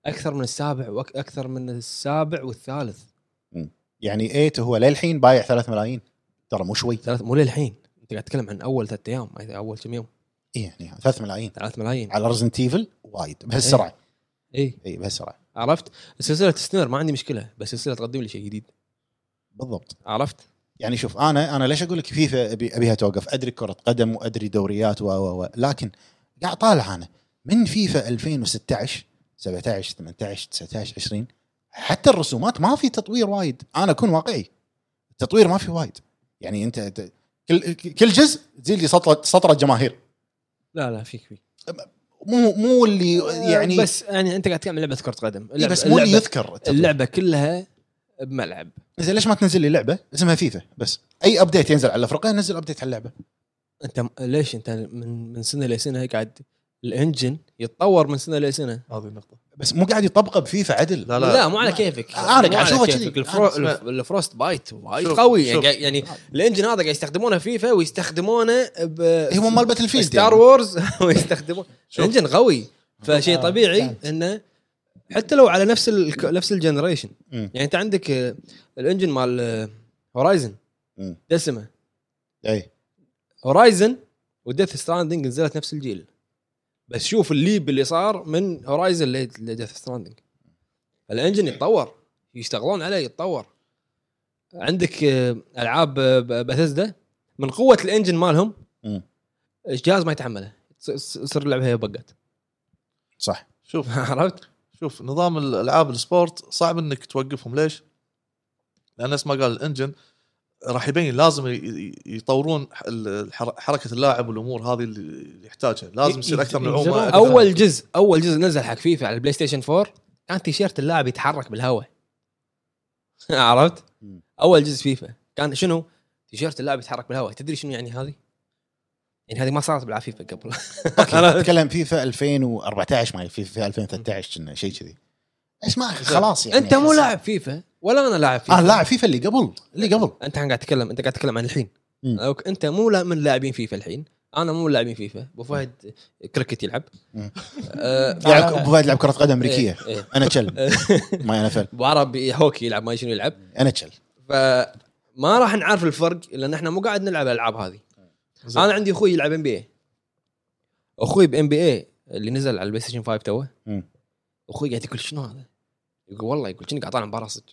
S4: اكثر من السابع واكثر من السابع والثالث
S5: يعني ايت هو للحين بايع 3 ملايين ترى مو شوي
S4: ثلاث مو للحين انت قاعد تتكلم عن اول ثلاث ايام اول كم يوم
S5: اي يعني 3 ملايين
S4: ثلاث ملايين
S5: على رزنت ايفل وايد
S4: إيه.
S5: إيه، بهالسرعه
S4: اي
S5: اي بهالسرعه
S4: عرفت السلسله تستمر ما عندي مشكله بس السلسله تقدم لي شيء جديد
S5: بالضبط
S4: عرفت
S5: يعني شوف انا انا ليش اقول لك فيفا أبي ابيها توقف ادري كره قدم وادري دوريات و و و لكن قاعد طالع انا من فيفا 2016 17 18 19 20 حتى الرسومات ما في تطوير وايد انا اكون واقعي التطوير ما في وايد يعني انت أنت- كل كل جزء تزيد لي سطره سطره جماهير
S4: لا لا فيك فيك
S5: مو مو اللي يعني بس
S4: آه، بس إيه، يعني انت قاعد تتكلم عن لعبه كره قدم اللعبة-
S5: بس مو اللي
S4: اللعبة-
S5: يذكر التطوير.
S4: اللعبه كلها بملعب
S5: زين ليش ما تنزل لي لعبه اسمها فيفا بس اي ابديت ينزل على الفرقه نزل ابديت على اللعبه
S4: انت م- ليش انت من من سنه لسنه قاعد الانجن يتطور من سنه لسنه
S2: هذه النقطه
S5: بس مو قاعد يطبقه بفيفا عدل
S2: لا
S4: لا,
S2: لا,
S4: لا مو على
S5: ما-
S4: كيفك
S5: أنا قاعد
S4: مو على
S5: أشوفه
S4: كيفك.
S5: كذي.
S4: الفرو...
S2: أنا اسمع-
S4: الف- الفروست بايت وايد
S2: شوف-
S4: قوي يعني,
S2: شوف.
S4: قاعد- يعني الانجن هذا قاعد يستخدمونه في فيفا ويستخدمونه ب
S5: هو مال يعني. باتل فيلد
S4: ستار وورز ويستخدمونه
S2: شوف.
S4: الانجن قوي فشيء
S3: آه،
S4: طبيعي
S3: فهمت.
S4: انه حتى لو على نفس ال... نفس الجنريشن
S5: مم.
S4: يعني انت عندك آه، الانجن مال آه، هورايزن
S5: مم.
S4: دسمه
S5: اي
S4: هورايزن وديث ستراندنج نزلت نفس الجيل بس شوف الليب اللي صار من هورايزن لديث ستراندنج الانجن يتطور يشتغلون عليه يتطور عندك آه، العاب باثزدا من قوه الانجن مالهم
S5: مم.
S4: الجهاز ما يتحمله يص- يص- يصير اللعبه هي بقت
S5: صح
S2: شوف
S4: عرفت؟
S2: شوف نظام الالعاب السبورت صعب انك توقفهم ليش؟ لان نفس ما قال الانجن راح يبين لازم ي- ي- يطورون ح- الحر- حركه اللاعب والامور هذه اللي يحتاجها لازم يصير اكثر من
S3: ينزلون
S2: عومه أكثر.
S4: اول جزء اول جزء نزل حق فيفا على البلاي ستيشن 4 كان تيشيرت اللاعب يتحرك بالهواء عرفت؟
S5: مم.
S4: اول جزء فيفا كان شنو؟ تيشيرت اللاعب يتحرك بالهواء تدري شنو يعني هذه؟ يعني هذه ما صارت بالعاب فيفا قبل
S5: اوكي
S4: أنا-
S5: نتكلم فيفا 2014 ما فيفا 2013 كنا شيء كذي بس ما خلاص يعني
S4: انت مو
S5: أحس-
S4: لاعب فيفا ولا انا لاعب فيفا
S5: اه لاعب فيفا اللي قبل اللي قبل
S4: انت الحين قاعد تتكلم انت قاعد تتكلم عن الحين
S5: مم.
S4: أوك. انت مو لا- من لاعبين فيفا الحين انا مو من لاعبين فيفا ابو فهد كريكت يلعب
S5: مم.
S4: آه،
S5: لاعب ابو فهد يلعب كره قدم امريكيه
S4: إيه، إيه.
S5: انا تشل ما انا فل
S4: ابو عربي هوكي يلعب ما شنو يلعب
S5: انا تشل
S4: فما راح نعرف الفرق لان احنا مو قاعد نلعب الالعاب هذه
S2: زين.
S4: انا عندي اخوي يلعب ام بي اي اخوي بام بي اي اللي نزل على البلاي ستيشن 5 توه
S5: مم.
S4: اخوي قاعد يقول شنو هذا؟ يقول والله يقول كني قاعد طالع مباراه صدق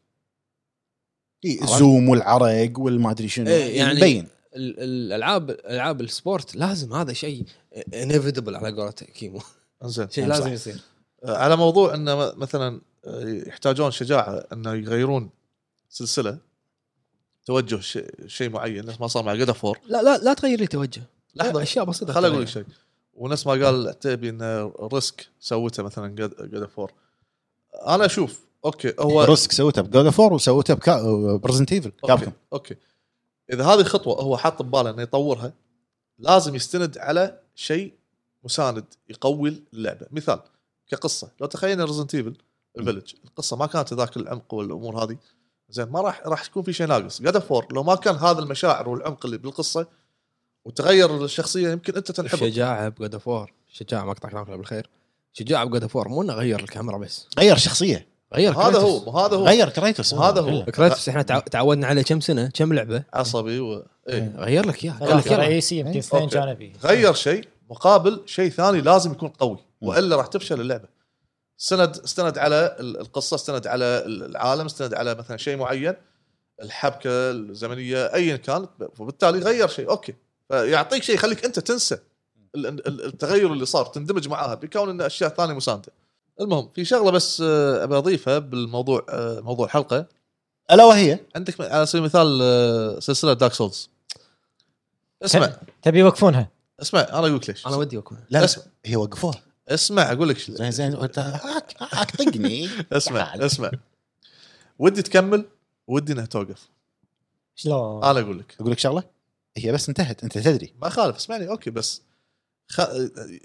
S5: إيه، الزوم والعرق والما ادري شنو
S4: إيه، يعني-
S5: مبين
S4: ال- الالعاب العاب السبورت لازم هذا شيء انيفيتبل على قولة كيمو
S2: انزين
S4: شيء
S5: صح.
S4: لازم يصير
S2: آه، على موضوع انه م- مثلا آه، يحتاجون شجاعه انه يغيرون سلسله توجه ش- شيء معين نفس ما صار مع جود فور
S4: لا لا لا تغير لي توجه
S2: لحظة.
S4: اشياء بسيطه
S2: خل اقول لك شيء ونفس ما قال العتيبي ان ريسك سوته مثلا جود فور انا اشوف اوكي هو
S5: ريسك سوته بجود اوف 4 وسوته برزنت ايفل
S2: اوكي
S5: كابكم
S2: اوكي اذا هذه خطوه هو حاط بباله انه يطورها لازم يستند على شيء مساند يقوي اللعبه مثال كقصه لو تخيلنا ريزنت ايفل الفيلج القصه ما كانت ذاك العمق والامور هذه زين ما راح راح يكون في شيء ناقص جاد فور لو ما كان هذا المشاعر والعمق اللي بالقصه وتغير الشخصيه يمكن انت تنحب
S4: الشجاعه بجود اوف وور الشجاعه ما اقطع كلامك لا بالخير الشجاعه بجود اوف وور مو انه غير الكاميرا بس
S5: غير شخصيه
S4: غير
S2: هذا
S4: كراتوس.
S2: هو مو هذا هو
S5: غير كريتوس
S2: هذا هو.
S4: كراتوس احنا تع- تعودنا عليه كم سنه كم لعبه
S2: عصبي و... إيه.
S4: غير لك اياه قال لك
S3: ثلاثة
S4: يلا.
S3: رئيسي يمكن اثنين
S2: أوكي.
S3: كان ابي
S2: غير شيء مقابل شيء ثاني لازم يكون قوي والا راح تفشل اللعبه استند استند على ال- القصه استند على ال- العالم استند على مثلا شيء معين الحبكه الزمنيه ايا كانت وبالتالي غير شيء اوكي فيعطيك شيء يخليك انت تنسى ال- ال- ال- التغير اللي صار تندمج معاها بكون ان اشياء ثانيه مسانده المهم في شغله بس آه، ابي اضيفها بالموضوع آه، موضوع الحلقه
S5: الا وهي
S2: عندك على سبيل المثال آه، سلسله دارك سولز اسمع
S3: تبي يوقفونها
S2: اسمع انا اقول لك ليش
S4: انا ودي اكون
S5: لا
S2: اسمع.
S5: لا هي وقفوها
S2: اسمع اقول لك شو-
S5: زين زين وأنت هاك- هاك طقني
S2: اسمع
S5: تعال.
S2: اسمع ودي تكمل ودي انها توقف
S3: شلون؟
S2: انا اقول لك
S5: اقول لك شغله هي بس انتهت انت تدري
S2: ما خالف اسمعني اوكي بس خ...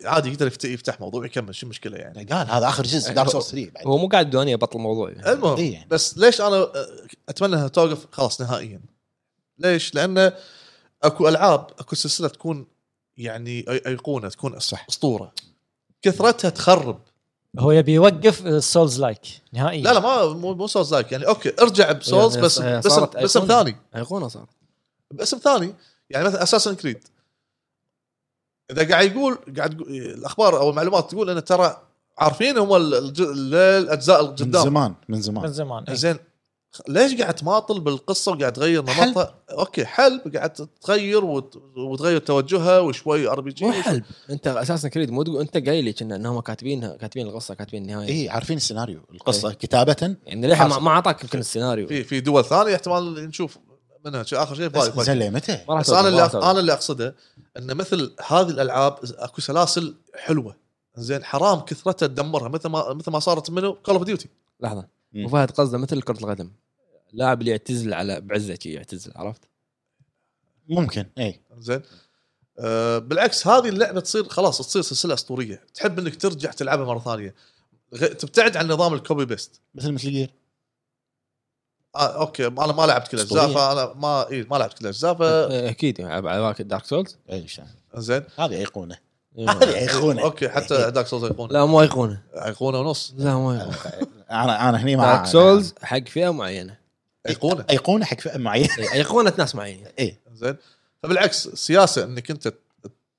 S2: عادي يقدر يفت- يفتح موضوع يكمل شو المشكله يعني
S5: قال هذا اخر جزء دارك سورس 3 بعد
S4: هو مو قاعد بدوني ابطل موضوع يعني.
S2: المهم
S5: إي يعني.
S2: بس ليش انا أه، اتمنى انها توقف خلاص نهائيا ليش؟ لان اكو العاب اكو سلسله تكون يعني أي- ايقونه تكون صح.
S5: صح.
S2: اسطوره كثرتها تخرب
S3: هو يبي يوقف السولز لايك نهائيا
S2: لا لا ما مو, مو سولز لايك يعني اوكي ارجع بسولز
S4: يعني
S2: بس
S4: هي
S2: باسم
S4: صارت
S2: باسم
S4: أيقونة.
S2: ثاني
S4: ايقونه صار
S2: باسم ثاني يعني مثلا اساسن كريد اذا قاعد يقول قاعد يقول- الاخبار او المعلومات تقول انه ترى عارفين هم ال- الج- ال- الاجزاء
S5: من
S2: القدام
S5: زمان من
S3: من
S5: زمان
S3: زمان إيه.
S2: زين خ- ليش قاعد تماطل بالقصه وقاعد تغير
S5: حل.
S2: نمطها؟ اوكي حلب قاعد تغير وت- وتغير توجهها وشوي ار بي
S4: مو
S2: جي
S4: حلب انت اساسا كريد مو تقول انت قايل لي كنا انهم كاتبينها كاتبين القصه كاتبين النهايه
S5: اي عارفين السيناريو القصه كتابه
S4: يعني للحين ما-
S5: إيه. حصل.
S4: ما اعطاك يمكن السيناريو
S2: في في دول ثانيه احتمال نشوف منها شيء اخر شيء
S5: بس
S2: فايف فايف.
S5: زين لمتى؟
S4: ما راح
S2: بس
S4: توقف،
S2: انا
S4: ما
S2: اللي
S4: راح توقف.
S2: انا اللي اقصده ان مثل هذه الالعاب اكو سلاسل حلوه زين حرام كثرتها تدمرها مثل ما مثل ما صارت منه كول اوف ديوتي
S4: لحظه
S5: مم.
S4: أبو فهد قصده مثل كره القدم لاعب اللي يعتزل على بعزه شي يعتزل عرفت؟
S5: ممكن إيه. اي
S2: زين آه بالعكس هذه اللعبه تصير خلاص تصير سلسله اسطوريه تحب انك ترجع تلعبها مره ثانيه غ- تبتعد عن نظام الكوبي بيست
S5: مثل مثل جير
S2: آه اوكي انا ما لعبت كل الاجزاء
S4: أسطورية.
S2: فانا ما إيه ما لعبت كل الاجزاء ف-
S4: إيه، اكيد يعني على على بالك دارك سولز
S5: اي شلون.
S2: زين
S5: إيه، يعني؟ هذه ايقونه
S4: إيه.
S5: هذه ايقونه
S2: اوكي حتى دارك سولز ايقونه
S4: لا مو ايقونه
S2: ايقونه ونص
S4: لا مو ايقونه
S5: انا انا هني مع
S4: دارك سولز حق فئه معينه
S2: ايقونه
S5: ايقونه حق إيه، فئه معينه
S4: إيه، ايقونه ناس معينه
S2: زين فبالعكس السياسه انك انت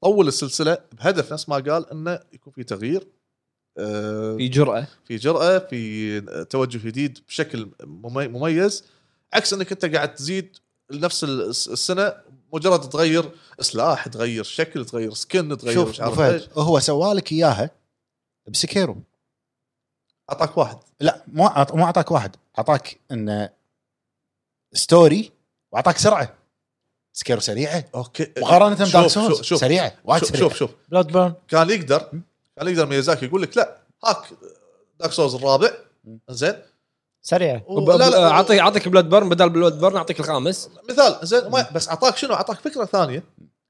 S2: تطول السلسله بهدف نفس ما قال انه يكون في تغيير آه،
S4: في جرأه
S2: في جرأه في توجه جديد بشكل ممي- مميز عكس انك انت قاعد تزيد لنفس ال- الس- السنه مجرد تغير سلاح تغير شكل تغير سكن تغير
S5: شوف
S2: مش
S5: أبو
S2: عارف
S5: فهد
S2: ايش
S5: هو سوالك اياها بسكيرو
S2: اعطاك واحد
S5: لا مو أعط- مو اعطاك واحد اعطاك انه ستوري واعطاك سرعه سكيرو سريعه
S2: اوكي
S5: مقارنه
S2: شوف-
S5: بدارك
S2: شوف-
S5: سولز
S2: شوف-
S5: سريعه وايد
S2: شوف
S5: سريعه
S2: شوف, شوف
S3: بلاد بيرن
S2: كان يقدر كان يقدر ميازاكي يقول لك لا هاك دارك سولز الرابع
S5: م.
S2: زين
S3: سريعه
S2: و-
S4: ب- ب- اعطيك اعطيك بلاد بيرن بدل بلاد بيرن اعطيك الخامس
S2: مثال زين ما- بس اعطاك شنو اعطاك فكره ثانيه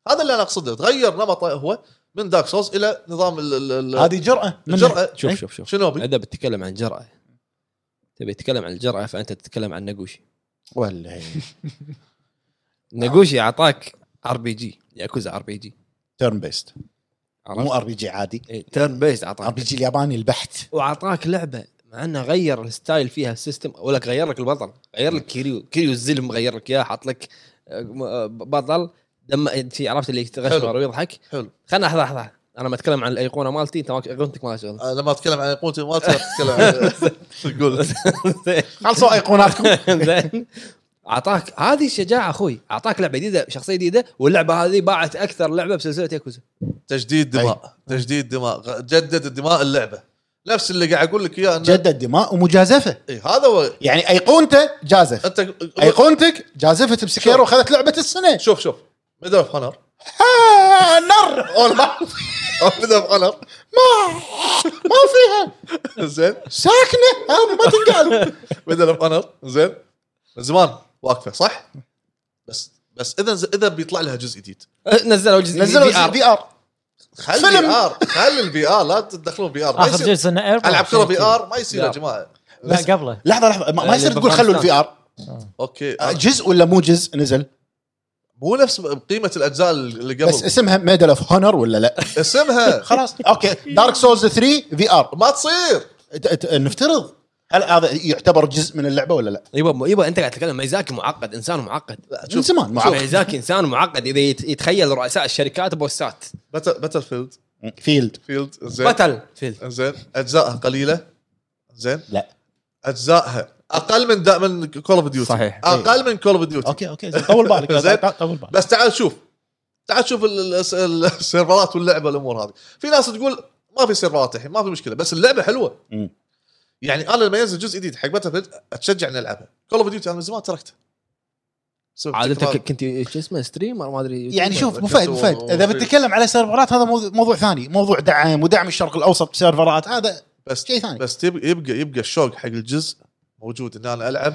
S2: هذا اللي انا اقصده تغير نمطه هو من دارك سولز الى نظام ال- ال- ال-
S5: هذه جرأه منه.
S2: الجرأه
S4: شوف
S5: إيه.
S4: شوف شوف
S2: شنوبي
S4: اذا بتتكلم عن جرأه تبي تتكلم عن الجرأه فانت تتكلم عن ناغوشي
S5: ولا
S4: ناغوشي اعطاك ار بي جي ياكوزا ار بي جي
S5: تيرن بيست
S4: عرفت؟ إيه،
S5: مو ار بي جي عادي
S2: طيب.
S4: تيرن بيست
S5: ار
S4: اعطاك
S5: بي جي الياباني البحت
S4: واعطاك لعبه مع انه غير الستايل فيها السيستم اقول لك غير لك البطل غير لك كيريو كيريو الزلم غير لك اياه حط لك آه، م- آه، بطل دم في عرفت اللي يتغشمر
S2: حلو.
S4: ويضحك
S2: حلو.
S4: خلنا لحظه لحظه انا ما اتكلم عن الايقونه مالتي انت ما- ايقونتك ما لها شغل
S2: أنا آه، لما اتكلم عن ايقونتي ما تقدر تتكلم عن تقول
S5: خلصوا ايقوناتكم
S4: زين اعطاك هذه الشجاعه اخوي اعطاك لعبه جديده شخصيه جديده واللعبه هذه باعت اكثر لعبه بسلسله ياكوزا
S2: تجديد دماء تجديد دماء غ- جدد دماء اللعبه نفس اللي قاعد اقول لك اياه انه
S5: جدد دماء ومجازفه
S2: إيه، هذا هو
S5: يعني ايقونته جازف
S2: انت
S5: ايقونتك جازفت بسكيرو وخذت لعبه السنه
S2: شوف شوف ميدل اوف هانر
S5: آه، نر
S2: اول ما ميدل اوف هانر
S5: ما فيها
S2: زين
S5: ساكنه آه، ما تنقال
S2: ميدل اوف هانر زين من زمان واقفه صح؟ بس بس اذا اذا بيطلع لها جزء جديد
S4: نزلوا جزء
S5: نزلوا في ار
S2: خلي
S5: فيلم.
S2: البي ار خلي البي ار لا تدخلون بي ار ما
S3: اخر
S2: يصير
S3: جزء انه
S2: العب كره بي ار ما
S4: VR.
S2: يصير يا جماعه
S3: لا قبله
S5: لحظه لحظه ما- ما يصير تقول خلوا الفي ار
S2: اوكي
S5: آه، جزء ولا مو جزء نزل
S2: مو نفس قيمه الاجزاء اللي قبل
S5: بس اسمها ميدل اوف هونر ولا لا
S2: اسمها
S5: خلاص اوكي دارك سولز 3 في ار
S2: ما تصير
S5: نفترض هل هذا يعتبر جزء من اللعبه ولا لا؟
S4: يبا يبا انت قاعد تتكلم ميزاكي معقد انسان معقد
S5: من زمان معروف
S4: ميزاكي انسان معقد اذا يت- يتخيل رؤساء الشركات بوسات
S2: باتل باتل فيلد
S5: فيلد
S2: فيلد زين
S4: بطل فيل
S2: زين اجزائها قليله زين
S5: لا.
S2: اجزائها اقل من دا من كول اوف ديوتي
S4: صحيح.
S2: اقل من كول اوف ديوتي
S5: اوكي اوكي زين، طول بالك
S2: زين.
S5: طول بالك
S2: بس تعال شوف تعال شوف ال- ال- الس- ال- السيرفرات واللعبه الامور هذه في ناس تقول ما في سيرفرات الحين ما في مشكله بس اللعبه حلوه
S5: مم.
S2: يعني انا لما ينزل جزء جديد حق باتل فيلد اتشجع اني العبها كول اوف ديوتي انا من زمان تركته بسبب
S4: عاد انت
S2: تكرار.
S4: ك- كنت شو اسمه ستريمر ما ادري
S5: يعني شوف ابو
S2: وكتو-
S5: فهد أبو فهد اذا
S2: وفي-
S5: بنتكلم على سيرفرات هذا موضوع- موضوع ثاني موضوع دعم ودعم الشرق الاوسط بسيرفرات هذا
S2: بس
S5: شيء ثاني
S2: بس تبقى يبقى يبقى الشوق حق الجزء موجود ان انا العب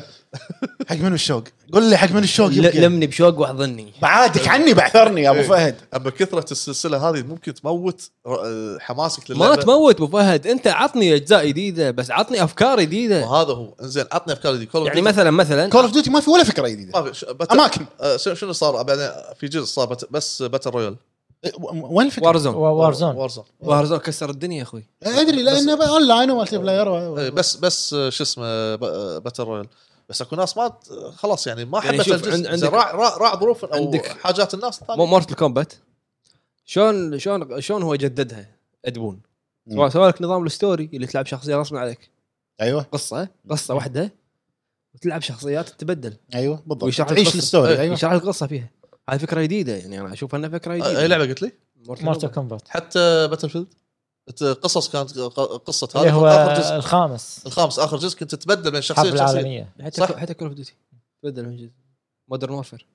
S5: حق منو الشوق؟ قول لي حق منو الشوق
S4: ل-
S5: يبقى
S4: لمني بشوق واحضني
S5: بعادك عني بعثرني يا ابو
S2: إيه.
S5: فهد
S2: اما كثره السلسله هذه ممكن تموت آه، حماسك للعبه
S4: ما تموت ابو فهد انت عطني اجزاء جديده بس عطني افكار جديده
S2: وهذا هو انزين عطني افكار جديده Call of
S4: يعني
S2: Duty-
S4: مثلا مثلا
S5: كول اوف ديوتي ما في ولا فكره جديده
S2: ما في ش- بت-
S5: اماكن
S2: آه، شنو شنو صار بعدين في جزء صار بت- بس باتل رويال
S5: إيه، و- وين الفكره؟
S4: وارزون
S3: وارزون
S2: وارزون
S4: وارزون كسر الدنيا يا اخوي
S5: ادري لانه اون لاين ومالتي بلاير و-
S2: بس بس آه، شو اسمه ب- آه، باتل رويال بس اكو ناس ما ت- خلاص يعني ما
S4: يعني
S2: حبت
S4: شوف،
S2: الجزء
S4: عند-
S2: عندك
S4: عندك-
S2: راع راع, راع ظروف او
S4: عندك-
S2: حاجات الناس
S4: مو
S2: الثانيه
S4: مورتل كومبات شلون شلون شلون هو جددها ادبون
S5: مم.
S4: سواء سواء لك نظام الستوري اللي تلعب شخصيه غصب عليك
S5: ايوه
S4: قصه قصه واحده وتلعب شخصيات تتبدل
S5: ايوه بالضبط
S4: ويشرح
S5: تعيش
S4: القصة.
S5: الستوري ايوه
S4: يشرح لك القصه فيها هاي فكره جديده يعني انا اشوف انها فكره
S2: آه، اي
S4: جديده
S2: لعبه قلت لي
S3: مورتال كومبات
S2: حتى باتل فيلد قصص كانت ق- قصه
S3: اللي
S2: هذا
S3: هو
S2: اخر جزء
S3: الخامس
S2: الخامس اخر جزء كنت تتبدل بين شخصيه
S3: الحرب
S2: لشخصيه
S3: العالميه
S4: حتى
S2: صح.
S4: حتى كول اوف ديوتي تبدل من جزء مودرن وورفير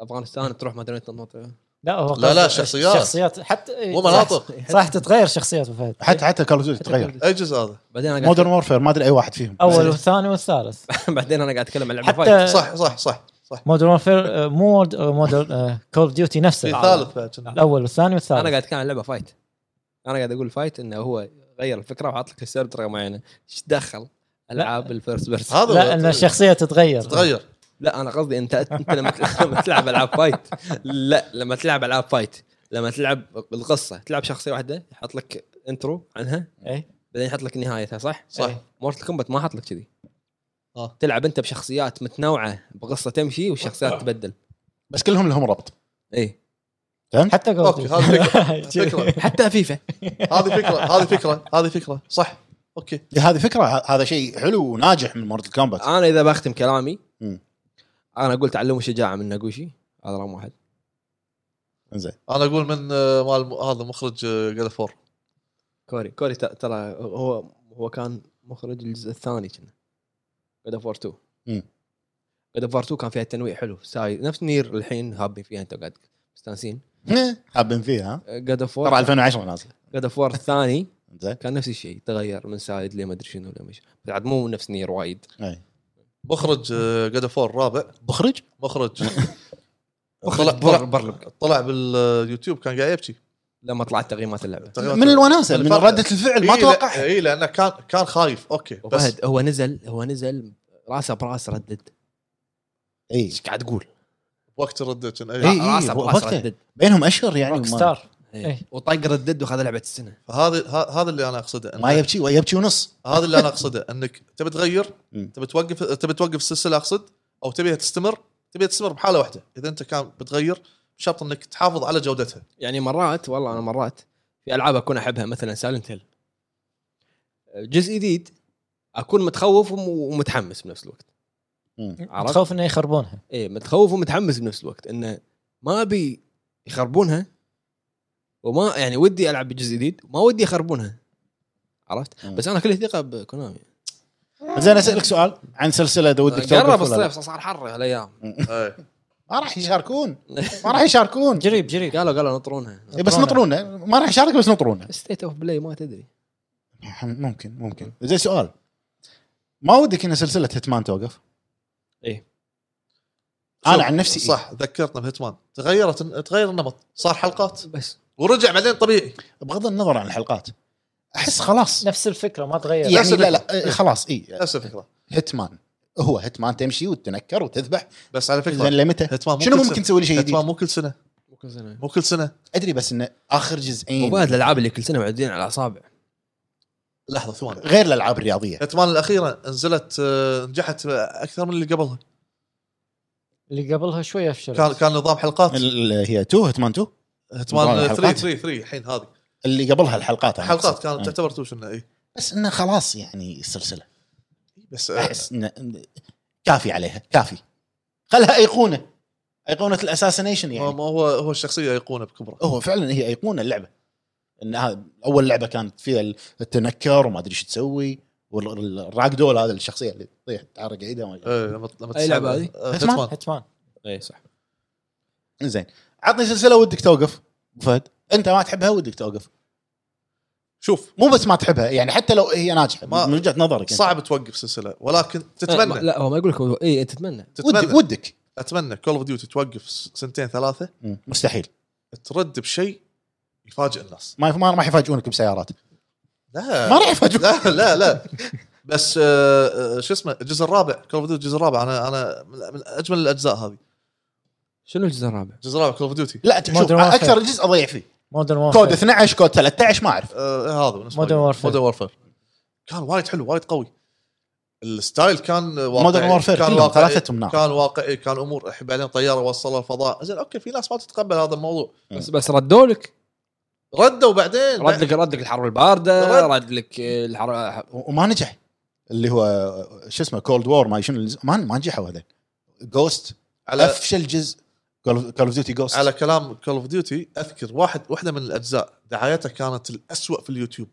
S4: افغانستان تروح ما ادري تنط
S3: لا هو
S2: لا، لا،
S3: قصد-
S2: شخصيات.
S3: شخصيات حتى
S2: مو مناطق
S3: صح تتغير شخصيات أبو فهد
S5: حتى حتى كول اوف ديوتي تغير
S2: اي جزء هذا
S4: بعدين انا قاعد
S5: مودرن وورفير ما ادري اي واحد فيهم
S3: اول
S2: إيه.
S3: والثاني والثالث
S4: بعدين انا قاعد اتكلم عن لعبه يعني فايت
S3: حتى
S2: صح صح صح صح
S3: مودرن وورفير مو آه، مودرن كول اوف ديوتي
S2: في
S4: آه.
S3: نفسه
S2: ثالث بعد كنا.
S3: الاول والثاني
S4: انا
S3: والثالث
S4: قاعد اتكلم عن لعبه فايت انا قاعد اقول فايت انه هو غير الفكره وحاط لك السير بطريقه معينه ايش دخل العاب الفيرست بيرسون
S2: هذا
S3: لا ان
S2: هو.
S3: الشخصيه تتغير
S2: تتغير
S4: لا انا قصدي انت انت لما تلعب- لما تلعب العاب فايت لا لما تلعب العاب فايت لما تلعب القصه تلعب شخصيه واحده يحط لك انترو عنها
S3: إيه.
S4: بعدين يحط لك نهايتها صح؟
S2: صح.
S4: مورتل كومبات ما حط لك كذي
S2: آه.
S4: تلعب انت بشخصيات متنوعه بقصه تمشي والشخصيات تبدل إيه.
S5: بس كلهم لهم ربط
S4: اي
S3: حتى Call of
S2: اوكي
S3: Duty.
S2: هذه فكره فكره
S4: حتى فيفا
S2: هذه فكره هذه فكره هذه فكره صح اوكي
S5: هذه فكره ه- هذا شيء حلو وناجح من مورتل كومبات
S4: انا اذا بختم كلامي
S5: مم.
S4: انا قلت علموا شجاعه من ناغوشي هذا رقم واحد
S5: زين
S2: انا اقول من آه، مال م- هذا مخرج آه، جاد فور
S4: كوري كوري ت- ترى هو هو كان مخرج الجزء الثاني كنا جود اوف 2
S5: مم.
S4: جود اوف 2 كان فيها تنويع حلو ساي نفس نير الحين هابين فيها انت قاعد مستانسين Uh,
S5: حابين إيه، فيها ها
S4: جود اوف
S5: ترى
S4: 4
S5: 2010 نازل
S4: جود اوف الثاني
S5: زين
S4: كان نفس الشيء تغير من سايد لما ادري شنو لما شنو. بعد مو نفس نير وايد
S5: أي.
S2: مخرج آه، جاد فور الرابع
S5: مخرج
S2: مخرج
S4: مخرج
S2: طلع-
S4: بر- برلق.
S2: طلع باليوتيوب كان قاعد يبكي
S4: لما طلعت تقييمات اللعبه
S5: من الوناسه من رده الفعل
S2: إيه،
S5: ما توقعها
S2: اي لانه كان كان خايف اوكي بس
S4: وفهد هو نزل هو نزل راسه براس ردد
S5: اي
S4: ايش قاعد تقول؟ إيه،
S2: وقت إيه. ردت
S5: إي.
S2: اي
S4: راسه
S5: هو
S4: براس
S5: وقته.
S4: ردد
S5: بينهم اشهر يعني
S3: روك
S5: ما,
S3: ستار
S4: إيه.
S3: إيه.
S4: وطق ردد وخذ لعبه السنه
S2: فهذا ه- هذا اللي انا اقصده
S5: ما
S2: إن-
S5: يبكي ويبكي ونص
S2: هذا اللي انا اقصده انك تبي تغير
S5: مم.
S2: تبي توقف تبي توقف السلسله اقصد او تبيها تستمر تبيها تستمر بحاله واحده اذا انت كان بتغير شرط انك تحافظ على جودتها
S4: يعني مرات والله انا مرات في العاب اكون احبها مثلا سايلنت هيل جزء جديد اكون متخوف وم- ومتحمس بنفس الوقت
S5: إيه.
S4: عرفت؟
S3: خوف انه يخربونها
S4: اي متخوف ومتحمس بنفس الوقت انه ما ابي يخربونها وما يعني ودي العب بجزء جديد ما ودي يخربونها عرفت
S5: مم.
S4: بس انا كل ثقه بكونامي
S5: زين اسالك سؤال عن سلسله ذا ودك
S4: يعني قرب
S5: ولا لا؟
S4: الصيف صار حر هالايام
S2: إيه.
S5: ما راح يشاركون ما راح يشاركون
S3: جريب جريب
S4: قالوا قالوا نطرونها
S5: إي بس نطرونا ما راح يشارك بس نطرونا
S4: ستيت اوف بلاي ما تدري
S5: ممكن ممكن زين سؤال ما ودك ان سلسله هيتمان توقف؟
S4: إيه.
S5: انا عن نفسي صح
S2: صح ذكرتنا بهتمان تغيرت تغير النمط صار حلقات
S4: بس
S2: ورجع بعدين طبيعي
S5: بغض النظر عن الحلقات احس خلاص
S3: نفس الفكره ما تغير
S5: يعني
S2: نفس الفكرة.
S5: لا لا إيه، خلاص اي
S2: نفس الفكره
S5: هيتمان هو هيتمان تمشي وتنكر وتذبح
S2: بس على
S5: زين
S2: فكره
S5: لمتى؟
S2: هيتمان مو
S5: شنو
S2: كل
S5: ممكن
S2: سنة.
S5: تسوي لي
S4: يعني
S5: شيء
S2: هيتمان
S5: جديد؟
S2: مو كل سنه
S4: مو كل سنه
S2: مو كل سنه
S5: ادري بس انه اخر جزئين
S4: مو بعد الالعاب اللي كل سنه معدين على الاصابع
S2: لحظه ثواني
S5: غير الالعاب الرياضيه
S2: هيتمان الاخيره نزلت آه، نجحت آه، اكثر من اللي قبلها
S3: اللي قبلها شويه
S2: كان
S3: فشلت
S2: كان نظام حلقات آه،
S5: ال- هي 2 هيتمان 2 نظام
S2: هيتمان 3
S5: الحلقات.
S2: 3 3 الحين هذه
S5: اللي قبلها
S4: طيب،
S5: الحلقات أنا
S2: حلقات
S5: أقصد.
S4: آه.
S2: كانت
S5: أي.
S2: تعتبر توش انه اي
S5: بس انه خلاص يعني السلسله
S2: بس آه،
S5: احس انه إنه كافي عليها كافي خلها ايقونه ايقونه الاساسنيشن
S2: ما
S5: يعني
S2: ما هو هو الشخصيه ايقونه بكبره
S5: هو فعلا هي ايقونه اللعبه ان هذا اول لعبه كانت فيها التنكر وما ادري شو تسوي والراك دول هذا الشخصيه اللي تطيح تحرك ايدها وما أدري.
S2: إيه، لما لما
S4: أي لعبة
S2: تسحب-
S4: هذه؟
S2: آه،
S5: هيتمان.
S2: هيتمان
S3: هيتمان
S2: إيه،
S4: اي صح
S5: زين عطني سلسله ودك توقف أبو فهد انت ما تحبها ودك توقف
S2: شوف
S5: مو بس ما تحبها يعني حتى لو هي ناجحه
S2: ما-
S5: من وجهه نظرك أنت.
S2: صعب توقف سلسله ولكن
S4: آه،
S2: تتمنى
S4: لا هو ما يقول لك هو- اي تتمنى
S5: ودك
S2: تتمنى
S5: ودك
S2: اتمنى كول اوف ديوتي توقف س- سنتين ثلاثه
S5: مم. مستحيل
S2: ترد بشيء يفاجئ الناس
S5: ما ما راح يفاجئونك بسيارات
S2: لا
S5: ما راح يفاجئونك
S2: آه. لا لا لا بس آه، آه، شو اسمه الجزء الرابع كول اوف ديوتي الجزء الرابع انا انا من من اجمل الاجزاء هذه
S4: شنو الجزء الرابع؟
S2: الجزء الرابع كول اوف ديوتي
S5: لا شوف
S3: Modern Warfare.
S5: اكثر جزء اضيع فيه
S3: مودرن
S5: كود
S3: وورفير
S5: 12 كود 13 ما اعرف
S2: آه، إيه، هذا بالنسبه
S3: Modern Warfare.
S2: مودرن وورفير كان وايد حلو وايد قوي الستايل كان واقعي
S5: مودرن وورفير
S2: كان
S5: كلهم
S2: واقعي
S5: ثلاثتهم نار
S2: كان واقعي كان امور بعدين طياره وصلها الفضاء زين اوكي في ناس ما تتقبل هذا الموضوع
S4: بس بس ردوا لك
S2: ردوا بعدين
S4: رد لك رد لك الحرب البارده
S2: رد.
S4: رد لك آه، الحرب
S5: و- وما نجح اللي هو آه، شو اسمه كولد وور ما شنو اللي- ما ما نجحوا هذين جوست
S2: على
S5: افشل جزء كول اوف ديوتي جوست
S2: على كلام كول اوف ديوتي اذكر واحد واحده من الاجزاء دعايتها كانت الأسوأ في اليوتيوب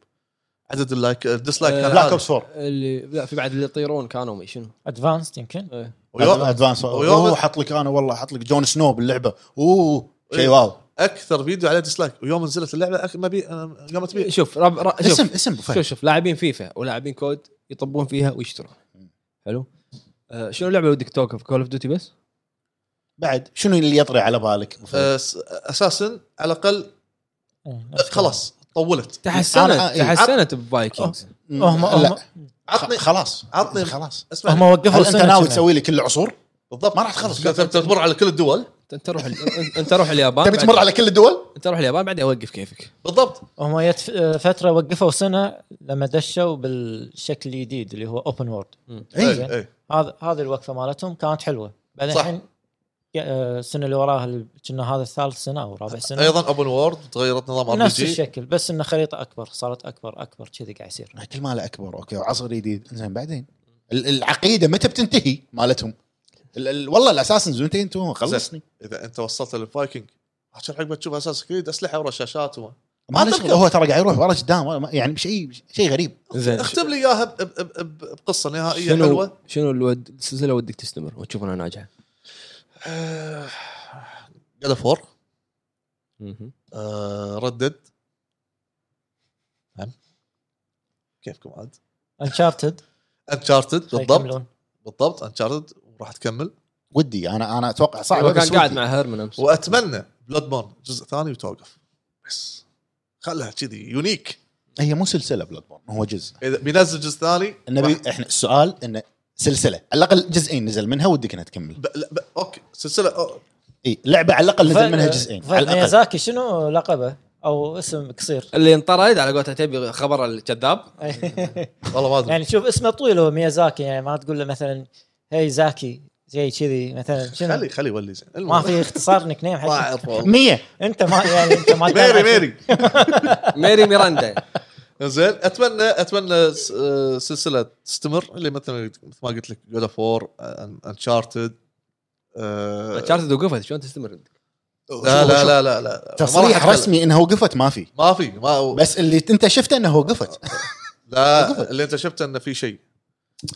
S2: عدد اللايك الديسلايك
S4: آه،
S2: كان
S5: بلاك
S2: عالي.
S5: اوبس 4
S4: اللي لا في بعد اللي يطيرون كانوا ما شنو
S3: ادفانسد يمكن
S2: ويوم-
S5: ادفانس
S2: ويوم-
S5: اوه حط لك انا والله حط لك جون سنو باللعبه اوه
S2: إيه.
S5: شيء واو
S2: اكثر فيديو عليه ديسلايك ويوم نزلت اللعبه أك... مبي... قامت بيه
S4: شوف رب... ر... شوف
S5: اسم طيب. اسم أبو
S4: شوف
S5: فهد
S4: شوف لاعبين فيفا ولاعبين كود يطبون فيها ويشترون
S5: مم.
S4: حلو آه شنو اللعبه ودك توقف كول اوف ديوتي بس؟
S5: بعد شنو اللي يطري على بالك أبو
S2: أه،
S5: فهد؟
S2: اساسا على الاقل
S3: إيه، نفس الشيء.
S2: خلاص طولت
S5: أنا-
S4: تحسنت
S5: إيه.
S4: تحسنت بفايكنجز
S5: مم،
S3: هم هم
S5: لا
S2: عطني
S5: خ- خلاص
S2: عطني-
S5: خلاص
S2: اسمع
S3: هم وقفوا
S5: هل انت
S3: سنة
S5: ناوي
S3: سنة.
S5: تسوي لي كل العصور؟
S2: بالضبط
S5: ما راح تخلص.
S2: تبي تمر على كل الدول
S4: انت روح ال- انت روح اليابان
S5: تبي تمر
S4: بعدين-
S5: على كل الدول؟
S4: انت روح اليابان بعدين اوقف كيفك
S2: بالضبط
S3: هم يت فتره وقفوا سنه لما دشوا بالشكل الجديد اللي هو اوبن وورد
S5: اي
S3: زين.
S2: اي
S3: هذا هذه الوقفه مالتهم كانت حلوه بعدين
S2: إيه. صح.
S3: يعني الحين آه، السنه اللي وراها اللي كنا هذا الثالث سنه او رابع سنه
S2: ايضا اوبن وورد تغيرت نظام ار بي
S3: نفس
S2: جي
S3: الشكل بس انه خريطه اكبر صارت اكبر اكبر كذي قاعد يصير
S5: كل ماله اكبر اوكي وعصر جديد زين بعدين ال- العقيده متى بتنتهي مالتهم؟ ال- ال- والله الاساسنز متى ينتهون خلصني
S2: اذا انت وصلت للفايكنج عشان عقب تشوف اساس كريد اسلحه ورا شاشات وما
S5: ما
S2: ما
S5: له شغل
S2: تذكر.
S5: هو ترى قاعد يروح ورا قدام ولا- يعني شيء شيء غريب
S3: إيه.
S4: زين
S2: اختم لي اياها ب- ب- ب- ب- بقصه
S5: آه، إيه،
S2: نهائيه
S4: شنو
S2: حلوه
S4: شنو الود- السلسله ودك تستمر وتشوف انها ناجحه؟
S2: جاد فور ردد آه، نعم كيفكم عاد
S3: انشارتد
S2: انشارتد بالضبط بالضبط انشارتد وراح تكمل
S5: ودي انا انا اتوقع صعب
S4: هو
S5: بس
S4: كان قاعد
S5: ودي.
S4: مع هيرمن امس
S2: واتمنى بلود بورن جزء ثاني وتوقف بس خلها كذي يونيك
S5: هي مو سلسله بلاد بورن هو جزء
S2: اذا بينزل جزء ثاني راح-
S5: النبي احنا السؤال انه سلسله على الاقل جزئين نزل منها ودك انها تكمل
S2: ب... لا ب... اوكي سلسله أو...
S5: اي لعبه على الاقل نزل منها جزئين على الاقل
S3: ميازاكي شنو لقبه او اسم قصير
S4: اللي انطرد على قولته تبي خبر الكذاب
S2: والله ما ادري
S3: يعني شوف اسمه طويل هو ميازاكي يعني ما تقول له مثلا هي زاكي زي كذي مثلا شنو
S2: خلي خلي يولي زين
S3: ما
S2: المهم،
S3: في اختصار نيك نيم
S2: ما
S3: حق
S2: اعرف والله.
S5: 100
S3: انت ما يعني انت ما
S2: ميري ميري
S4: ميري ميراندا
S2: زين اتمنى اتمنى س- آه، سلسله تستمر اللي مثلا مثل ما قلت لك جود اوف وور انشارتد لا
S4: شارتد وقفت شلون تستمر؟
S2: آه، لا لا لا لا ما راح
S5: تصريح
S2: أتكلم.
S5: رسمي انها وقفت ما في
S2: ما في ما
S5: بس اللي انت شفته انها وقفت
S2: لا اللي انت شفته انه في شيء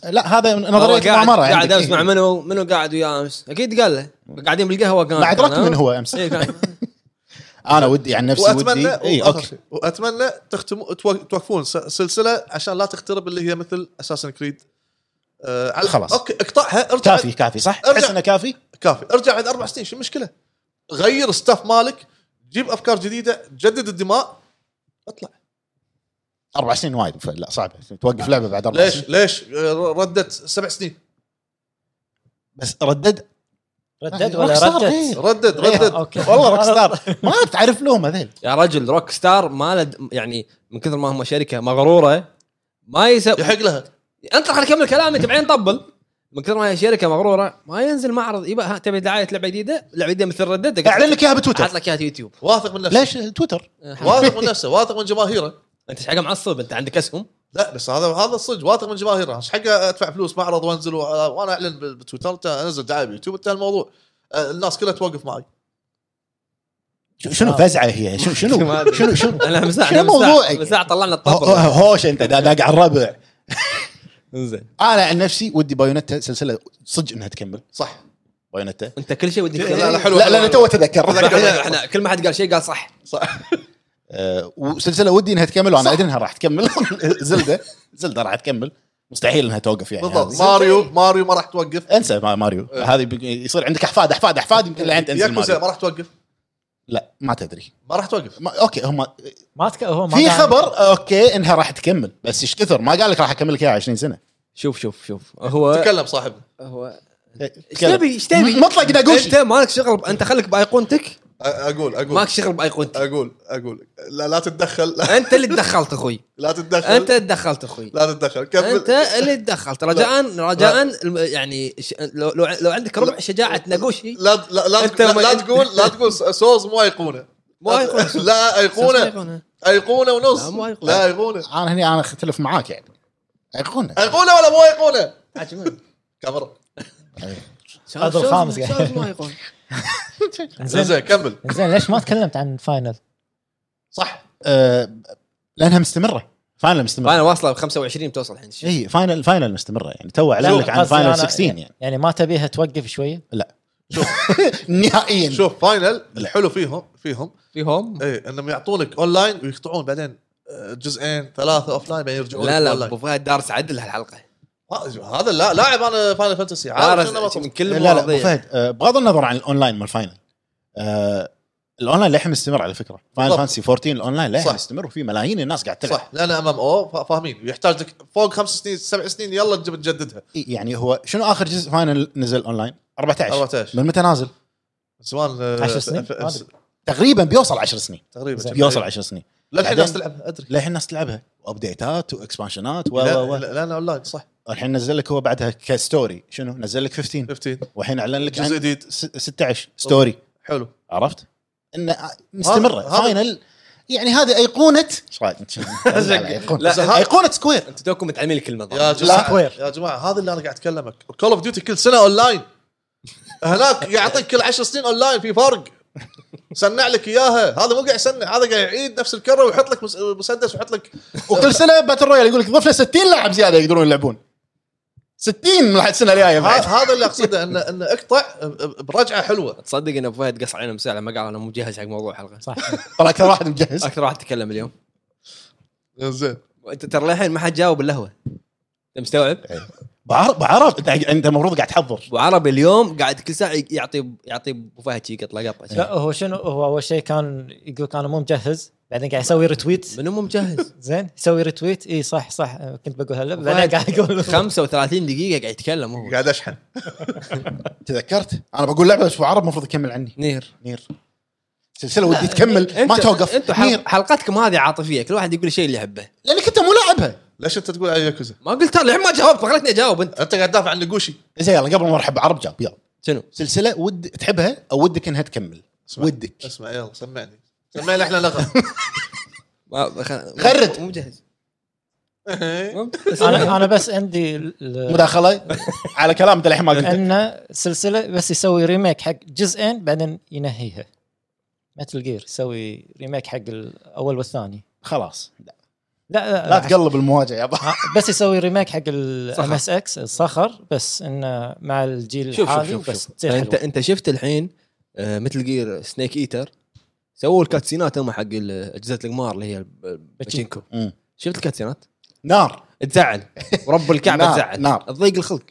S5: لا هذا
S4: هو
S5: نظريه
S4: قاعد
S5: المعمره
S4: قاعد
S5: عندك.
S4: امس مع منو منو قاعد وياه امس اكيد قال له قاعدين بالقهوه قال
S5: ما ادركت من هو امس
S4: إيه، كان-
S5: انا ودي عن نفسي
S2: واتمنى
S5: ودي إيه، اي
S2: وآخر
S5: اوكي
S2: شيء، واتمنى تختم تو- توقفون س- سلسله عشان لا تخترب اللي هي مثل اساسن كريد آه على-
S5: خلاص.
S2: اوكي اقطعها ارجع
S5: كافي كافي صح؟
S2: ارجع.
S5: تحس انه كافي؟
S2: كافي ارجع بعد اربع سنين شو المشكله؟ غير ستاف مالك جيب افكار جديده جدد الدماء اطلع
S5: اربع سنين وايد لا صعبه توقف لعبه بعد اربع
S2: ليش
S5: سنين
S2: ليش آه، ردت سبع سنين
S5: بس ردد
S3: ردد
S5: روك
S3: ولا
S5: ستار
S3: ردت؟
S5: غير.
S2: ردد
S5: غير.
S2: ردد
S3: اوكي
S5: والله روك ستار ما تعرف لهم هذيل
S4: يا رجل روك ستار ما لد يعني من كثر ما هم شركه مغروره ما يسوي
S2: يحق لها
S4: انت خليني اكمل كلامي تبعين طبل من كثر ما هي شركه مغروره ما ينزل معرض يبا ها تبي دعايه لعبه جديده لعبه جديده مثل ردد
S5: اعلن لك اياها
S4: حاط
S5: بتويتر
S4: لك اياها في يوتيوب
S2: واثق من نفسه
S5: ليش تويتر
S2: واثق من نفسه واثق من جماهيره
S4: انت ايش حق معصب انت عندك اسهم
S2: لا بس هذا هذا الصدق واثق من جماهيره ايش حقه ادفع فلوس معرض وانزل و- آه، وانا اعلن ب- بتويتر تا- انزل دعايه بيوتيوب انتهى الموضوع آه، الناس كلها توقف معي
S5: شنو فزعه هي شنو
S4: ما
S5: شنو
S4: أدري.
S5: شنو شنو
S4: انا مساع
S5: شنو موضوعك؟
S4: مساع طلعنا
S5: هو-
S4: الطبل
S5: هوش انت دا- داق على الربع
S4: زين
S5: انا عن نفسي ودي بايونتا سلسله صدق انها تكمل
S2: صح
S5: بايونتا
S4: انت كل شيء ودك
S2: لا، لا، حلو.
S5: لا لا انا تو اتذكر
S4: احنا إحنا كل ما حد قال شيء قال صح
S2: صح
S5: آه، وسلسله ودي انها تكمل وانا ادري انها راح تكمل زلده زلده راح تكمل مستحيل انها توقف يعني
S2: بالضبط
S5: هذه.
S2: ماريو ماريو ما راح توقف
S5: انسى ما- ماريو هذه بيق- يصير عندك احفاد احفاد احفاد يمكن لين تنزل
S2: ياكوزا
S5: ماريو
S2: ما راح توقف
S5: لا ما تدري
S2: ما راح توقف
S5: ما اوكي هم
S3: ما تك... هو ما
S5: في
S3: قال-
S5: خبر اوكي انها راح تكمل بس ايش كثر ما قال لك راح اكمل لك اياها 20 سنه
S4: شوف شوف شوف هو
S2: تكلم صاحبنا
S4: هو ايش
S5: تكلم.
S4: تبي ايش تبي
S5: مطلق ناقوش
S4: انت مالك شغل ب- انت خليك بايقونتك
S2: أ- اقول اقول
S4: مالك شغل بايقونتك
S2: اقول اقول لا لا تتدخل لا,
S4: انت اللي تدخلت اخوي
S2: لا تتدخل
S4: انت تدخلت اخوي
S2: لا تتدخل كمل
S4: انت اللي تدخلت رجاء رجاء الم- يعني ش- لو لو لو عندك ربع شجاعه ناقوشي
S2: لا لا لا,
S4: أنت
S2: لا,
S4: ما-
S2: لا تقول لا تقول سوز مو ايقونه
S4: مو أيقونة.
S2: لا ايقونه
S4: صدقوني.
S2: ايقونه ونص
S4: لا، مو أيقونة.
S2: لا ايقونه
S5: انا هني انا اختلف معاك يعني ايقونه
S2: ايقونه ولا مو ايقونه
S4: عجبني.
S2: كاميرا
S3: هذا
S4: شوز-
S3: الخامس
S4: شوز
S3: قاعد.
S4: مو أيقونة.
S2: زين
S3: زين
S2: زين كمل
S3: زين ليش ما تكلمت عن فاينل؟
S5: صح آه، لانها مستمره فاينل
S4: فانا
S5: مستمره
S4: واصله ب 25 توصل الحين
S5: اي فاينل فاينل مستمره يعني تو اعلن
S3: شوف،
S5: لك عن
S3: قصدي
S5: فاينل
S3: أنا-
S5: 16 يعني إيه.
S3: يعني ما تبيها توقف شويه؟
S5: نهائيا
S2: شوف فاينل الحلو فيهم فيهم
S4: في هوم
S2: ايه انهم يعطونك اونلاين ويقطعون بعدين آه، جزئين ثلاثه اوف لاين بعدين يرجعون
S4: لا لا
S2: أونلاين.
S4: ابو فهد دارس عدل هالحلقه
S2: ما- هذا لا لاعب انا فاينل فانتسي عارف شنو
S4: دارس
S2: بطل.
S4: من كل
S5: لا لا أبو
S4: مواضيع
S5: فهد آه، بغض النظر عن الاونلاين مال فاينل آه، الاونلاين للحين مستمر على فكره فاينل
S2: بالضبط.
S5: فانسي 14 الاونلاين للحين
S2: صح.
S5: مستمر وفي ملايين الناس قاعد تلعب
S2: صح لان ام ام او فاهمين يحتاج لك فوق خمس سنين سبع سنين يلا تجيب تجددها
S5: إي، يعني هو شنو اخر جزء فاينل نزل اونلاين 14
S2: 14
S5: من متى نازل؟
S2: زمان آه،
S3: 10 سنين؟
S2: ف- ف-
S3: ما أدري.
S5: تقريبا بيوصل 10 سنين
S2: تقريبا
S5: بيوصل 10 سنين
S2: للحين
S5: بعدين-
S2: الناس تلعب ادري
S5: للحين الناس تلعبها وابديتات واكسبانشنات و
S2: لا
S5: و و
S2: لا لا اونلاين صح
S5: الحين نزل لك هو بعدها كستوري شنو نزل لك 15
S2: 15
S5: والحين اعلن لك
S2: جزء
S5: عن
S2: جديد
S5: س- 16 ستوري
S2: حلو
S5: عرفت؟ انه مستمره
S2: هذا-
S5: فاينل يعني هذه ايقونه ايش رايك؟ أيقونة.
S4: لا،
S5: لا ايقونه سكوير
S4: انتم توكم متعلمين الكلمه
S2: يا
S4: ضبط.
S2: جماعه
S3: سكوير.
S2: يا جماعه هذا اللي انا قاعد اتكلمك كول اوف ديوتي كل سنه اونلاين هناك يعطيك كل 10 سنين اونلاين في فرق سنع لك اياها هذا مو قاعد يسنع هذا قاعد يعيد نفس الكره ويحط لك مس- مسدس ويحط لك
S5: وكل سنه باتل رويال يقول لك ضفنا 60 لاعب زياده يقدرون يلعبون 60 لحد السنه الجايه
S2: ه-
S5: بعد
S2: هذا اللي اقصده ان ان اقطع ب- برجعه حلوه
S4: تصدق ان ابو فهد قص علينا مساء لما قال انا مجهز حق موضوع حلقه
S3: صح
S5: طلع اكثر واحد مجهز
S4: اكثر واحد تكلم اليوم
S2: زين
S4: انت ترى للحين ما حد جاوب اللهوه انت مستوعب؟
S5: بعرف بعرف انت انت المفروض قاعد تحضر
S4: ابو عربي اليوم قاعد كل ساعه يعطي يعطي ابو فهد شي قطله قطه
S3: لا هو شنو هو اول شيء كان يقول لك انا مو مجهز بعدين قاعد يسوي ريتويت
S4: منو مو مجهز؟
S3: زين يسوي ريتويت اي صح صح آه، كنت بقول هلا
S4: فهد.
S3: بعدين قاعد يقول
S4: 35 دقيقه قاعد يتكلم هو
S2: قاعد اشحن
S5: تذكرت انا بقول لعبه بس عرب المفروض يكمل عني
S4: نير
S5: نير سلسله ودي تكمل ما توقف
S4: انتم
S5: نير
S4: حلقتكم هذه عاطفيه كل واحد يقول الشيء اللي يحبه
S5: لانك انت مو لاعبها
S2: ليش انت تقول على ياكوزا؟
S4: ما قلت انا الحين ما جاوبت ما خلتني اجاوب انت
S2: انت قاعد تدافع عن نقوشي
S5: زين يلا قبل ما نرحب بعرب جاب يلا
S4: شنو؟
S5: سلسله ود تحبها او ودك انها تكمل
S2: اسمع.
S5: ودك
S2: اسمع يلا سمعني سمعني احنا لغه
S4: ما خل...
S5: غرد.
S4: مو مجهز
S3: انا انا بس عندي ال-
S5: مداخله على كلام انت الحين ما قلته
S3: انه سلسله بس يسوي ريميك حق جزئين بعدين ينهيها مثل جير يسوي ريميك حق الاول والثاني
S5: خلاص
S3: لا لا,
S5: لا تقلب المواجهه يا با.
S3: ع- بس يسوي ريميك حق الام
S4: صخر.
S3: اس اكس الصخر بس انه مع الجيل
S4: شوف شوف
S3: الحالي
S4: شوف,
S3: بس
S4: شوف.
S3: تصير
S5: يعني
S4: انت
S3: حلوة.
S4: انت شفت الحين آه، مثل جير سنيك ايتر سووا الكاتسينات هم حق ال- اجهزه القمار اللي هي الب- الباتشينكو
S5: مم.
S4: شفت الكاتسينات؟
S5: نار
S4: تزعل ورب الكعبه
S5: نار،
S4: تزعل
S5: نار.
S4: تضيق الخلق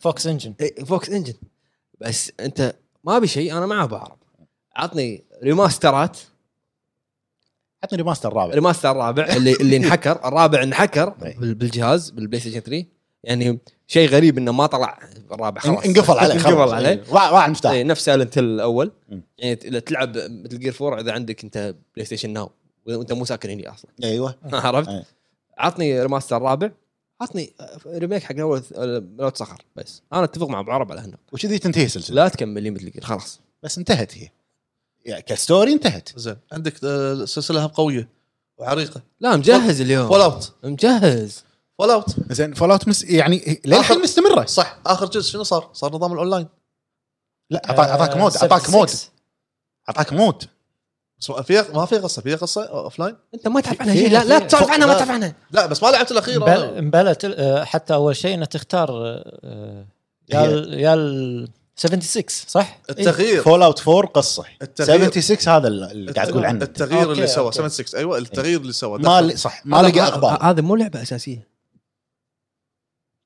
S3: فوكس انجن
S4: إيه، فوكس انجن بس انت ما ابي شيء انا مع بعرب عطني ريماسترات
S5: حطني ريماستر الرابع
S4: ريماستر الرابع اللي اللي انحكر الرابع انحكر
S5: إيه.
S4: بال- بالجهاز بالبلاي ستيشن 3 يعني شيء غريب انه ما طلع الرابع خلاص
S5: انقفل عليه خلاص.
S4: انقفل عليه
S5: إيه. واع واع المفتاح
S4: إيه، نفس سايلنت هيل الاول
S5: مم.
S4: يعني ت- إذا تلعب مثل جير 4 اذا عندك انت بلاي ستيشن ناو وانت مو ساكن هنا اصلا
S5: ايوه إيه.
S4: عرفت؟ عطني ريماستر الرابع عطني ريميك حق اول لو صخر بس انا اتفق مع ابو عرب على هنا
S5: وكذي تنتهي السلسله
S4: لا تكمل لي مثل جير خلاص
S5: بس انتهت هي يعني كستوري انتهت
S2: زين عندك آه، سلسله قويه وعريقه
S4: لا مجهز اليوم
S2: فول اوت
S4: مجهز
S2: فول اوت
S5: زين فول اوت مس يعني للحين
S2: آخر-
S5: مستمره
S2: صح اخر جزء شنو صار؟ صار نظام الاونلاين
S5: لا اعطاك
S3: آه،
S5: اعطاك مود اعطاك مود اعطاك مود
S2: بس ما في ما في قصه في قصه اوف لاين؟
S4: انت ما تعرف عنها
S3: في-
S4: شيء لا لا
S3: في-
S4: تعرف عنها ما
S2: لا.
S4: تعرف عنها
S2: لا بس ما لعبت الاخير
S5: إيه.
S3: مبل-
S2: أنا.
S3: مبلت آه، حتى اول شيء انه تختار آه، يا ال- يا ال 76 صح؟
S2: التغيير
S5: فول اوت 4 قصه
S2: التغيير
S5: 76 هذا اللي قاعد تقول عنه
S2: التغيير
S3: أوكي،
S2: اللي سواه
S3: أوكي.
S2: 76 ايوه التغيير اللي سواه
S5: ما
S2: دخل.
S5: لي صح ما لقى اخبار
S4: آه، هذا مو لعبه اساسيه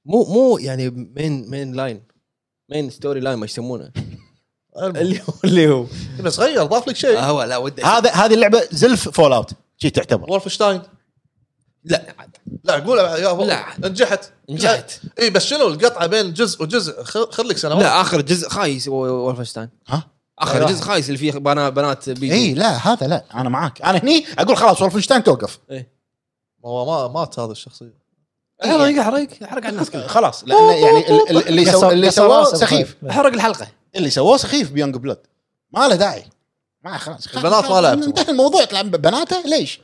S4: مو مو يعني مين مين لاين مين ستوري لاين ما يسمونه
S2: المهم.
S4: اللي هو اللي هو
S2: بس غير ضاف لك شيء
S4: آه،
S5: آه.
S4: هو لا ودي
S5: هذا هذه اللعبه زلف فول اوت شي تعتبر
S2: وولفشتاين
S4: لا عاد.
S2: لا قول يا هو-
S4: لا.
S2: نجحت
S4: نجحت
S2: اي إيه، بس شنو القطعه بين جزء وجزء خ- خر لك سنوات
S4: لا اخر جزء خايس هو ولفنشتاين
S5: ها
S4: اخر جزء خايس اللي فيه بنا- بنات بيجي
S5: اي إيه، لا هذا لا انا معاك انا هني اقول خلاص ولفنشتاين توقف
S2: ما هو ما مات هذا الشخصيه
S4: حرق حرق حرق على الناس كلها
S5: خلاص لان يعني ال- ال- اللي سو- اللي سواه سخيف
S4: حرق الحلقه
S5: اللي سواه سخيف بيونج بلود ما له داعي ما خلاص خلاص.
S2: البنات ما لعبت.
S5: انتهى الموضوع تلعب بناته ليش؟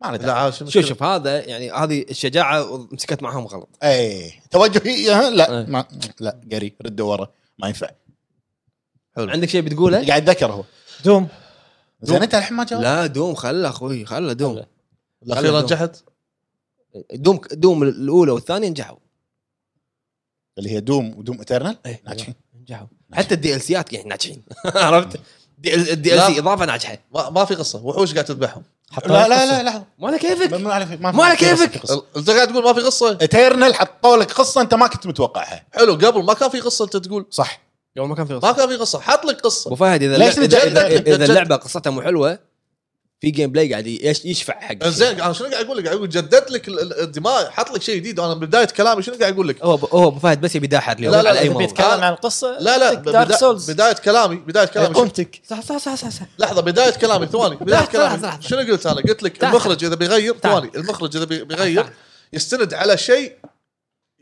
S5: ما له
S2: لا
S5: داعي
S2: عاد شنو
S4: شوف
S2: كذا؟
S4: شوف هذا يعني هذه الشجاعه مسكت معهم غلط
S5: اي توجهي ها، لا
S4: إيه.
S5: ما لا قري ردوا ورا ما ينفع
S4: عندك شيء بتقوله؟
S5: قاعد اتذكر هو
S3: دوم
S5: زين انت الحين ما جاوبت
S4: لا دوم خله اخوي خله دوم
S3: خله.
S2: الاخيره
S4: خلي
S2: نجحت
S4: دوم دوم الاولى والثانيه نجحوا
S5: اللي هي دوم ودوم اترنال
S4: إيه.
S5: ناجحين
S4: نجحوا حتى الدي ال سيات يعني ناجحين عرفت؟ الدي ال
S2: لا.
S4: سي اضافه ناجحه
S2: ما, ما في قصه وحوش قاعد تذبحهم
S3: حطوا
S5: لا
S3: لك
S5: لا
S3: قصة.
S5: لا لحظه
S4: ما على كيفك
S5: ما على في-
S4: ما على كيفك.
S2: ال- انت قاعد تقول ما في قصه
S5: اترنال حطوا لك قصه انت ما كنت متوقعها
S2: حلو قبل ما كان في قصه انت تقول
S5: صح
S4: يوم ما كان في
S2: ما
S4: قصة.
S2: كان في قصه حط لك
S4: ابو
S2: قصه
S4: فهد اذا
S5: ليش
S4: ليش اذا,
S2: نجد-
S4: إذا, إذا
S2: نجد-
S4: اللعبه قصتها مو حلوه في جيم بلاي قاعد يش- يشفع حق
S2: زين انا شنو قاعد اقول لك؟ قاعد اقول جددت لك ال- ال- الدماء حط لك شيء جديد انا بدايه كلامي شنو قاعد اقول لك؟
S4: هو أبو- هو ابو فهد بس يبي داحر اليوم
S2: لا، لا،
S4: على اي
S2: لا،
S4: موضوع
S2: بيتكلم.
S3: تتكلم عن القصه
S2: لا لا
S3: دارك
S2: بدا-
S3: سولز
S2: بدايه كلامي بدايه كلامي شنو-
S3: قمتك
S4: صح صح صح صح صح
S2: لحظه بدايه كلامي ثواني بدايه
S4: لحظة، لحظة،
S2: كلامي
S4: لحظة.
S2: شنو قلت انا؟ قلت لك
S4: تعال.
S2: المخرج اذا بيغير
S4: تعال.
S2: ثواني المخرج اذا بي- بيغير يستند على شيء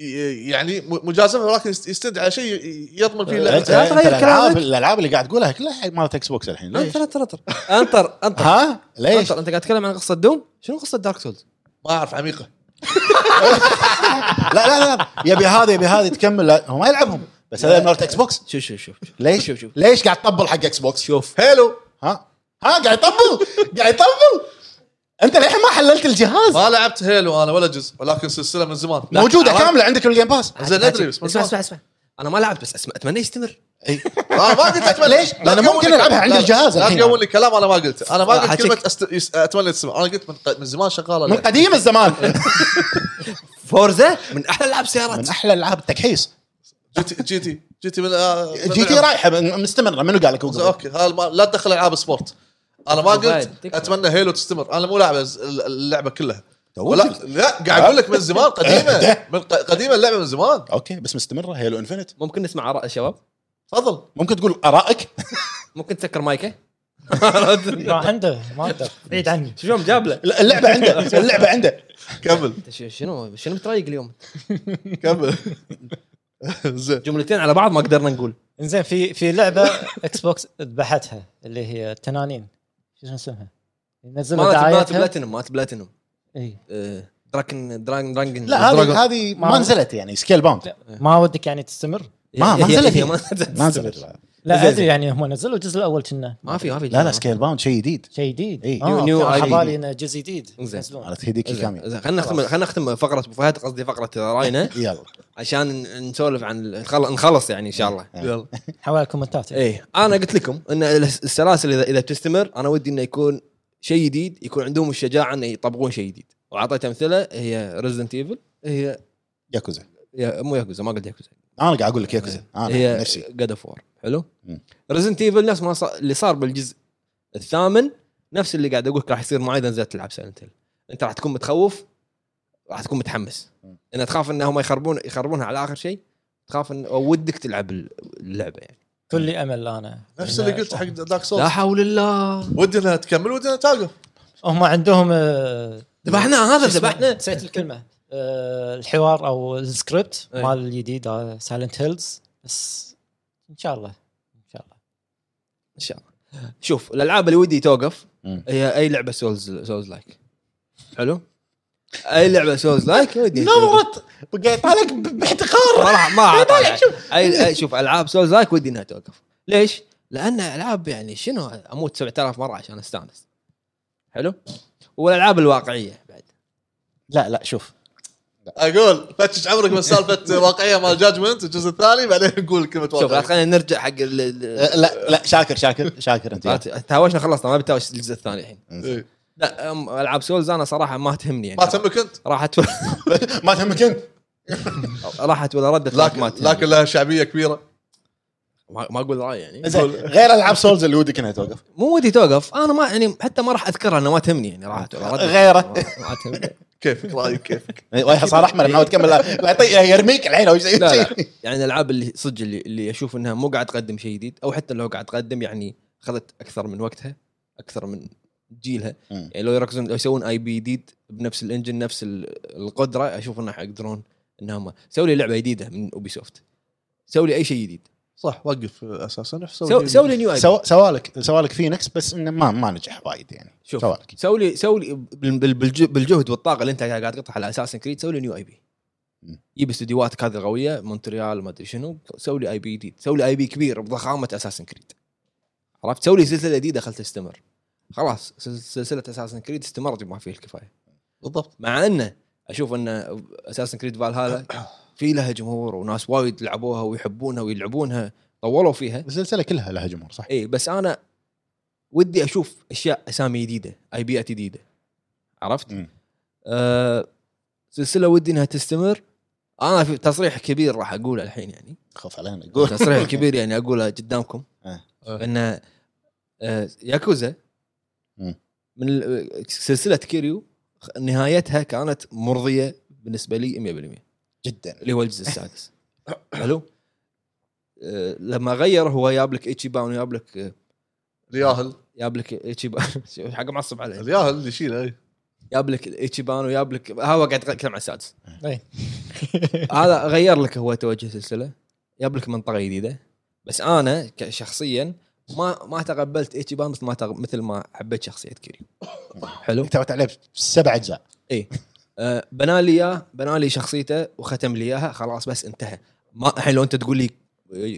S2: ي- يعني م- مجازفه ولكن يست- يستند على شيء ي- يضمن فيه
S5: لا
S2: اللعبه
S4: تغير
S5: الالعاب
S4: كلامك.
S5: الالعاب اللي قاعد تقولها كلها مالت اكس بوكس الحين ليش؟
S4: انطر انطر انطر انطر انطر
S5: ها ليش؟
S4: انطر انت قاعد تتكلم عن قصه دوم شنو قصه دارك سولز؟
S2: ما اعرف عميقه
S5: لا لا لا يبي هذا يبي هذا تكمل لا، هو ما يلعبهم بس هذا مالت اكس بوكس
S4: شوف شوف شوف شوف.
S5: ليش؟
S4: شوف شوف
S5: ليش قاعد تطبل حق اكس بوكس؟
S4: شوف
S2: هيلو
S5: ها ها قاعد يطبل قاعد يطبل انت للحين ما حللت الجهاز
S2: ما لعبت هيلو انا ولا جزء ولكن سلسله من زمان
S4: لا،
S5: موجوده
S4: عرفت.
S5: كامله عندك بالجيم باس
S2: زين ادري بس
S4: اسمع
S2: اسمع
S4: اسمع اسمع انا ما لعبت بس اسمع اتمنى يستمر
S2: انا ما قلت اتمنى
S5: ليش؟ لأنه
S2: تقول
S5: ممكن
S2: لي-
S5: ألعبها عند
S2: لا-
S5: الجهاز
S2: لا
S5: الحين.
S2: تقول لي كلام انا ما قلته انا ما
S4: آه،
S2: قلت كلمه
S4: حكيك.
S2: أست... يس- اتمنى تسمع انا قلت من, ق... من زمان شغاله
S5: من
S2: اللعبة.
S5: قديم الزمان
S4: فورزا من احلى العاب سيارات
S5: من احلى العاب التكحيس
S2: جي تي جي تي جي تي من آه،
S5: جي تي رايحه من- مستمره منو قال لك
S2: زين،
S5: وقف؟
S2: اوكي ها ما... لا تدخل العاب سبورت انا ما
S4: أبو فهد،
S2: قلت
S4: تكفى.
S2: اتمنى هيلو تستمر انا مو لاعب الز- الل- اللعبه كلها
S5: تو
S2: ولا
S5: قلت.
S2: لا قاعد اقول لك من زمان قديمه من ق... قديمه اللعبه من زمان
S5: اوكي بس مستمره هيلو انفنت
S4: ممكن نسمع اراء الشباب
S2: تفضل
S5: ممكن تقول ارائك
S4: ممكن تسكر مايكه
S3: ما عنده ما اقدر بعيد عني
S4: شوف يوم جاب له
S5: لا، اللعبه عنده اللعبه عنده
S2: كمل
S4: أنت ش- شنو شنو مترايق اليوم
S2: كمل زين
S4: جملتين على بعض ما قدرنا نقول
S3: انزين في في لعبه اكس بوكس ذبحتها اللي هي التنانين شو اسمها؟ ينزلوا
S4: مالت مالت
S3: دعايتها
S4: بلاتينوم مالت بلاتينوم
S3: اي
S4: آه، دراكن دراجن دراجن
S5: لا هذه
S4: دراجون.
S5: هذه ما
S3: ما-
S5: نزلت يعني سكيل باوند
S3: ما ودك يعني تستمر؟
S5: ما- ما
S4: هي-
S5: نزلت
S4: هي
S5: هي.
S4: ما نزلت
S5: ما نزلت
S3: لا
S4: زين،
S3: ادري
S4: زين.
S3: يعني هم نزلوا الجزء الاول كنا
S4: ما في ما في
S5: لا لا سكيل باوند شيء جديد
S3: شيء جديد
S5: إي.
S3: اه
S4: نيو-
S3: كان
S4: نيو
S3: على
S4: ID.
S3: بالي انه جزء جديد
S4: إنزين.
S3: ينزلون
S5: مالت هيديكي كامي
S4: زين، خلينا إيه، نختم خلينا نختم فقره ابو فهد قصدي فقره راينا
S5: يلا
S4: عشان ن- نسولف عن ال- نخل- نخلص يعني ان شاء الله
S2: يلا
S3: حوالي كومنتات
S4: ايه انا قلت لكم ان الس- السلاسل اذا اذا بتستمر انا ودي انه يكون شيء جديد يكون عندهم الشجاعه انه يطبقون شيء جديد واعطيت امثله هي ريزدنت ايفل هي
S5: ياكوزا
S4: يا- مو ياكوزا ما قلت ياكوزا
S5: انا قاعد اقول لك ياكوزا انا
S4: إيه. هي
S5: نفسي
S4: جاد اوف وور حلو
S5: مم.
S4: ريزنت ايفل نفس ما صار اللي صار بالجزء الثامن نفس اللي قاعد اقول راح يصير معي اذا نزلت تلعب سايلنت انت راح تكون متخوف راح تكون متحمس
S5: مم.
S4: لان تخاف ان هم يخربون يخربونها على اخر شيء تخاف ان أو ودك تلعب اللعبه يعني
S3: كل امل انا
S2: نفس
S3: إن-
S2: اللي قلت حق دارك
S4: لا
S2: سولز
S4: حول الله
S2: ودي انها تكمل ودي انها توقف
S3: هم عندهم آه،
S4: ذبحنا هذا
S3: شو اسمه؟
S4: ذبحنا
S3: نسيت الكلمه آه، الحوار او السكريبت
S4: أي.
S3: مال الجديد سايلنت هيلز بس ان شاء الله ان شاء الله
S4: ان شاء الله شوف الالعاب اللي ودي توقف
S5: مم.
S4: هي اي لعبه سولز سولز لايك حلو اي لعبه سولز لايك ودي
S5: نورت بقيت عليك ب- باحتقار
S4: صراحه ما عاد
S5: طالع شوف.
S4: اي أي- شوف العاب سولز لايك ودي انها توقف ليش؟ لان العاب يعني شنو اموت 7000 مره عشان استانس حلو؟ والالعاب الواقعيه بعد
S5: لا لا شوف
S2: اقول فتش عمرك من سالفه واقعيه مال جاجمنت الجزء الثاني بعدين نقول كلمه
S4: شوف لا
S2: واقعيه
S4: خلينا نرجع حق ال- ال-
S5: أه، لا لا شاكر شاكر شاكر انت
S4: لا، تهاوشنا خلصنا ما بتهاوش الجزء الثاني الحين
S2: إيه.
S4: لا أم- العاب سولز انا صراحه ما تهمني يعني
S2: ما تهمك انت
S4: راح أتو...
S5: ما تهمك انت
S4: راحت ولا ردت
S2: لكن
S4: ما تهمني.
S2: لكن لها شعبيه كبيره
S4: ما ما اقول راي يعني
S5: زين غير العاب سولز اللي ودك انها توقف
S4: مو ودي توقف انا ما يعني حتى ما راح اذكرها انها ما تهمني يعني راحت ولا ردت
S5: غيره.
S4: ما- ما تهمني
S2: كيفك رايك كيفك
S5: وياها صار احمر ما تكمل لا لا يطي- يرميك الحين او شيء
S4: إيه. لا لا يعني الالعاب اللي صدق اللي, اللي اشوف انها مو قاعد تقدم شيء جديد او حتى لو قاعد تقدم يعني اخذت اكثر من وقتها اكثر من جيلها
S5: مم.
S4: يعني لو يركزون لو يسوون اي بي جديد بنفس الانجن نفس ال- القدره اشوف انه يقدرون انهم سوي لي لعبه جديده من اوبي سوفت سوي لي اي شيء جديد
S2: صح وقف اساسا
S4: سوي سوي لي نيو اي
S5: سوا- سوالك سوالك فينكس بس انه ما ما نجح وايد يعني
S4: شوف.
S5: سوالك
S4: سوي لي سوي لي بال- بال- بالج- بالجهد والطاقه اللي انت قاعد تقطعها على اساس كريد سوي لي نيو اي بي
S5: مم.
S4: يجيب استديوهاتك هذه القويه مونتريال ما ادري شنو سوي لي اي بي جديد سوي لي اي بي كبير بضخامه اساسن كريد عرفت سوي لي سلسله جديده خل تستمر خلاص سل- سلسله اساسن كريد استمرت بما فيه الكفايه
S2: بالضبط
S4: مع انه اشوف ان اساسن كريد فالهالا في لها جمهور وناس وايد لعبوها ويحبونها ويلعبونها طولوا فيها
S5: السلسله كلها لها جمهور صح
S4: اي إيه، بس انا ودي اشوف اشياء اسامي جديده اي بيئات جديده عرفت؟
S5: مم.
S4: آه، سلسله ودي انها تستمر انا في تصريح كبير راح اقوله الحين يعني
S5: خاف علينا قول
S4: تصريح كبير يعني اقوله قدامكم
S5: آه.
S4: ان آه، ياكوزا
S5: مم.
S4: من ال- سلسله كيريو خ- نهايتها كانت مرضيه بالنسبه لي 100%
S5: جدا
S4: اللي هو الجزء السادس حلو آه، لما غير هو جاب لك ايتشيبان وجاب لك آه،
S2: الياهل
S4: جاب لك ايتشيبان شوف، حق معصب علي
S2: الياهل اللي يشيله اي
S4: جاب لك ايتشيبان وجاب لك ها هو قاعد يتكلم عن السادس
S3: إي.
S4: هذا غير لك هو توجه السلسله جاب لك منطقه جديده بس انا ك- شخصيا ما ما تقبلت ايتشيبان مثل ما تغ... مثل ما حبيت شخصيه كيريو حلو
S5: تعبت عليه سبع اجزاء
S4: آه بنى لي اياه بنى لي شخصيته وختم لي اياها خلاص بس انتهى ما الحين لو انت تقول لي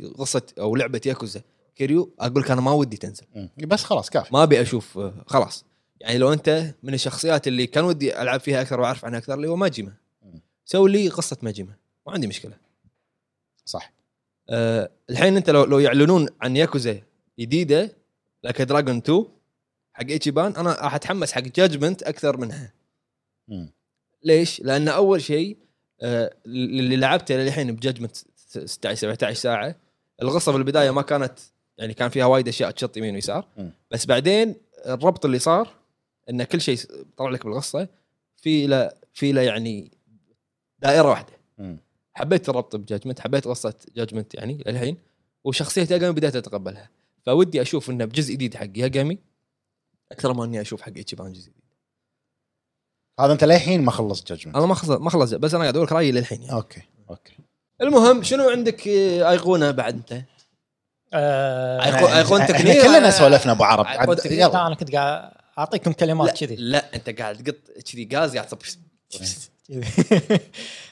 S4: قصه او لعبه ياكوزا كيريو اقول لك انا ما ودي تنزل
S5: مم. بس خلاص كافي
S4: ما ابي اشوف آه، خلاص يعني لو انت من الشخصيات اللي كان ودي العب فيها اكثر واعرف عنها اكثر اللي هو ماجيما
S5: مم.
S4: سوي لي قصه ماجيما ما عندي مشكله
S5: صح
S4: أه الحين انت لو لو يعلنون عن ياكوزا جديده لك دراجون 2 حق ايتشيبان انا راح اتحمس حق جاجمنت اكثر منها
S5: مم.
S4: ليش؟ لان اول شيء أه اللي لعبته للحين بجاجمنت 16 17 ساعه القصه بالبدايه ما كانت يعني كان فيها وايد اشياء تشط يمين ويسار
S5: مم.
S4: بس بعدين الربط اللي صار ان كل شيء طلع لك بالقصه في له في له يعني دائره واحده
S5: مم.
S4: حبيت الربط بجاجمنت حبيت قصه جاجمنت يعني للحين وشخصيه ياجامي بدات اتقبلها فودي اشوف انه بجزء جديد حق ياجامي اكثر ما اني اشوف حق ايتشيبان جزء جديد
S5: هذا انت للحين ما خلصت جاجمنت
S4: انا ما خلص ما خلص بس انا قاعد اقول لك رايي للحين يعني.
S5: اوكي اوكي
S4: المهم شنو عندك آه، ايقونه بعد انت؟
S3: آه،
S4: أيقونة
S3: أنا-
S4: أيقونة
S5: يعني إحنا
S4: تقنية.
S5: كلنا سولفنا ابو عرب
S4: أيقونة
S5: عد-
S4: تقنية.
S5: يلا
S3: لا انا كنت قاعد اعطيكم كلمات
S4: لا,
S3: كذي
S4: لا انت قاعد تقط كذي غاز قاعد تصب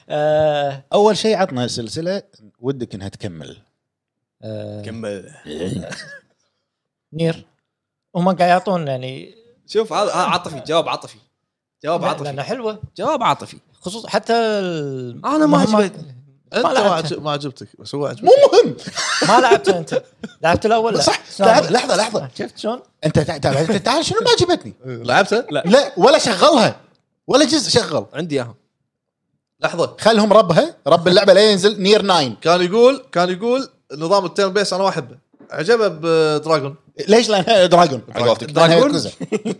S3: آه،
S5: اول شيء عطنا سلسله ودك انها تكمل
S3: آه،
S4: كمل
S3: نير هم قاعد يعطون يعني
S4: شوف هذا هذا عاطفي جواب عاطفي جواب
S3: لانها
S4: عاطفي
S3: حلوه
S4: جواب عاطفي
S3: خصوصا حتى ال-
S4: أنا ما
S3: مهما-
S4: عجبتني.
S2: انت ما,
S3: لعبتها.
S2: عجب- ما عجبتك بس هو عجبك
S5: مو مهم
S3: ما لعبته انت لعبت الاول لا
S5: صح
S3: شلون؟
S5: لحظه لحظه لحظه
S3: شفت شلون؟
S5: انت تع- تع- تعال شنو ما عجبتني
S2: لعبته؟ لا
S5: لا ولا شغلها ولا جزء شغل
S4: عندي اياهم
S2: لحظه
S5: خلهم ربها رب اللعبه لا ينزل نير ناين
S2: كان يقول كان يقول نظام التيرن بيس انا ما احبه عجبه بدراجون
S5: ليش لانها دراجون على قولتك لانها
S4: دراجون؟
S5: ياكوزا
S4: لا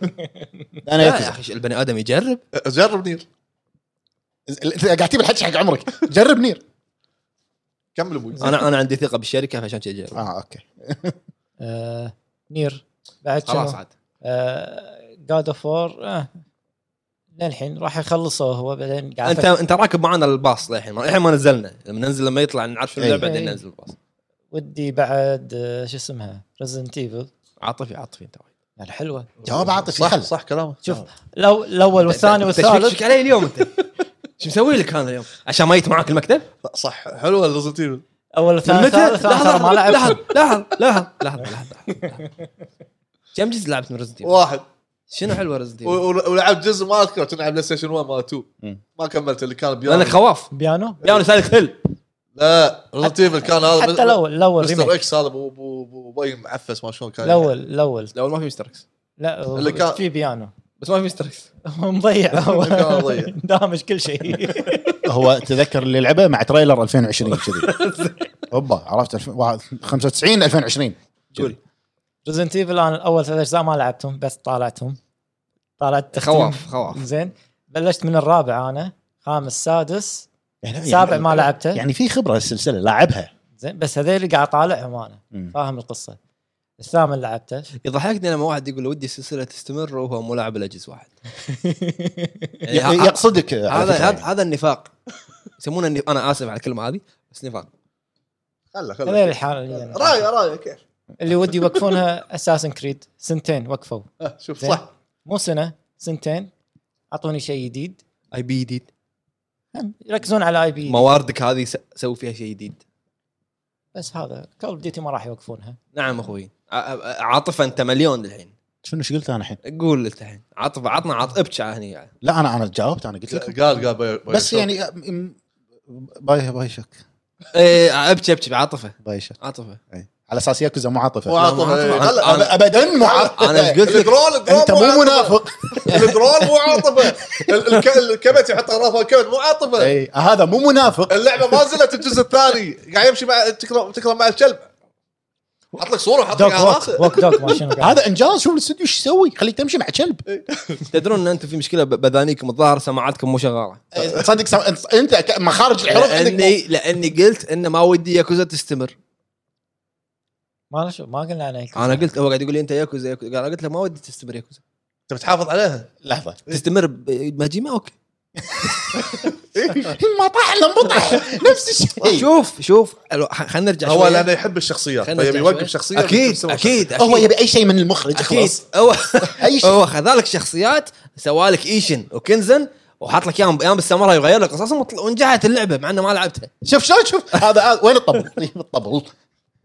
S5: لانها
S4: يا
S5: ياكوزا
S4: اخي البني ادم يجرب
S2: جرب نير
S5: انت قاعد تجيب الحكي حق عمرك جرب نير
S2: كمل ابوي
S4: انا انا عندي ثقه بالشركه فعشان كذا اجرب
S5: اه اوكي
S3: آه نير بعد
S4: خلاص
S3: شنو
S4: عاد
S3: جاد اوف وور آه، للحين راح يخلصه هو بعدين قاعد
S4: انت
S3: أفكر.
S4: انت راكب معنا الباص للحين ما- للحين ما نزلنا لما ننزل لما يطلع نعرف شنو اللعبه
S3: إيه.
S4: بعدين ننزل الباص
S3: ودي بعد آه، شو اسمها ريزنت ايفل
S4: عاطفي عاطفي انت
S3: يعني حلوه
S5: جواب عاطفي
S2: صح
S5: خل
S2: صح كلامك
S3: شوف لو الاول والثاني والثالث
S4: ايش علي اليوم انت؟ شو مسوي لك انا اليوم؟ عشان ميت معاك المكتب؟
S2: لا، صح حلوه الريزنت ايفل
S3: اول والثاني والثالث ترى
S4: لحظة،
S3: ما
S4: لحظة،
S3: لعبت
S4: لحظة لحظة لحظة لحظة لحظة لحظة. كم جزء لعبت من ريزنت ايفل؟
S2: واحد
S4: شنو حلوه ريزنت
S2: و-
S4: ايفل؟
S2: و- ولعبت جزء ما اذكر كنا على بلاي ستيشن 1 ما 2
S5: مم.
S2: ما كملت اللي كان بيانو
S4: لانك خواف
S3: بيانو
S4: بيانو سالك ثل
S2: لا ريزنت ايفل كان هذا
S3: حتى الاول الاول
S2: مستر
S3: ريميك
S2: اكس هذا ابو ابو ابو ابوي معفس ما شلون كان
S3: الاول الاول
S4: لو ما في مستر اكس
S3: لا
S2: يعني. اللي كان-
S3: في بيانو
S4: بس ما في مستر اكس
S3: مضيع هو
S2: كان مضيع.
S3: دامج كل شيء
S5: هو تذكر اللي لعبه مع تريلر 2020 كذي هوبا عرفت 95 2020
S4: قول
S3: ريزنت ايفل انا اول ثلاث اجزاء ما لعبتهم بس طالعتهم طالعت
S4: خواف خواف
S3: زين بلشت من الرابع انا خامس سادس
S5: يعني-
S3: سابع
S5: يعني-
S3: ما لعبته
S5: يعني في خبره السلسله لاعبها
S3: زين بس هذيل قاعد طالعهم انا
S5: مم.
S3: فاهم القصه الثامن لعبته
S4: يضحكني لما واحد يقول ودي السلسله تستمر وهو مو لاعب الا جزء واحد يعني
S5: ي-
S4: ه-
S5: يقصدك على
S4: هذا
S5: فكرة
S4: هذا
S5: يعني.
S4: هذا النفاق يسمونه النف- انا اسف على الكلمه هذه بس نفاق
S2: خله خله
S3: هذيل حاليا
S2: رايه رايه كيف
S3: اللي ودي يوقفونها اساسن كريد سنتين وقفوا
S2: آه، شوف
S3: زين.
S2: صح
S3: مو سنه سنتين اعطوني شيء جديد
S4: اي بي جديد
S3: هم يركزون على اي بي
S4: مواردك هذه س- سوي فيها شيء جديد
S3: بس هذا كول أوف ديوتي ما راح يوقفونها
S4: نعم اخوي ع- ع- عاطفه انت مليون الحين
S5: شنو ايش قلت انا الحين؟
S4: قول انت الحين عاطفه عطنا عاط ابشع هني يعني.
S5: لا انا انا جاوبت انا قلت لك
S2: قال قال باي- باي
S5: بس
S2: شوف.
S5: يعني أم- باي باي شك
S4: ايه ابشي ابشي بعاطفه
S5: باي شك
S4: عاطفه
S5: على اساس ياكوزا مو
S2: مو
S5: عاطفه
S4: لا،
S2: عاطفة،
S4: معاطفة.
S2: إيه.
S4: أنا-
S2: خله-
S4: أنا-
S5: ابدا مو عاطفه
S4: انا ايش قلت لك؟
S2: الدرون الدرون
S5: انت مو
S2: عاطفة.
S5: منافق
S2: الدرون مو عاطفه ال- الك- الكبت يحط اغراض الكبت مو عاطفه
S5: اي هذا مو منافق
S2: اللعبه ما نزلت الجزء الثاني قاعد يمشي مع تكرم تكرم مع الكلب حط لك صوره وحط لك
S3: دوك
S2: على
S3: ووك
S2: راسه
S3: ووك دوك ما شنو قاعد.
S5: هذا انجاز شوف الاستوديو ايش يسوي خليك تمشي مع كلب
S4: تدرون ان انتم في مشكله ب- بذانيكم الظاهر سماعاتكم مو شغاله
S5: صدق سم... أنت- انت ك- مخارج الحروف عندك مو-
S4: لاني لاني قلت انه ما ودي ياكوزا تستمر
S3: ما شو ما قلنا انا
S5: آه.
S3: هيك.
S4: انا قلت هو قاعد يقول لي انت ياكوزا ياكوزا قال قلت له ما ودي تستمر ياكوزا
S2: انت بتحافظ عليها
S5: لحظه
S4: تستمر بماجيما اوكي
S5: ما طاح الا انبطح نفس الشيء
S4: شوف شوف خلينا نرجع
S2: هو
S4: شوية.
S2: لانه يحب الشخصيات
S4: خلينا
S2: فيبي
S4: نرجع
S2: يوقف
S4: شوي.
S2: شخصيه
S4: اكيد
S2: ويسوي شخصية.
S4: اكيد
S5: هو
S4: أكيد.
S5: يبي اي شيء من المخرج
S4: اكيد
S5: خلاص
S4: هو
S5: اي شيء
S4: هو خذ لك شخصيات سوى لك ايشن وكنزن وحط لك اياهم ايام الساموراي وغير لك قصصهم وطل- ونجحت اللعبه مع انه ما لعبتها
S5: شوف شلون شوف هذا هذا- وين الطبل طيب، الطبل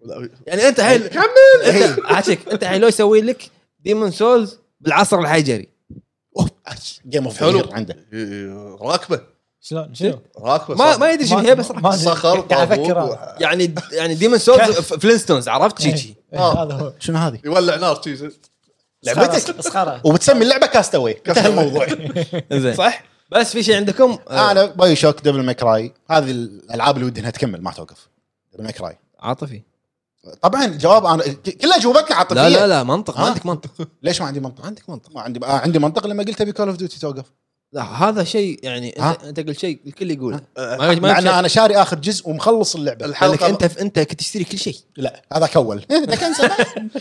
S2: لا،
S4: يعني انت هاي كمل عاشك انت هاي لو يسوي لك ديمون سولز بالعصر الحجري
S5: جيم اوف
S2: حلو
S5: حلو عنده
S2: إيه، راكبه
S3: شلون شنو
S2: راكبه
S4: ما
S2: صح.
S4: ما يدري شنو هي بس راح-
S3: ما-
S2: صخر
S3: قاعد
S2: طابوق،
S3: افكر
S2: و-
S3: أنا.
S4: يعني يعني ديمون سولز فلينستونز عرفت شي شي
S3: إيه،
S2: آه.
S3: هذا هو
S5: شنو هذه؟
S2: يولع نار شي
S5: لعبتك
S3: مسخره
S5: وبتسمي اللعبه كاستوي انتهى الموضوع
S4: زين صح بس في شيء عندكم آه،
S5: انا باي شوك دبل ماكراي هذه الالعاب اللي ودي انها تكمل ما توقف دبل ماكراي
S4: آه، عاطفي
S5: طبعا جواب انا ك- كل اجوبتنا عاطفيه
S4: لا لا لا منطق ما
S5: ها؟
S4: عندك منطق
S5: ليش ما عندي منطق؟
S4: عندك منطق
S5: ما عندي آه عندي منطق لما قلت ابي كول اوف ديوتي توقف
S4: لا هذا شيء يعني انت,
S5: ها؟
S4: انت قلت شيء الكل يقوله
S2: آه،
S4: ما ما
S5: مع ان
S4: يمشي.
S5: انا شاري اخر جزء ومخلص اللعبه
S4: لانك
S2: الحلقه
S4: انت انت كنت تشتري كل شيء
S5: لا هذاك اول ده كان زمان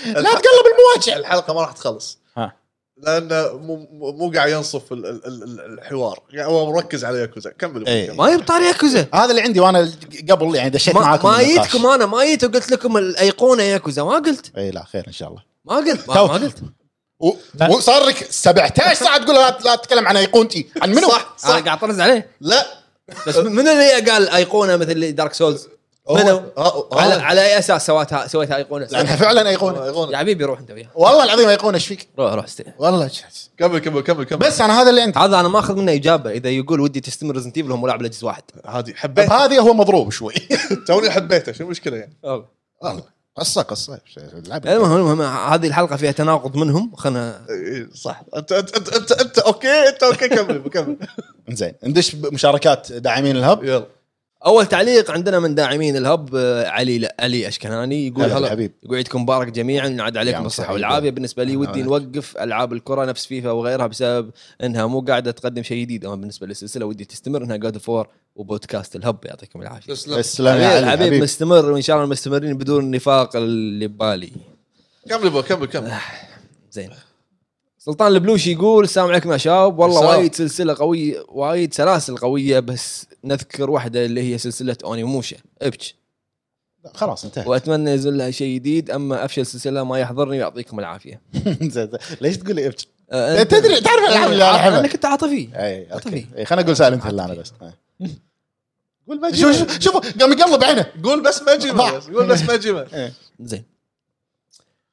S5: لا تقلب المواجع
S2: الحلقه ما راح تخلص
S5: ها.
S2: لانه مو مو- مو قاعد ينصف ال- ال- ال- الحوار يعني هو مركز على ياكوزا كمل
S5: إيه.
S4: ما يبطل ياكوزا
S5: هذا اللي عندي وانا قبل يعني دشيت
S4: ما,
S5: معاكم
S4: ما
S5: بالنقاش.
S4: جيتكم انا ما جيت وقلت لكم الايقونه ياكوزا ما قلت
S5: اي لا خير ان شاء الله
S4: ما قلت ما,
S5: تو.
S4: ما قلت
S5: و-
S3: لا.
S5: وصار لك 17 ساعه تقول لا لا تتكلم عن ايقونتي عن منو
S2: صح
S4: انا
S2: صح
S4: قاعد اطرز عليه
S2: لا
S4: بس من اللي قال ايقونه مثل دارك سولز منو؟
S2: هو-
S4: على, آه.
S2: هو-
S4: على اي اساس سويتها سويتها ايقونه
S5: لانها فعلا ايقونه
S4: يا
S2: يغون.
S4: حبيبي روح انت وياه
S5: والله العظيم ايقونه ايش فيك؟
S4: روح روح استريح
S5: والله ش-
S2: كمل كمل كمل كمل
S5: بس انا هذا اللي عندي
S4: هذا انا ماخذ منه اجابه اذا يقول ودي تستمر ريزنت ايفل هم لاعب لجزء واحد
S2: هادي
S5: طب
S2: حبيت
S5: هذه هو مضروب شوي
S2: توني حبيته شو المشكله يعني
S5: والله قصه قصه ش- لعبة.
S4: المهم المهم هذه الحلقه فيها تناقض منهم خلنا
S2: إيه، صح انت انت انت انت, انت اوكي انت اوكي كمل كمل
S5: زين ندش بمشاركات داعمين الهب
S2: يلا
S4: اول تعليق عندنا من داعمين الهب آه، علي لا علي اشكناني يقول
S5: هلا
S4: هلا
S5: حبيب
S4: يقول عيدكم مبارك جميعا ينعاد عليكم
S5: يا
S4: بالصحه
S5: مسعيد.
S4: والعافيه بالنسبه لي ودي
S5: أنا-
S4: نوقف العاب الكره نفس فيفا وغيرها بسبب انها مو قاعده تقدم شيء جديد اما بالنسبه للسلسله ودي تستمر انها جود فور وبودكاست الهب يعطيكم العافيه
S2: تسلم
S5: تسلم يا
S4: حبيب,
S5: علي
S4: حبيب
S5: حبيب
S4: مستمر وان شاء الله مستمرين بدون النفاق اللي ببالي
S2: كمل يبا، كمل كمل
S4: زين سلطان البلوشي يقول السلام عليكم يا شباب والله
S2: السلام.
S4: وايد سلسله قويه وايد سلاسل قويه بس نذكر واحده اللي هي سلسله اونيموشا ابش
S5: خلاص انتهى
S4: واتمنى ينزل لها شيء جديد اما افشل سلسله ما يحضرني ويعطيكم العافيه
S5: زين، زين. ليش تقول لي ابكي؟
S4: أه، أنت-
S5: إيه، تدري- تعرف الألعاب اللي أنا
S4: أنا-
S5: أحبها.
S4: انا كنت عاطفي
S5: اي اوكي
S4: عاطفي.
S5: إي، إيه، خليني اقول سالم هلا انا بس إي.
S2: قول ما
S5: شوف شوف شوف قام يقلب عينه
S2: قول بس ما جيبه بس، قول بس ما جيبه
S4: زين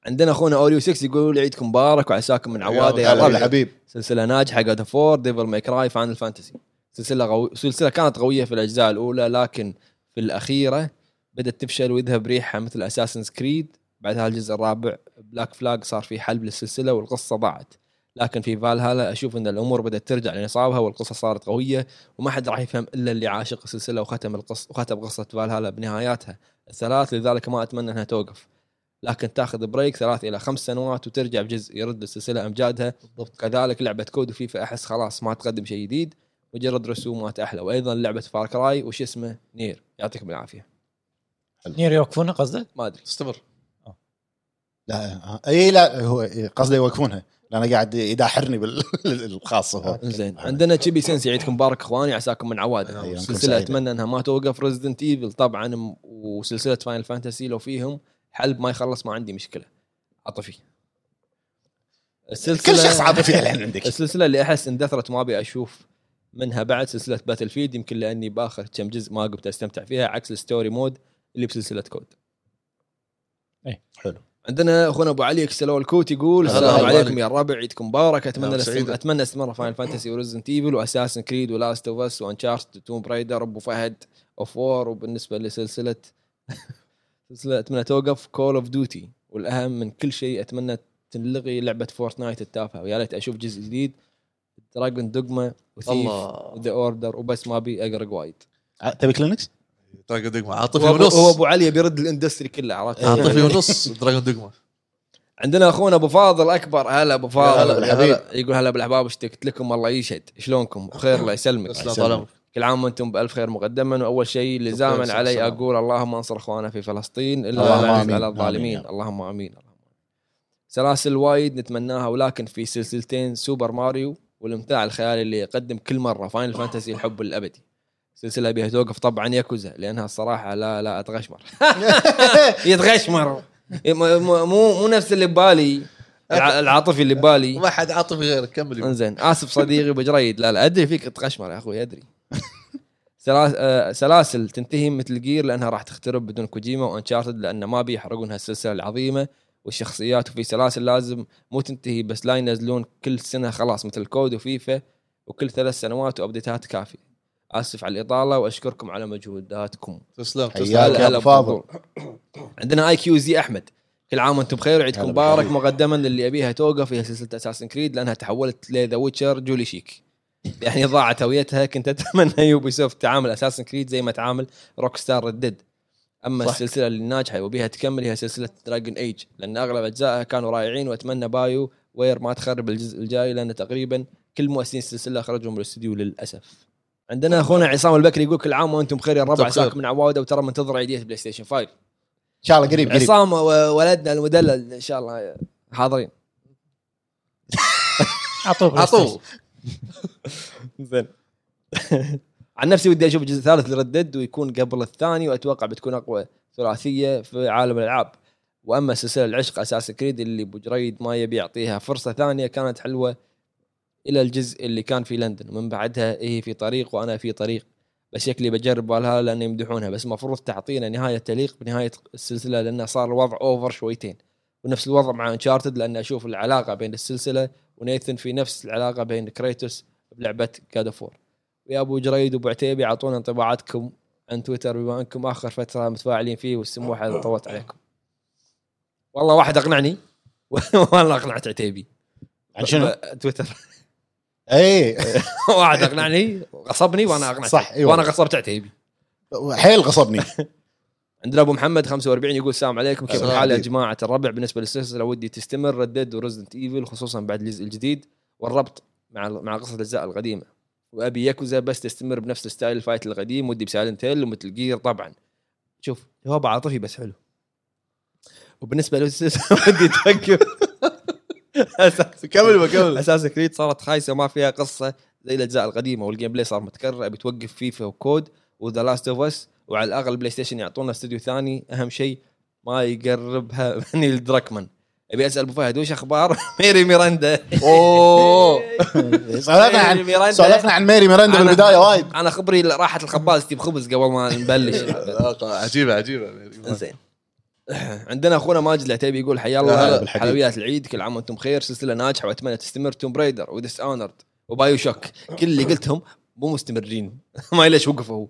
S4: عندنا اخونا اوريو 6 يقول عيدكم مبارك وعساكم من عواده يا
S5: هلا
S4: رب
S5: حبيب
S4: سلسله ناجحه جاد فور ديفل ماي كراي فاينل فانتسي سلسله غو... سلسله كانت قويه في الاجزاء الاولى لكن في الاخيره بدات تفشل ويذهب ريحها مثل اساسن كريد بعدها الجزء الرابع بلاك فلاج صار في حلب للسلسله والقصه ضاعت لكن في فالهالا اشوف ان الامور بدات ترجع لنصابها والقصه صارت قويه وما حد راح يفهم الا اللي عاشق السلسله وختم القص وختم قصه فالهالا بنهاياتها الثلاث لذلك ما اتمنى انها توقف لكن تاخذ بريك ثلاث الى خمس سنوات وترجع بجزء يرد السلسله امجادها بالضبط كذلك لعبه كود وفيفا احس خلاص ما تقدم شيء جديد مجرد رسومات احلى وايضا لعبه فار كراي وش اسمه نير يعطيكم العافيه
S3: نير يوقفونه قصده؟
S4: ما ادري
S2: استمر
S5: لا اي لا هو إي، قصده يوقفونها لان قاعد يداحرني بال- بالخاص
S2: آه.
S5: هو
S4: زين عندنا تشيبي سنسي عيدكم مبارك اخواني عساكم من عواده
S5: أيامكم
S4: سلسله
S5: سعيدة.
S4: اتمنى انها ما توقف ريزدنت ايفل طبعا م- وسلسله فاينل فانتسي لو فيهم حلب ما يخلص ما عندي مشكله عاطفي السلسله
S5: كل شخص عاطفي الحين عندك
S4: السلسله اللي احس اندثرت ما ابي اشوف منها بعد سلسله باتل فيلد يمكن لاني باخر كم جزء ما قمت استمتع فيها عكس الستوري مود اللي بسلسله كود
S5: حلو
S4: عندنا اخونا ابو علي اكسلو الكوت يقول
S2: هلا
S4: السلام
S2: أبو علي. نعم،
S4: عليكم يا الربع عيدكم مبارك اتمنى
S2: يا أبو
S4: لست...
S2: سعيد.
S4: اتمنى استمر فاينل فانتسي وريزنت ايفل واساسن كريد ولاست اوف اس وانشارت توم برايدر ابو فهد اوف وور وبالنسبه لسلسله سلسله اتمنى توقف كول اوف ديوتي والاهم من كل شيء اتمنى تنلغي لعبه فورتنايت التافهه ويا ليت اشوف جزء جديد دراجون دوجما وثيف
S2: الله.
S4: ذا اوردر وبس ما ابي اقرق وايد
S5: ع- آه، تبي كلينكس؟
S2: دراجون دوجما
S4: هو
S2: عاطفي
S4: أبو- هو
S2: ونص إيه.
S4: ابو علي بيرد الاندستري كله عرفت
S2: عاطفي ونص دراجون دوجما
S4: عندنا اخونا ابو فاضل اكبر هلا ابو فاضل
S2: هلا
S5: بالحبيب.
S4: هلا. يقول هلا بالاحباب اشتقت لكم الله يشهد شلونكم بخير الله يسلمك
S2: تسلم طال عمرك
S4: كل عام وانتم بالف خير مقدما واول شيء
S2: شكراً،
S4: لزاما
S2: سلام،
S4: علي
S2: سلام.
S4: اقول اللهم انصر اخواننا في فلسطين الا
S5: اللهم
S4: لا يعز
S5: آمين. آمين
S4: على
S5: يا
S4: الظالمين
S5: رب.
S4: اللهم امين اللهم آمين. سلاسل وايد نتمناها ولكن في سلسلتين سوبر ماريو والامتاع الخيالي اللي يقدم كل مره فاينل فانتسي الحب الابدي سلسله بها توقف طبعا ياكوزا لانها الصراحه لا لا اتغشمر يتغشمر مو مو مو نفس اللي ببالي الع- العاطفي اللي ببالي
S2: ما حد عاطفي غيرك كمل يبا.
S4: انزين اسف صديقي ابو جريد لا لا ادري فيك تقشمر يا اخوي ادري سلاس- آه، سلاسل تنتهي مثل جير لانها راح تخترب بدون كوجيما وانشارتد لان ما بيحرقون هالسلسله العظيمه والشخصيات وفي سلاسل لازم مو تنتهي بس لا ينزلون كل سنه خلاص مثل كود وفيفا وكل ثلاث سنوات وابديتات كافيه اسف على الاطاله واشكركم على مجهوداتكم
S2: تسلم
S5: حياك
S2: تسلم
S5: يا أبو فاضل.
S4: بالموضوع. عندنا اي كيو زي احمد كل عام وانتم بخير وعيدكم
S5: هلا
S4: مبارك
S5: بالحبيب.
S4: مقدما للي ابيها توقف هي سلسله اساسن كريد لانها تحولت لذا ويتشر جولي شيك يعني ضاعت هويتها كنت اتمنى يوبي سوفت تعامل اساسن كريد زي ما تعامل روك ستار ردد اما
S2: صح.
S4: السلسله اللي ناجحه وبيها تكمل هي سلسله دراجون ايج لان اغلب اجزائها كانوا رائعين واتمنى بايو وير ما تخرب الجزء الجاي لان تقريبا كل مؤسسين السلسله خرجوا من الاستوديو للاسف عندنا اخونا عصام البكري يقول كل عام وانتم بخير يا الربع
S2: طيب. بخير.
S4: عساكم من عواده وترى منتظر عيديه بلاي ستيشن 5
S5: ان شاء الله
S2: طيب،
S5: قريب قريب
S4: عصام وولدنا المدلل ان شاء الله حاضرين
S3: اعطوه بلاي ستيشن.
S2: عطوه
S4: زين عن نفسي ودي اشوف الجزء الثالث لردد ويكون قبل الثاني واتوقع بتكون اقوى ثلاثيه في عالم الالعاب واما سلسله العشق اساس كريد اللي ابو جريد ما يبي يعطيها فرصه ثانيه كانت حلوه الى الجزء اللي كان في لندن ومن بعدها هي في طريق وانا في طريق بس شكلي بجرب بالها لان يمدحونها بس المفروض تعطينا نهايه تليق بنهايه السلسله لانه صار الوضع اوفر شويتين ونفس الوضع مع انشارتد لان اشوف العلاقه بين السلسله ونيثن في نفس العلاقه بين كريتوس بلعبه كادفور ويا ابو جريد وابو عتيبي اعطونا انطباعاتكم عن تويتر بما انكم اخر فتره متفاعلين فيه والسموحه طوت عليكم والله واحد اقنعني والله اقنعت عتيبي
S5: عن شنو؟
S4: ب- تويتر
S5: اي
S4: إيه، واحد اقنعني غصبني وانا اقنعت
S5: صح، أيوة.
S4: وانا غصبت عتيبي
S5: حيل غصبني
S4: عندنا ابو محمد 45 يقول السلام عليكم كيف
S2: السلام
S4: الحال يا
S2: عليكم.
S4: جماعه الربع بالنسبه للسلسله ودي تستمر ردد ورزدنت ايفل خصوصا بعد الجزء الجديد والربط مع مع قصه الاجزاء القديمه وابي ياكوزا بس تستمر بنفس الستايل الفايت القديم ودي بسايلنت هيل ومثل جير طبعا شوف جواب عاطفي بس حلو وبالنسبه للسلسله ودي تفكر أساس-
S2: كمل كمل
S4: اساس كريد صارت خايسه وما فيها قصه زي الاجزاء القديمه والجيم بلاي صار متكرر ابي توقف فيفا وكود وذا لاست اوف اس وعلى الاغلب بلاي ستيشن يعطونا استوديو ثاني اهم شيء ما يقربها من الدراكمان ابي اسال ابو فهد وش اخبار ميري ميراندا
S2: اوه
S5: سولفنا
S4: ميري
S5: عن
S4: ميراندا.
S5: سولفنا عن ميري ميرندا
S4: أنا-
S5: بالبدايه وايد
S4: انا خبري راحت الخباز تجيب خبز قبل ما نبلش
S2: عجيبه عجيبه
S4: زين عندنا اخونا ماجد العتيبي يقول حيا
S2: يا هلا
S4: الله
S5: بالحبيب.
S4: حلويات العيد كل عام وانتم بخير سلسله ناجحه واتمنى تستمر توم برايدر وديس اونرد وبايو شوك كل اللي قلتهم مو مستمرين ما ليش وقفوا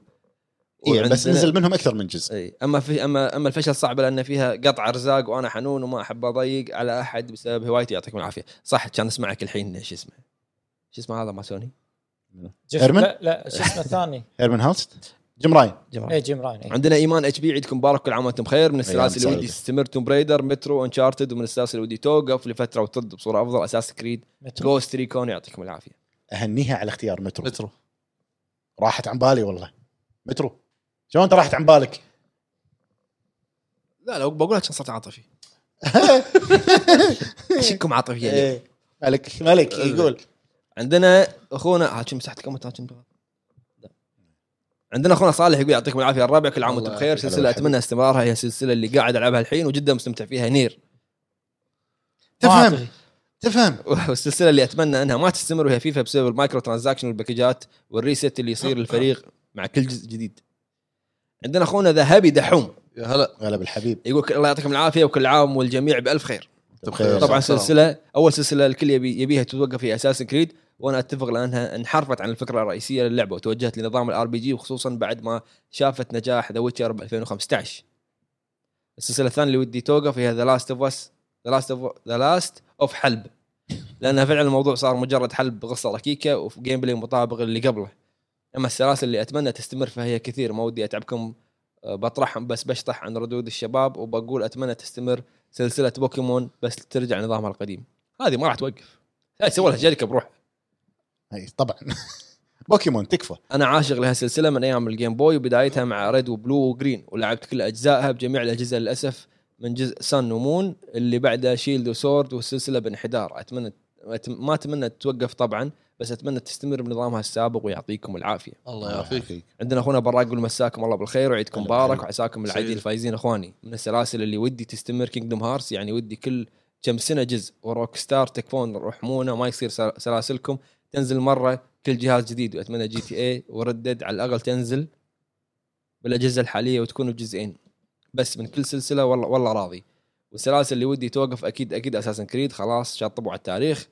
S5: إيه، بس
S4: وعندنا- إيه.
S5: نزل منهم اكثر من جزء
S4: اي اما في اما اما الفشل صعب لان فيها قطع ارزاق وانا حنون وما احب اضيق على احد بسبب هوايتي يعطيكم العافيه صح كان اسمعك الحين شو اسمه شو اسمه هذا مع سوني
S3: جف-
S5: إيرمن؟
S3: لا لا شو اسمه الثاني؟
S5: هيرمن هاوست جيم راين
S4: جمال.
S3: اي جيم راين إيه.
S4: عندنا ايمان اتش بي عيدكم مبارك كل عام وانتم بخير من السلاسل اللي
S5: سعيدة.
S4: ودي تستمر توم برايدر مترو انشارتد ومن السلاسل اللي ودي توقف لفتره وترد بصوره افضل اساس كريد
S3: مترو.
S4: جوست ريكون يعطيكم العافيه
S5: اهنيها على اختيار مترو
S2: مترو
S5: راحت عن بالي والله مترو شلون انت راحت عن بالك؟
S4: لا لو بقولها كان صرت عاطفي اشكم عاطفيه اليوم.
S5: إيه. ملك ملك يقول
S4: يعني. عندنا اخونا هاشم مسحت كومنت هاشم لا. عندنا اخونا صالح يقول يعطيكم العافيه الرابع كل عام وانتم
S5: الله
S4: بخير
S5: يعافيك.
S4: سلسله
S5: هلا
S4: اتمنى استمرارها هي السلسله اللي قاعد العبها الحين وجدا مستمتع فيها نير
S5: تفهم
S3: عاطفي.
S5: تفهم
S4: والسلسله اللي اتمنى انها ما تستمر وهي فيفا بسبب المايكرو ترانزاكشن والباكجات والريست اللي يصير للفريق مع كل جزء جديد عندنا اخونا ذهبي دحوم
S2: يا هلا
S5: غلب الحبيب
S4: يقول الله يعطيكم العافيه وكل عام والجميع بالف خير
S5: بخير.
S4: طبعا
S2: سلام.
S4: سلسله اول سلسله الكل يبي يبيها تتوقف في اساس كريد وانا اتفق لانها انحرفت عن الفكره الرئيسيه للعبه وتوجهت لنظام الار بي جي وخصوصا بعد ما شافت نجاح ذا ويتشر ب 2015 السلسله الثانيه اللي ودي توقف هي ذا لاست اوف اس ذا لاست اوف ذا لاست اوف حلب لانها فعلا الموضوع صار مجرد حلب بقصه ركيكه وجيم بلاي مطابق اللي قبله اما السلاسل اللي اتمنى تستمر فهي كثير ما ودي اتعبكم أه، بطرحهم بس بشطح عن ردود الشباب وبقول اتمنى تستمر سلسله بوكيمون بس ترجع نظامها القديم هذه ما راح توقف هاي سوى لها شركه بروح
S5: أي، طبعا بوكيمون تكفى
S4: انا عاشق لهالسلسله من ايام الجيم بوي وبدايتها مع ريد وبلو وجرين ولعبت كل اجزائها بجميع الاجهزه للاسف من جزء سان ومون اللي بعدها شيلد وسورد والسلسله بانحدار اتمنى أت- ما اتمنى تتوقف طبعا بس اتمنى تستمر بنظامها السابق ويعطيكم العافيه
S2: الله يعافيك
S4: عندنا اخونا براق يقول مساكم الله بالخير وعيدكم
S5: هلا
S4: مبارك
S5: بالحبيب.
S4: وعساكم العديد
S2: سيد.
S4: الفايزين اخواني من السلاسل اللي ودي تستمر كينجدم هارس يعني ودي كل كم سنه جزء وروك ستار تكفون رحمونا ما يصير سل- سلاسلكم تنزل مره كل جهاز جديد واتمنى جي تي اي وردد على الاقل تنزل بالاجهزه الحاليه وتكون بجزئين بس من كل سلسله والله والله راضي والسلاسل اللي ودي توقف اكيد اكيد اساسا كريد خلاص شطبوا على التاريخ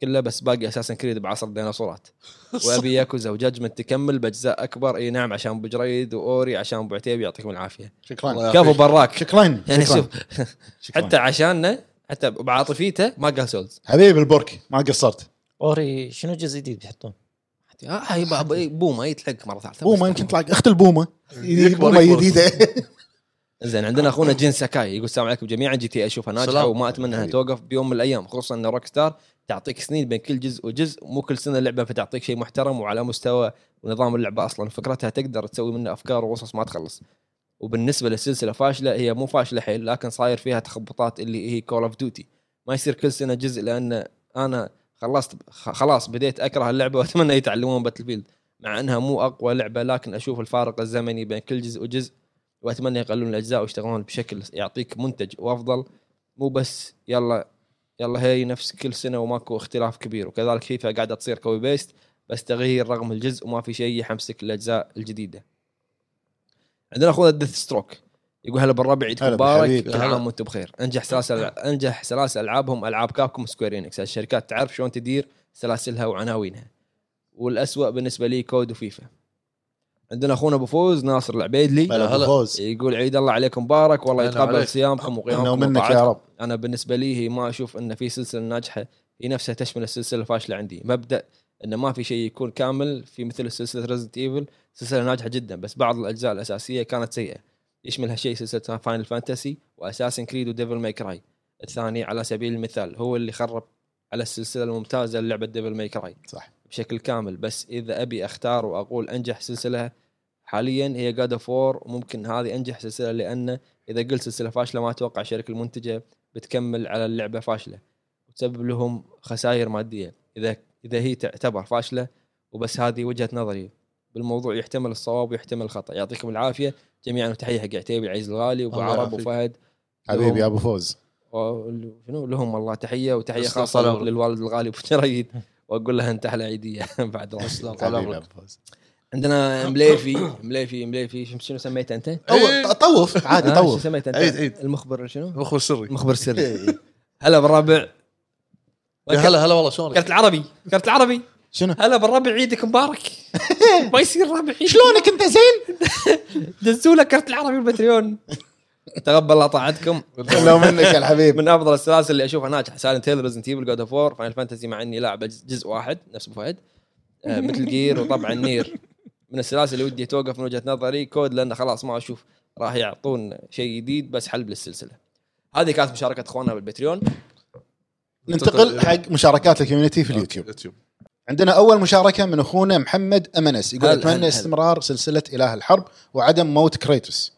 S4: كله بس باقي اساسا كريد بعصر الديناصورات وابي ياكوزا وجاجمنت تكمل باجزاء اكبر اي نعم عشان ابو جريد واوري عشان ابو عتيبي يعطيكم العافيه
S5: شكرا
S2: الله
S4: كفو
S2: يعافيك.
S4: براك
S5: شكرا
S4: يعني
S5: آه، شكراً.
S4: شوف
S5: شكراً.
S4: حتى عشاننا حتى بعاطفيته ما قال سولز
S5: حبيب البرك ما قصرت
S3: اوري شنو جزء جديد بيحطون؟
S4: آه يبا- يبا- بوما يتلق مره ثالثه
S5: بوما يمكن طلع اخت البومه
S2: يكبر-
S5: بومه
S2: يكبر.
S5: جديده
S4: زين عندنا اخونا جين ساكاي يقول السلام عليكم جميعا جي تي اشوفها ناجحه
S2: سلام.
S4: وما اتمنى انها
S5: حبيبي.
S4: توقف بيوم من الايام خصوصا ان روك ستار تعطيك سنين بين كل جزء وجزء مو كل سنه لعبه فتعطيك شيء محترم وعلى مستوى ونظام اللعبه اصلا فكرتها تقدر تسوي منها افكار وقصص ما تخلص وبالنسبه للسلسله فاشله هي مو فاشله حيل لكن صاير فيها تخبطات اللي هي كول اوف ديوتي ما يصير كل سنه جزء لان انا خلصت خ- خلاص بديت اكره اللعبه واتمنى يتعلمون باتل فيلد مع انها مو اقوى لعبه لكن اشوف الفارق الزمني بين كل جزء وجزء واتمنى يقللون الاجزاء ويشتغلون بشكل يعطيك منتج وافضل مو بس يلا يلا هي نفس كل سنه وماكو اختلاف كبير وكذلك فيفا قاعده تصير كوبي بيست بس تغيير رقم الجزء وما في شيء يحمسك الاجزاء الجديده. عندنا اخونا ديث ستروك يقول هلا بالربع عيدكم
S5: هلا
S4: مبارك
S5: بالحبيب.
S4: كل
S2: هلا.
S4: عام وانتم بخير انجح سلاسل انجح سلاسل العابهم العاب كابكم سكوير انكس هالشركات تعرف شلون تدير سلاسلها وعناوينها والأسوأ بالنسبه لي كود وفيفا عندنا اخونا ابو فوز ناصر العبيدلي
S5: هلا أبو فوز
S4: يقول عيد الله عليكم مبارك والله
S2: هلا
S4: يتقبل
S2: عليك.
S4: صيامكم وقيامكم
S5: انا ومنك
S4: وطاعتكم.
S5: يا رب
S4: انا بالنسبه لي هي ما اشوف ان في سلسله ناجحه هي نفسها تشمل السلسله الفاشله عندي مبدا انه ما في شيء يكون كامل في مثل سلسله ريزنت ايفل سلسله ناجحه جدا بس بعض الاجزاء الاساسيه كانت سيئه يشمل هالشيء سلسله فاينل فانتسي واساسن كريد وديفل ماي كراي الثاني على سبيل المثال هو اللي خرب على السلسله الممتازه للعبه ديفل ماي كراي
S5: صح
S4: بشكل كامل بس اذا ابي اختار واقول انجح سلسله حاليا هي جاد اوف وور وممكن هذه انجح سلسله لان اذا قلت سلسله فاشله ما اتوقع الشركه المنتجه بتكمل على اللعبه فاشله وتسبب لهم خسائر ماديه اذا اذا هي تعتبر فاشله وبس هذه وجهه نظري بالموضوع يحتمل الصواب ويحتمل الخطا يعطيكم العافيه جميعا وتحيه حق عتيبي العزيز الغالي وابو
S2: الله
S4: عرب
S2: يعافيك.
S4: وفهد
S5: حبيبي يا ابو فوز
S4: و- شنو لهم والله تحيه وتحيه
S2: تسلم
S4: خاصه
S2: طال عمرك.
S4: للوالد الغالي ابو جريد واقول له انت احلى عيديه بعد رمضان.
S2: تسلم طال
S5: حبيبي
S2: عمرك
S5: يا ابو فوز
S4: عندنا مليفي مليفي مليفي شو- شنو آه، سميته انت؟
S2: إيه.
S5: أو- طوف عادي
S4: ها؟ شو
S5: طوف
S4: سميته انت؟
S2: عيد- عيد.
S4: المخبر شنو؟
S2: المخبر السري
S4: المخبر السري هلا بالربع
S2: يا هلا هلا والله شلونك؟
S4: كرت العربي كرت العربي
S5: شنو
S4: هلا بالربع عيدك مبارك ما يصير ربع عيد
S5: شلونك انت زين؟
S4: دزوا لك كرت العربي البتريون تقبل الله طاعتكم
S5: لو منك يا الحبيب
S4: من افضل السلاسل اللي اشوفها ناجحه سايلنت هيل ريزنت ايفل جود اوف وور فاينل فانتسي مع اني لاعب جزء واحد نفس ابو فهد آه، مثل جير وطبعا نير من السلاسل اللي ودي توقف من وجهه نظري كود لانه خلاص ما اشوف راح يعطون شيء جديد بس حلب للسلسله هذه كانت مشاركه اخواننا بالبتريون
S5: ننتقل حق مشاركات الكوميونتي في اليوتيوب
S2: اليوتيوب
S5: عندنا اول مشاركه من اخونا محمد امنس يقول
S4: هلا، هلا،
S5: اتمنى
S4: هلا.
S5: استمرار سلسله اله الحرب وعدم موت كريتوس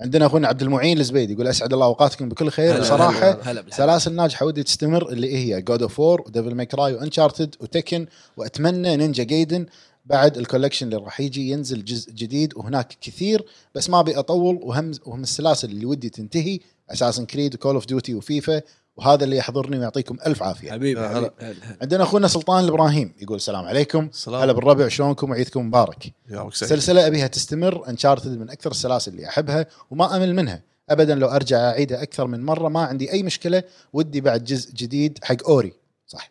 S5: عندنا اخونا عبد المعين الزبيدي يقول اسعد الله اوقاتكم بكل خير
S4: هلا،
S5: بصراحه
S4: هلا، هلا بالحب.
S5: سلاسل ناجحه ودي تستمر اللي هي جود اوف وور وديفل ماي كراي وانشارتد وتكن واتمنى نينجا جايدن بعد الكولكشن اللي راح يجي ينزل جزء جديد وهناك كثير بس ما ابي اطول وهم وهم السلاسل اللي ودي تنتهي اساسن كريد وكول اوف ديوتي وفيفا وهذا اللي يحضرني ويعطيكم الف عافيه
S4: حبيبي
S2: هلا.
S4: هلا هلا.
S5: عندنا اخونا سلطان الابراهيم يقول السلام عليكم
S2: السلام
S5: هلا بالربع شلونكم وعيدكم مبارك
S2: يا عمرك سعيد
S5: سلسله ابيها تستمر انشارتد من اكثر السلاسل اللي احبها وما امل منها ابدا لو ارجع اعيدها اكثر من مره ما عندي اي مشكله ودي بعد جزء جديد حق اوري صح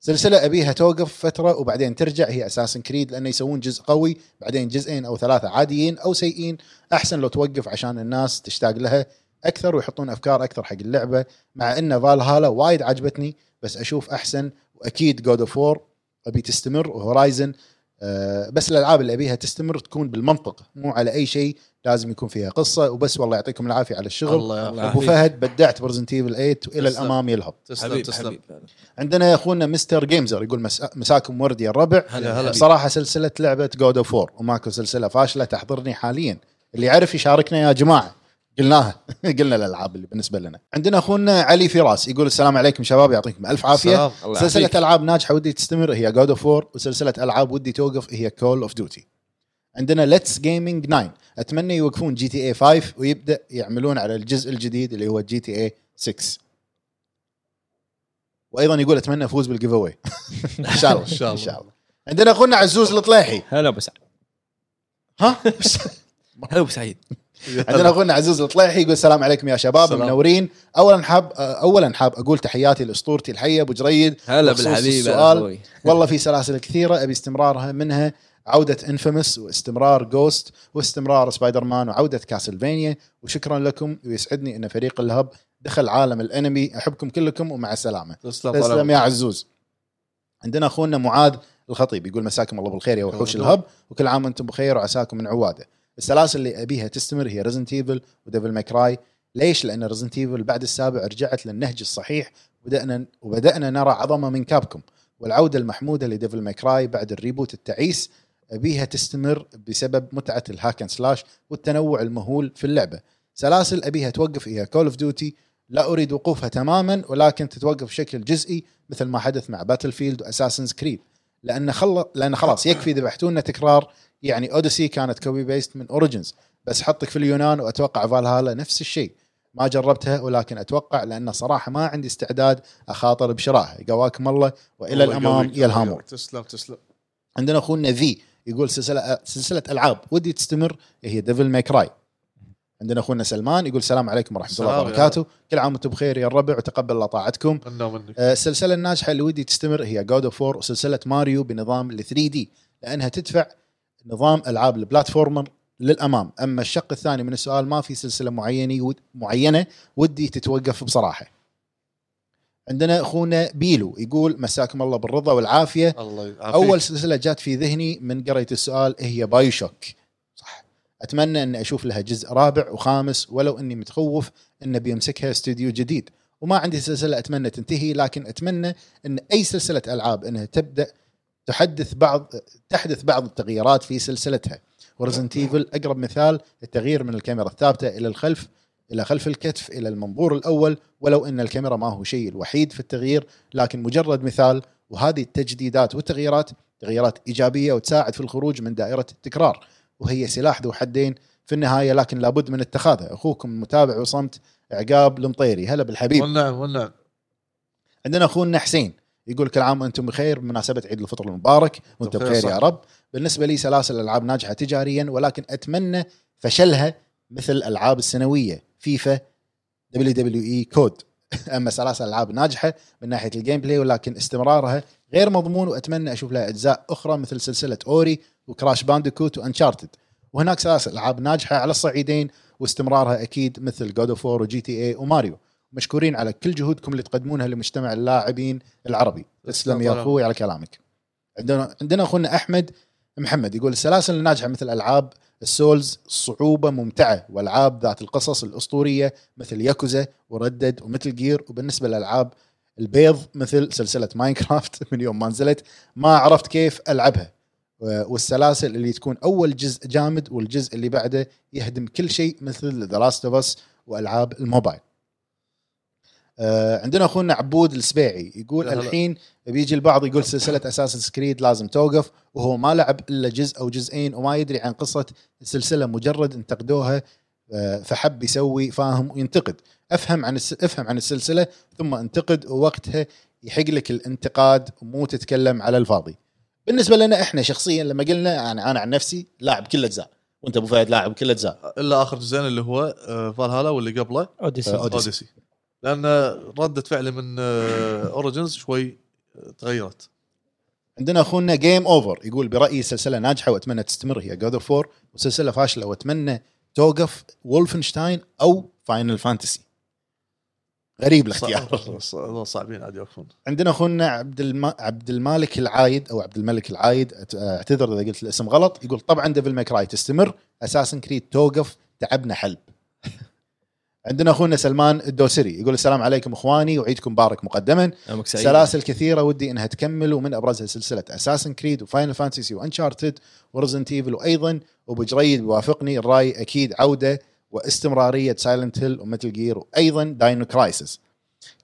S5: سلسله ابيها توقف فتره وبعدين ترجع هي اساسن كريد لانه يسوون جزء قوي بعدين جزئين او ثلاثه عاديين او سيئين احسن لو توقف عشان الناس تشتاق لها اكثر ويحطون افكار اكثر حق اللعبه مع ان فالهالا وايد عجبتني بس اشوف احسن واكيد جود اوف وور ابي تستمر وهورايزن آه، بس الالعاب اللي ابيها تستمر تكون بالمنطق مو على اي شيء لازم يكون فيها قصه وبس والله يعطيكم العافيه على الشغل
S2: الله يعافيك
S4: الله
S5: ابو
S4: يعافيك.
S5: فهد بدعت برزنت ايفل 8 والى
S2: تسلم.
S5: الامام يلهب
S2: تسلم
S4: حبيبي
S2: تسلم
S4: حبيبي هلا.
S5: عندنا اخونا مستر جيمزر يقول مسا- مساكم ورد يا الربع
S2: هلا هلا
S5: بصراحه سلسله لعبه جود اوف 4 وماكو سلسله فاشله تحضرني حاليا اللي يعرف يشاركنا يا جماعه قلناها قلنا الالعاب اللي بالنسبه لنا عندنا اخونا علي فراس يقول السلام عليكم شباب يعطيكم الف عافيه
S2: سلام.
S4: الله
S5: آه، سلسلة
S4: يعافيك.
S5: العاب ناجحة ودي تستمر هي جود اوف 4 وسلسلة العاب ودي توقف هي كول اوف ديوتي. عندنا ليتس جيمنج 9 اتمنى يوقفون جي تي اي 5 ويبدا يعملون على الجزء الجديد اللي هو جي تي إيه اي 6. وايضا يقول اتمنى افوز بالجيف اواي. ان شاء الله
S2: إن شاء الله.
S5: ان شاء الله. عندنا اخونا عزوز الطليحي
S4: هلا ابو سعيد
S5: ها
S4: هلا ابو سعيد
S5: عندنا اخونا عزوز الطليحي يقول السلام عليكم يا شباب
S2: سلام.
S5: منورين اولا حاب اولا حاب اقول تحياتي لاسطورتي الحيه ابو جريد
S4: هلا
S5: بخصوص
S4: بالحبيب
S5: السؤال.
S4: السؤال
S5: والله في سلاسل كثيره ابي استمرارها منها عوده انفيمس واستمرار جوست واستمرار سبايدر مان وعوده كاسلفينيا وشكرا لكم ويسعدني ان فريق الهب دخل عالم الانمي احبكم كلكم ومع السلامه
S2: تسلم طال
S5: تسلم
S2: عمرك.
S5: يا عزوز عندنا اخونا معاذ الخطيب يقول مساكم الله بالخير يا وحوش
S2: الله
S5: الهب وكل عام وانتم بخير وعساكم من عواده السلاسل اللي ابيها تستمر هي ريزنت ايفل وديفل ماكراي ليش؟ لان ريزنت ايفل بعد السابع رجعت للنهج الصحيح وبدانا وبدانا نرى عظمه من كابكم والعوده المحموده لديفل ماكراي بعد الريبوت التعيس ابيها تستمر بسبب متعه الهاكن سلاش والتنوع المهول في اللعبه سلاسل ابيها توقف هي كول اوف ديوتي لا اريد وقوفها تماما ولكن تتوقف بشكل جزئي مثل ما حدث مع باتل فيلد واساسنز كريد لان خل... لان خلاص يكفي ذبحتونا تكرار يعني اوديسي كانت كوبي بيست من اوريجنز بس حطك في اليونان واتوقع فالهالا نفس الشيء ما جربتها ولكن اتوقع لان صراحه ما عندي استعداد اخاطر بشرائها قواكم الله والى
S2: الله
S5: الامام
S2: يقويك.
S5: يا الهامور
S2: تسلم تسلم
S5: عندنا اخونا في يقول سلسله سلسله العاب ودي تستمر هي ديفل ماي كراي عندنا اخونا سلمان يقول السلام عليكم ورحمه الله
S2: السلام يا
S5: وبركاته كل عام وانتم بخير يا الربع وتقبل الله طاعتكم
S2: منا ومنك
S5: آه، السلسله الناجحه اللي ودي تستمر هي جود اوف 4 وسلسله ماريو بنظام ال 3 دي لانها تدفع نظام العاب البلاتفورمر للامام اما الشق الثاني من السؤال ما في سلسله معينه ود- معينه ودي تتوقف بصراحه عندنا اخونا بيلو يقول مساكم الله بالرضا والعافيه
S2: الله يعافيك.
S5: اول سلسله جات في ذهني من قريت السؤال إيه هي بايو شوك صح اتمنى اني اشوف لها جزء رابع وخامس ولو اني متخوف انه بيمسكها استوديو جديد وما عندي سلسله اتمنى تنتهي لكن اتمنى ان اي سلسله العاب انها تبدا تحدث بعض تحدث بعض التغييرات في سلسلتها ورزنت ايفل اقرب مثال التغيير من الكاميرا الثابته الى الخلف الى خلف الكتف الى المنظور الاول ولو ان الكاميرا ما هو شيء الوحيد في التغيير لكن مجرد مثال وهذه التجديدات والتغييرات تغييرات ايجابيه وتساعد في الخروج من دائره التكرار وهي سلاح ذو حدين في النهايه لكن لابد من اتخاذه اخوكم المتابع وصمت عقاب المطيري هلا بالحبيب
S2: والنعم والنعم
S5: عندنا اخونا حسين يقول كل عام وانتم بخير بمناسبه عيد الفطر المبارك وانتم
S2: بخير
S5: بخير
S2: صح.
S5: يا رب بالنسبه لي سلاسل العاب ناجحه تجاريا ولكن اتمنى فشلها مثل الالعاب السنويه فيفا دبليو دبليو اي كود اما سلاسل العاب ناجحه من ناحيه الجيم بلاي ولكن استمرارها غير مضمون واتمنى اشوف لها اجزاء اخرى مثل سلسله اوري وكراش بانديكوت وانشارتد وهناك سلاسل العاب ناجحه على الصعيدين واستمرارها اكيد مثل جود اوف وور وجي تي اي وماريو مشكورين على كل جهودكم اللي تقدمونها لمجتمع اللاعبين العربي تسلم يا
S2: طبعاً.
S5: اخوي على كلامك عندنا عندنا اخونا احمد محمد يقول السلاسل الناجحه مثل العاب السولز صعوبه ممتعه والعاب ذات القصص الاسطوريه مثل ياكوزا وردد ومثل جير وبالنسبه للالعاب البيض مثل سلسله ماينكرافت من يوم ما نزلت ما عرفت كيف العبها و- والسلاسل اللي تكون اول جزء جامد والجزء اللي بعده يهدم كل شيء مثل ذا لاست اوف اس والعاب الموبايل. آه، عندنا اخونا عبود السبيعي يقول
S2: هلا.
S5: الحين بيجي البعض يقول سلسله اساس سكريد لازم توقف وهو ما لعب الا جزء او جزئين وما يدري عن قصه السلسله مجرد انتقدوها آه، فحب يسوي فاهم وينتقد افهم عن الس... افهم عن السلسله ثم انتقد ووقتها يحق لك الانتقاد مو تتكلم على الفاضي بالنسبه لنا احنا شخصيا لما قلنا انا انا عن نفسي لاعب كل اجزاء وانت ابو فهد لاعب كل اجزاء
S2: الا اخر جزئين اللي هو فالهالا واللي قبله
S3: اوديسي
S5: آه، أوديسي.
S2: اوديسي لان رده فعلي من اوريجنز شوي آه، تغيرت
S5: عندنا اخونا جيم اوفر يقول برايي سلسله ناجحه واتمنى تستمر هي جود اوف فور وسلسله فاشله واتمنى توقف وولفنشتاين او فاينل فانتسي غريب الاختيار
S2: صع- صع- والله صعبين عاد يوقفون
S5: عندنا اخونا عبد الم... عبد المالك العايد او عبد الملك العايد أت- اعتذر اذا قلت الاسم غلط يقول طبعا ديفل ماكراي تستمر اساسن كريد توقف تعبنا حلب عندنا اخونا سلمان الدوسري يقول السلام عليكم اخواني وعيدكم مبارك مقدما
S4: أمك سعيد.
S5: سلاسل كثيره ودي انها تكمل ومن ابرزها سلسله اساسن كريد وفاينل فانتسي وانشارتد ورزنت ايفل وايضا وابو جريد بيوافقني الراي اكيد عوده واستمراريه سايلنت هيل ومتل جير وايضا داينو كرايسس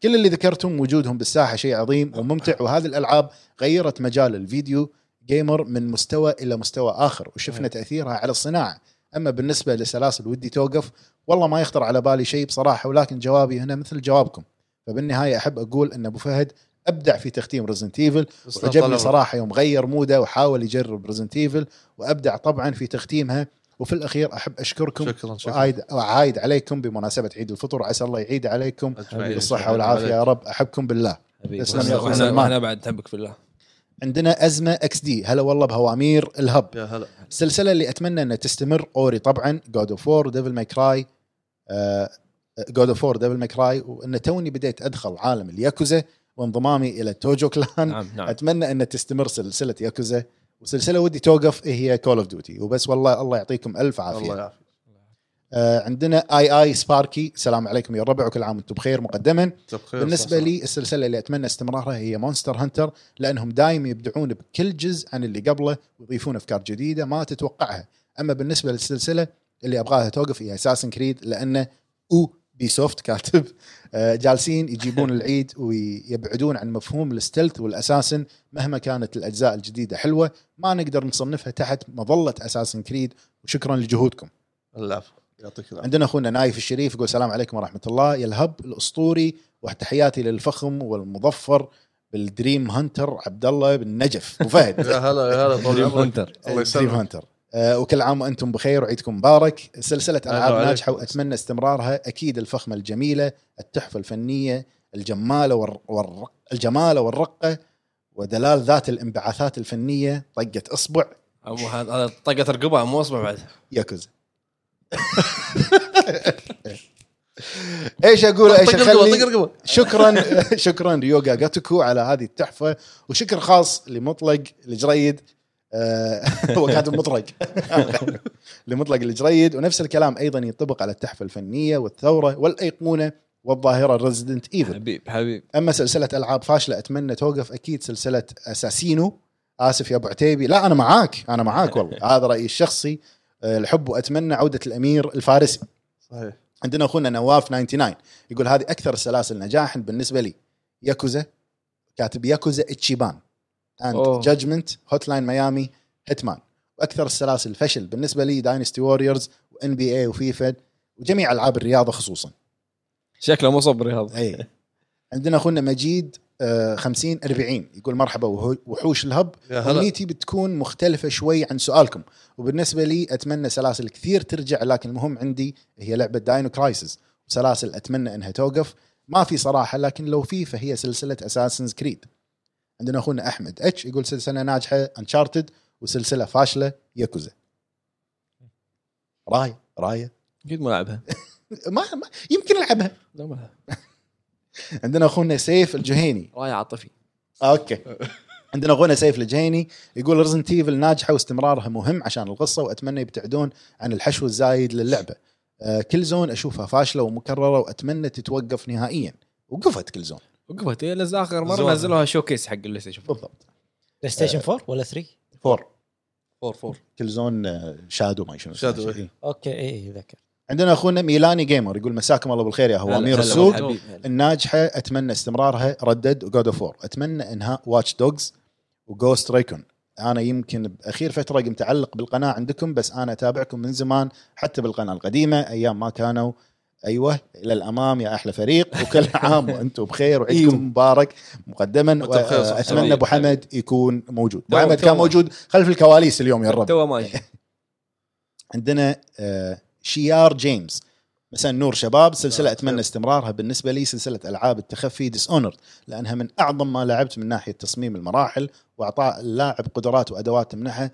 S5: كل اللي ذكرتم وجودهم بالساحه شيء عظيم وممتع وهذه الالعاب غيرت مجال الفيديو جيمر من مستوى الى مستوى اخر وشفنا تاثيرها على الصناعه اما بالنسبه لسلاسل ودي توقف والله ما يخطر على بالي شيء بصراحه ولكن جوابي هنا مثل جوابكم فبالنهايه احب اقول ان ابو فهد ابدع في تختيم ريزنت ايفل
S2: تسلم،
S5: عجبني
S2: طال
S5: صراحه يوم غير موده وحاول يجرب ريزنت ايفل وابدع طبعا في تختيمها وفي الاخير احب اشكركم
S2: عمرك. شكرا شكرا
S5: وأعيد وأعايد عليكم بمناسبه عيد الفطر عسى الله يعيد عليكم
S2: أجمعين.
S5: بالصحه والعافيه يا رب احبكم بالله
S4: حبيبي.
S5: تسلم يا أخوي
S4: وأنا-
S5: سلمان.
S4: وأنا بعد تحبك في الله
S5: عندنا ازمه اكس دي هلا والله بهوامير الهب
S2: يا هلا
S5: السلسله اللي اتمنى انها تستمر اوري طبعا جود اوف وور ديفل ماي كراي آه، جود اوف وور ديفل ماي كراي وان توني بديت ادخل عالم الياكوزا وانضمامي الى توجو كلان
S4: نعم نعم
S5: اتمنى ان تستمر سلسله ياكوزا وسلسله ودي توقف إيه هي كول اوف ديوتي وبس والله الله يعطيكم الف
S2: الله
S5: عافيه
S2: يعافيك
S5: آه عندنا اي اي سباركي السلام عليكم يا الربع وكل عام وانتم بخير مقدما
S2: طب خير،
S5: بالنسبه
S2: صح، صح.
S5: لي السلسله اللي اتمنى استمرارها هي مونستر هانتر لانهم دايم يبدعون بكل جزء عن اللي قبله ويضيفون افكار جديده ما تتوقعها اما بالنسبه للسلسله اللي ابغاها توقف هي اساسن كريد لانه او بي سوفت كاتب آه، جالسين يجيبون العيد ويبعدون عن مفهوم الستلث والاساسن مهما كانت الاجزاء الجديده حلوه ما نقدر نصنفها تحت مظله اساسن كريد وشكرا لجهودكم
S2: العفو يعطيك العافيه
S5: عندنا اخونا نايف الشريف يقول السلام عليكم ورحمه الله يا الهب الاسطوري وتحياتي للفخم والمظفر بالدريم هانتر عبد الله بن نجف ابو فهد
S2: يا هلا يا هلا طول عمرك
S4: هنتر
S2: الله
S5: دريم
S2: يسلمك
S5: هانتر آه وكل عام وانتم بخير وعيدكم مبارك سلسله
S2: الله
S5: العاب
S2: عليك.
S5: ناجحه واتمنى استمرارها اكيد الفخمه الجميله التحفه الفنيه الجماله والر... والر... الجماله والرقه ودلال ذات الانبعاثات الفنيه طقه اصبع
S4: أبو هذا هذا طقت رقبه مو اصبع بعد
S5: ياكوزا ايش اقول ايش
S2: طق رقبه
S5: اخلي
S2: طق رقبه
S5: شكرا شكرا ليوغا جاتوكو على هذه التحفه وشكر خاص لمطلق الجريد آه، هو كاتب مطرق لمطلق الجريد ونفس الكلام ايضا ينطبق على التحفه الفنيه والثوره والايقونه والظاهره ريزدنت ايفل
S4: حبيب حبيب
S5: اما سلسله العاب فاشله اتمنى توقف اكيد سلسله اساسينو اسف يا ابو عتيبي لا انا معاك انا معاك والله هذا رايي الشخصي آه، الحب واتمنى عوده الامير الفارسي
S2: صحيح
S5: عندنا اخونا نواف 99 يقول هذه اكثر السلاسل نجاحا بالنسبه لي ياكوزا كاتب ياكوزا اتشيبان اند
S4: أوه.
S5: جادجمنت هوت لاين ميامي هيتمان واكثر السلاسل فشل بالنسبه لي داينستي ووريرز وان بي اي وفيفا وجميع العاب الرياضه خصوصا
S4: شكله مو صبري هذا
S5: اي عندنا اخونا مجيد آه، 50 40 يقول مرحبا وهو- وحوش الهب
S2: يا هلا
S5: امنيتي بتكون مختلفه شوي عن سؤالكم وبالنسبه لي اتمنى سلاسل كثير ترجع لكن المهم عندي هي لعبه داينو كرايسز وسلاسل اتمنى انها توقف ما في صراحه لكن لو في فهي سلسله اساسنز كريد عندنا اخونا احمد اتش يقول سلسله ناجحه انشارتد وسلسله فاشله ياكوزا رايه رايه
S4: اكيد ما لعبها
S5: ما, ما يمكن العبها
S4: لا ما لعبها
S5: عندنا اخونا سيف الجهيني
S4: رايه عاطفي
S5: اوكي آه، عندنا اخونا سيف الجهيني يقول ريزنت ايفل ناجحه واستمرارها مهم عشان القصه واتمنى يبتعدون عن الحشو الزايد للعبه آه، كل زون اشوفها فاشله ومكرره واتمنى تتوقف نهائيا وقفت كل زون
S4: وقفت هي لز اخر مره
S2: زوار.
S4: نزلوها شوكيس حق البلاي ستيشن
S5: بالضبط
S3: بلاي ستيشن 4 ولا 3؟
S5: فور
S2: فور فور
S5: كل زون آه، شادو ما شنو اسمه.
S2: شادو، إيه.
S5: إيه.
S3: اوكي اي اي ذكر
S5: عندنا اخونا ميلاني جيمر يقول مساكم الله بالخير يا
S4: هلا،
S5: هوامير
S4: هلا
S5: السوق
S4: بالحبيب، هلا.
S5: الناجحه اتمنى استمرارها ردد وجود اوف وور اتمنى انهاء واتش دوجز وجوست ريكون انا يمكن باخير فتره قمت اعلق بالقناه عندكم بس انا اتابعكم من زمان حتى بالقناه القديمه ايام ما كانوا ايوه الى الامام يا احلى فريق وكل عام وانتم بخير
S4: إيوه.
S5: وعيدكم مبارك مقدما
S2: أيوة. وأنتم بخير، صح. طيب.
S5: واتمنى ابو حمد يكون موجود ابو
S4: توه-
S5: حمد كان
S4: توه.
S5: موجود خلف الكواليس اليوم
S2: طيب،
S5: يا رب
S4: تو ماشي
S5: عندنا آه، شيار جيمس مساء النور شباب سلسله
S2: مساء
S5: اتمنى
S2: الخير.
S5: استمرارها بالنسبه لي سلسله العاب التخفي ديس اونرد لانها من اعظم ما لعبت من ناحيه تصميم المراحل واعطاء اللاعب قدرات وادوات تمنحه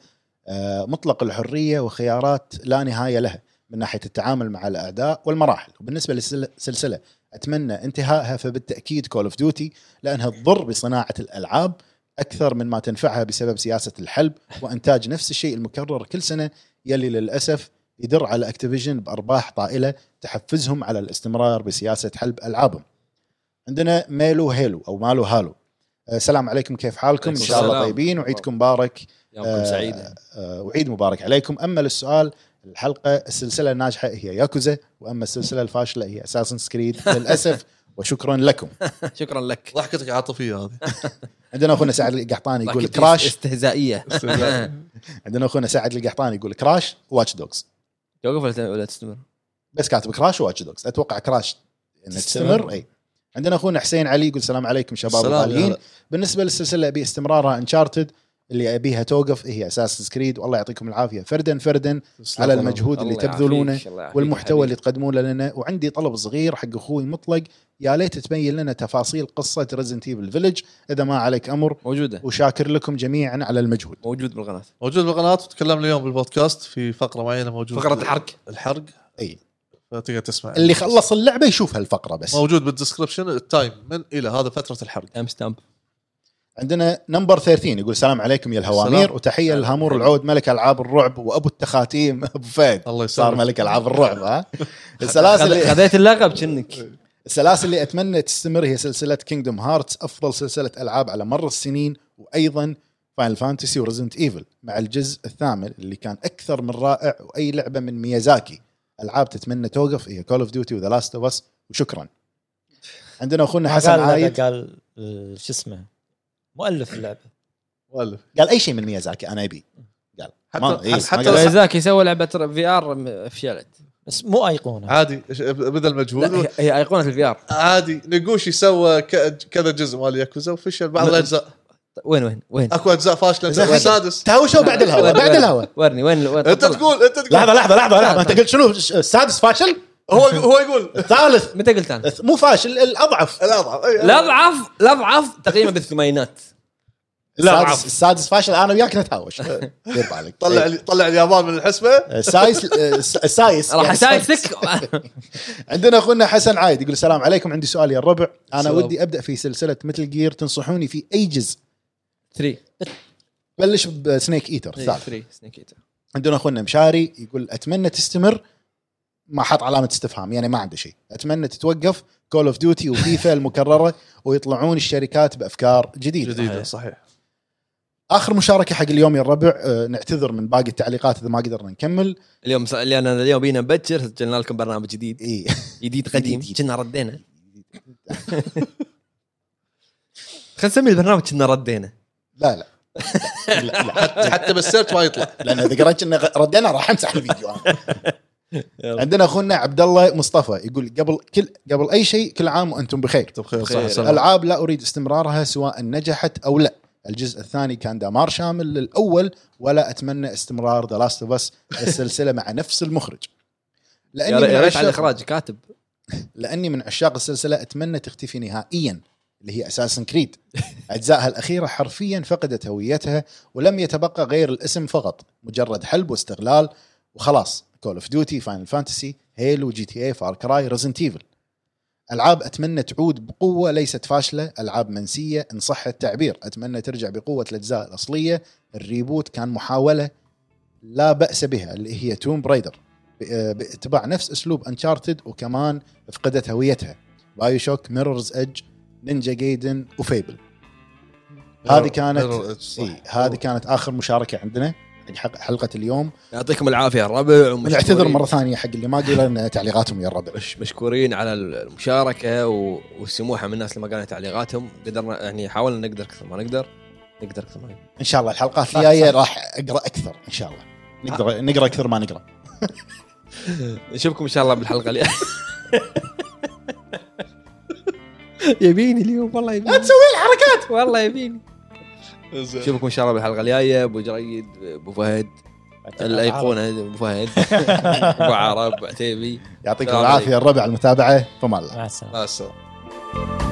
S5: آه، مطلق الحريه وخيارات لا نهايه لها من ناحيه التعامل مع الاعداء والمراحل وبالنسبه للسلسله اتمنى انتهائها فبالتاكيد كول اوف ديوتي لانها تضر بصناعه الالعاب اكثر من ما تنفعها بسبب سياسه الحلب وانتاج نفس الشيء المكرر كل سنه يلي للاسف يدر على اكتيفيجن بارباح طائله تحفزهم على الاستمرار بسياسه حلب العابهم. عندنا ميلو هيلو او مالو هالو. أه، السلام عليكم كيف حالكم؟ ان شاء الله
S4: السلام.
S5: طيبين وعيدكم مبارك
S4: يومكم سعيد
S5: آه، وعيد مبارك عليكم اما للسؤال الحلقه السلسله الناجحه هي ياكوزا واما السلسله الفاشله هي اساسن سكريد للاسف وشكرا لكم
S4: شكرا لك
S2: ضحكتك عاطفيه هذه
S5: عندنا اخونا سعد القحطاني يقول
S4: ضحكتي
S5: كراش
S4: استهزائيه
S5: عندنا اخونا سعد القحطاني يقول كراش واتش دوجز
S4: توقف ولا- ولا تستمر
S5: بس كاتب كراش واتش دوجز اتوقع كراش انها
S3: تستمر.
S5: تستمر اي عندنا اخونا حسين علي يقول السلام عليكم شباب
S2: السلام، يا
S5: الغاليين
S2: هلا.
S5: بالنسبه للسلسله ابي استمرارها انشارتد اللي ابيها توقف هي اساسن سكريد والله يعطيكم العافيه فردا فردا على المجهود اللي
S4: الله
S5: تبذلونه
S4: يعافيك، الله يعافيك
S5: والمحتوى اللي
S4: حبيبي.
S5: تقدمونه لنا وعندي طلب صغير حق اخوي مطلق يا ليت تبين لنا تفاصيل قصه ريزنت ايفل فيلج اذا ما عليك امر
S4: موجوده
S5: وشاكر لكم جميعا على المجهود
S4: موجود بالقناه
S2: موجود بالقناه وتكلمنا اليوم بالبودكاست في فقره معينه موجود
S4: فقره الحرق
S2: الحرق
S5: اي
S2: فتقدر تسمع
S5: اللي خلص اللعبه يشوف هالفقره بس
S2: موجود بالدسكربشن التايم من الى هذا فتره الحرق
S4: ام ستامب
S5: عندنا نمبر 13 يقول السلام عليكم يا الهوامير
S2: السلام.
S5: وتحيه للهامور العود ملك العاب الرعب وابو التخاتيم ابو فهد
S2: الله
S5: صار
S2: يسلمك
S5: ملك العاب الرعب ها السلاسل
S4: خذيت اللقب كنك
S5: السلاسل اللي اتمنى تستمر هي سلسله كينجدوم هارتس افضل سلسله العاب على مر السنين وايضا فاينل فانتسي وريزنت ايفل مع الجزء الثامن اللي كان اكثر من رائع واي لعبه من ميازاكي العاب تتمنى توقف هي كول اوف ديوتي وذا لاست اوف اس وشكرا عندنا اخونا
S3: ما
S5: حسن
S3: قال هذا
S5: عايد
S3: قال آه، شو اسمه مؤلف اللعبه
S2: مؤلف
S5: قال اي شيء من ميازاكي انا ابي قال
S2: حتى-
S5: ما- إيه،
S2: حتى-
S5: ما قال-
S4: ميزاكي سوى لعبه في ار فشلت
S3: بس مو
S5: آه.
S3: ايقونه
S2: عادي إيش- بذل مجهود
S4: لا هي- هي ايقونه الفي ار
S2: عادي نقوشي سوى ك- كذا جزء مال ياكوزا وفشل بعض
S4: لا.
S2: الاجزاء
S4: وين وين وين
S5: أه.
S2: اكو اجزاء فاشله
S5: زين.
S2: السادس
S5: تهاوشوا بعد الهواء بعد الهواء
S4: ورني وين وين
S5: أه،
S2: انت
S4: طلع.
S2: تقول انت تقول
S5: لحظه لحظه لحظه لحظه انت قلت شنو السادس فاشل
S2: هو هو يقول
S5: الثالث
S4: متى قلت انا؟
S5: مو فاشل الاضعف
S2: الاضعف أي-
S4: لا اضعف لا اضعف تقريبا بالثمانينات لا،
S5: السادس
S4: عفو.
S5: السادس فاشل انا وياك نتهاوش دير بالك
S2: طلع
S5: إيه.
S2: طلع اليابان من الحسبه
S5: السايس السايس
S4: راح
S5: يعني
S4: اسايسك
S5: عندنا اخونا حسن عايد يقول السلام عليكم عندي سؤال يا الربع انا
S4: سلام.
S5: ودي ابدا في سلسله مثل جير تنصحوني في اي جزء
S4: 3
S5: بلش بسنيك ايتر الثالث
S4: 3 سنيك ايتر
S5: عندنا اخونا مشاري يقول اتمنى تستمر ما حط علامه استفهام يعني ما عنده شيء اتمنى تتوقف كول اوف ديوتي وفيفا المكرره ويطلعون الشركات بافكار جديده
S2: جديده صحيح
S5: اخر مشاركه حق اليوم يا الربع آه، نعتذر من باقي التعليقات اذا ما قدرنا نكمل
S4: اليوم س- اللي انا اليوم بينا مبكر سجلنا لكم برنامج جديد
S5: اي
S4: جديد قديم
S5: جديد.
S4: كنا ردينا خلينا نسمي البرنامج كنا ردينا
S5: لا لا لا, لا,
S2: حتى بالسيرش ما يطلع
S5: لان اذا قريت انه ردينا راح امسح الفيديو أنا. عندنا اخونا عبد الله مصطفى يقول قبل كل قبل اي شيء كل عام وانتم بخير
S2: بخير
S4: بخير.
S2: صح
S4: سلام.
S5: العاب لا اريد استمرارها سواء نجحت او لا الجزء الثاني كان دمار شامل للاول ولا اتمنى استمرار ذا لاست اوف اس السلسله مع نفس المخرج لاني
S4: يا ريت-
S5: من
S4: يا ريت على
S5: عشاق-
S4: الاخراج كاتب
S5: لاني من عشاق السلسله اتمنى تختفي نهائيا اللي هي اساسن كريد اجزائها الاخيره حرفيا فقدت هويتها ولم يتبقى غير الاسم فقط مجرد حلب واستغلال وخلاص كول اوف ديوتي فاينل فانتسي هيلو جي تي اي فار كراي ريزنت ايفل العاب اتمنى تعود بقوه ليست فاشله العاب منسيه ان صح التعبير اتمنى ترجع بقوه الاجزاء الاصليه الريبوت كان محاوله لا باس بها اللي هي توم برايدر آه، باتباع نفس اسلوب انشارتد وكمان فقدت هويتها بايو شوك ميرورز ايدج نينجا جايدن وفيبل هذه كانت إي، إيه،
S2: إيه،
S5: هذه كانت اخر مشاركه عندنا حق حق- حلقه اليوم
S4: يعطيكم العافيه الربع ومشكورين-
S5: ونعتذر مره ثانيه حق اللي ما قلنا تعليقاتهم يا الربع
S4: مش مشكورين على المشاركه و- والسموحه من الناس اللي ما قالوا تعليقاتهم قدرنا يعني حاولنا نقدر كثر ما نقدر نقدر كثر ما نقدر
S5: ان شاء الله الحلقات
S4: صح،
S5: الجايه
S4: صح.
S5: راح اقرا اكثر ان شاء الله نقدر نقرا اكثر ما نقرا
S4: نشوفكم ان شاء الله بالحلقه اللي يبيني اليوم والله يبيني لا تسوي الحركات والله يبيني
S2: إيه،
S4: نشوفكم ان شاء الله بالحلقه الجايه ابو جريد ابو فهد الايقونه ابو فهد ابو عرب ابو عتيبي
S5: يعطيكم
S4: السلام
S5: العافيه الربع المتابعه فما الله
S3: مع السلامه
S2: مع السلامه
S4: Thank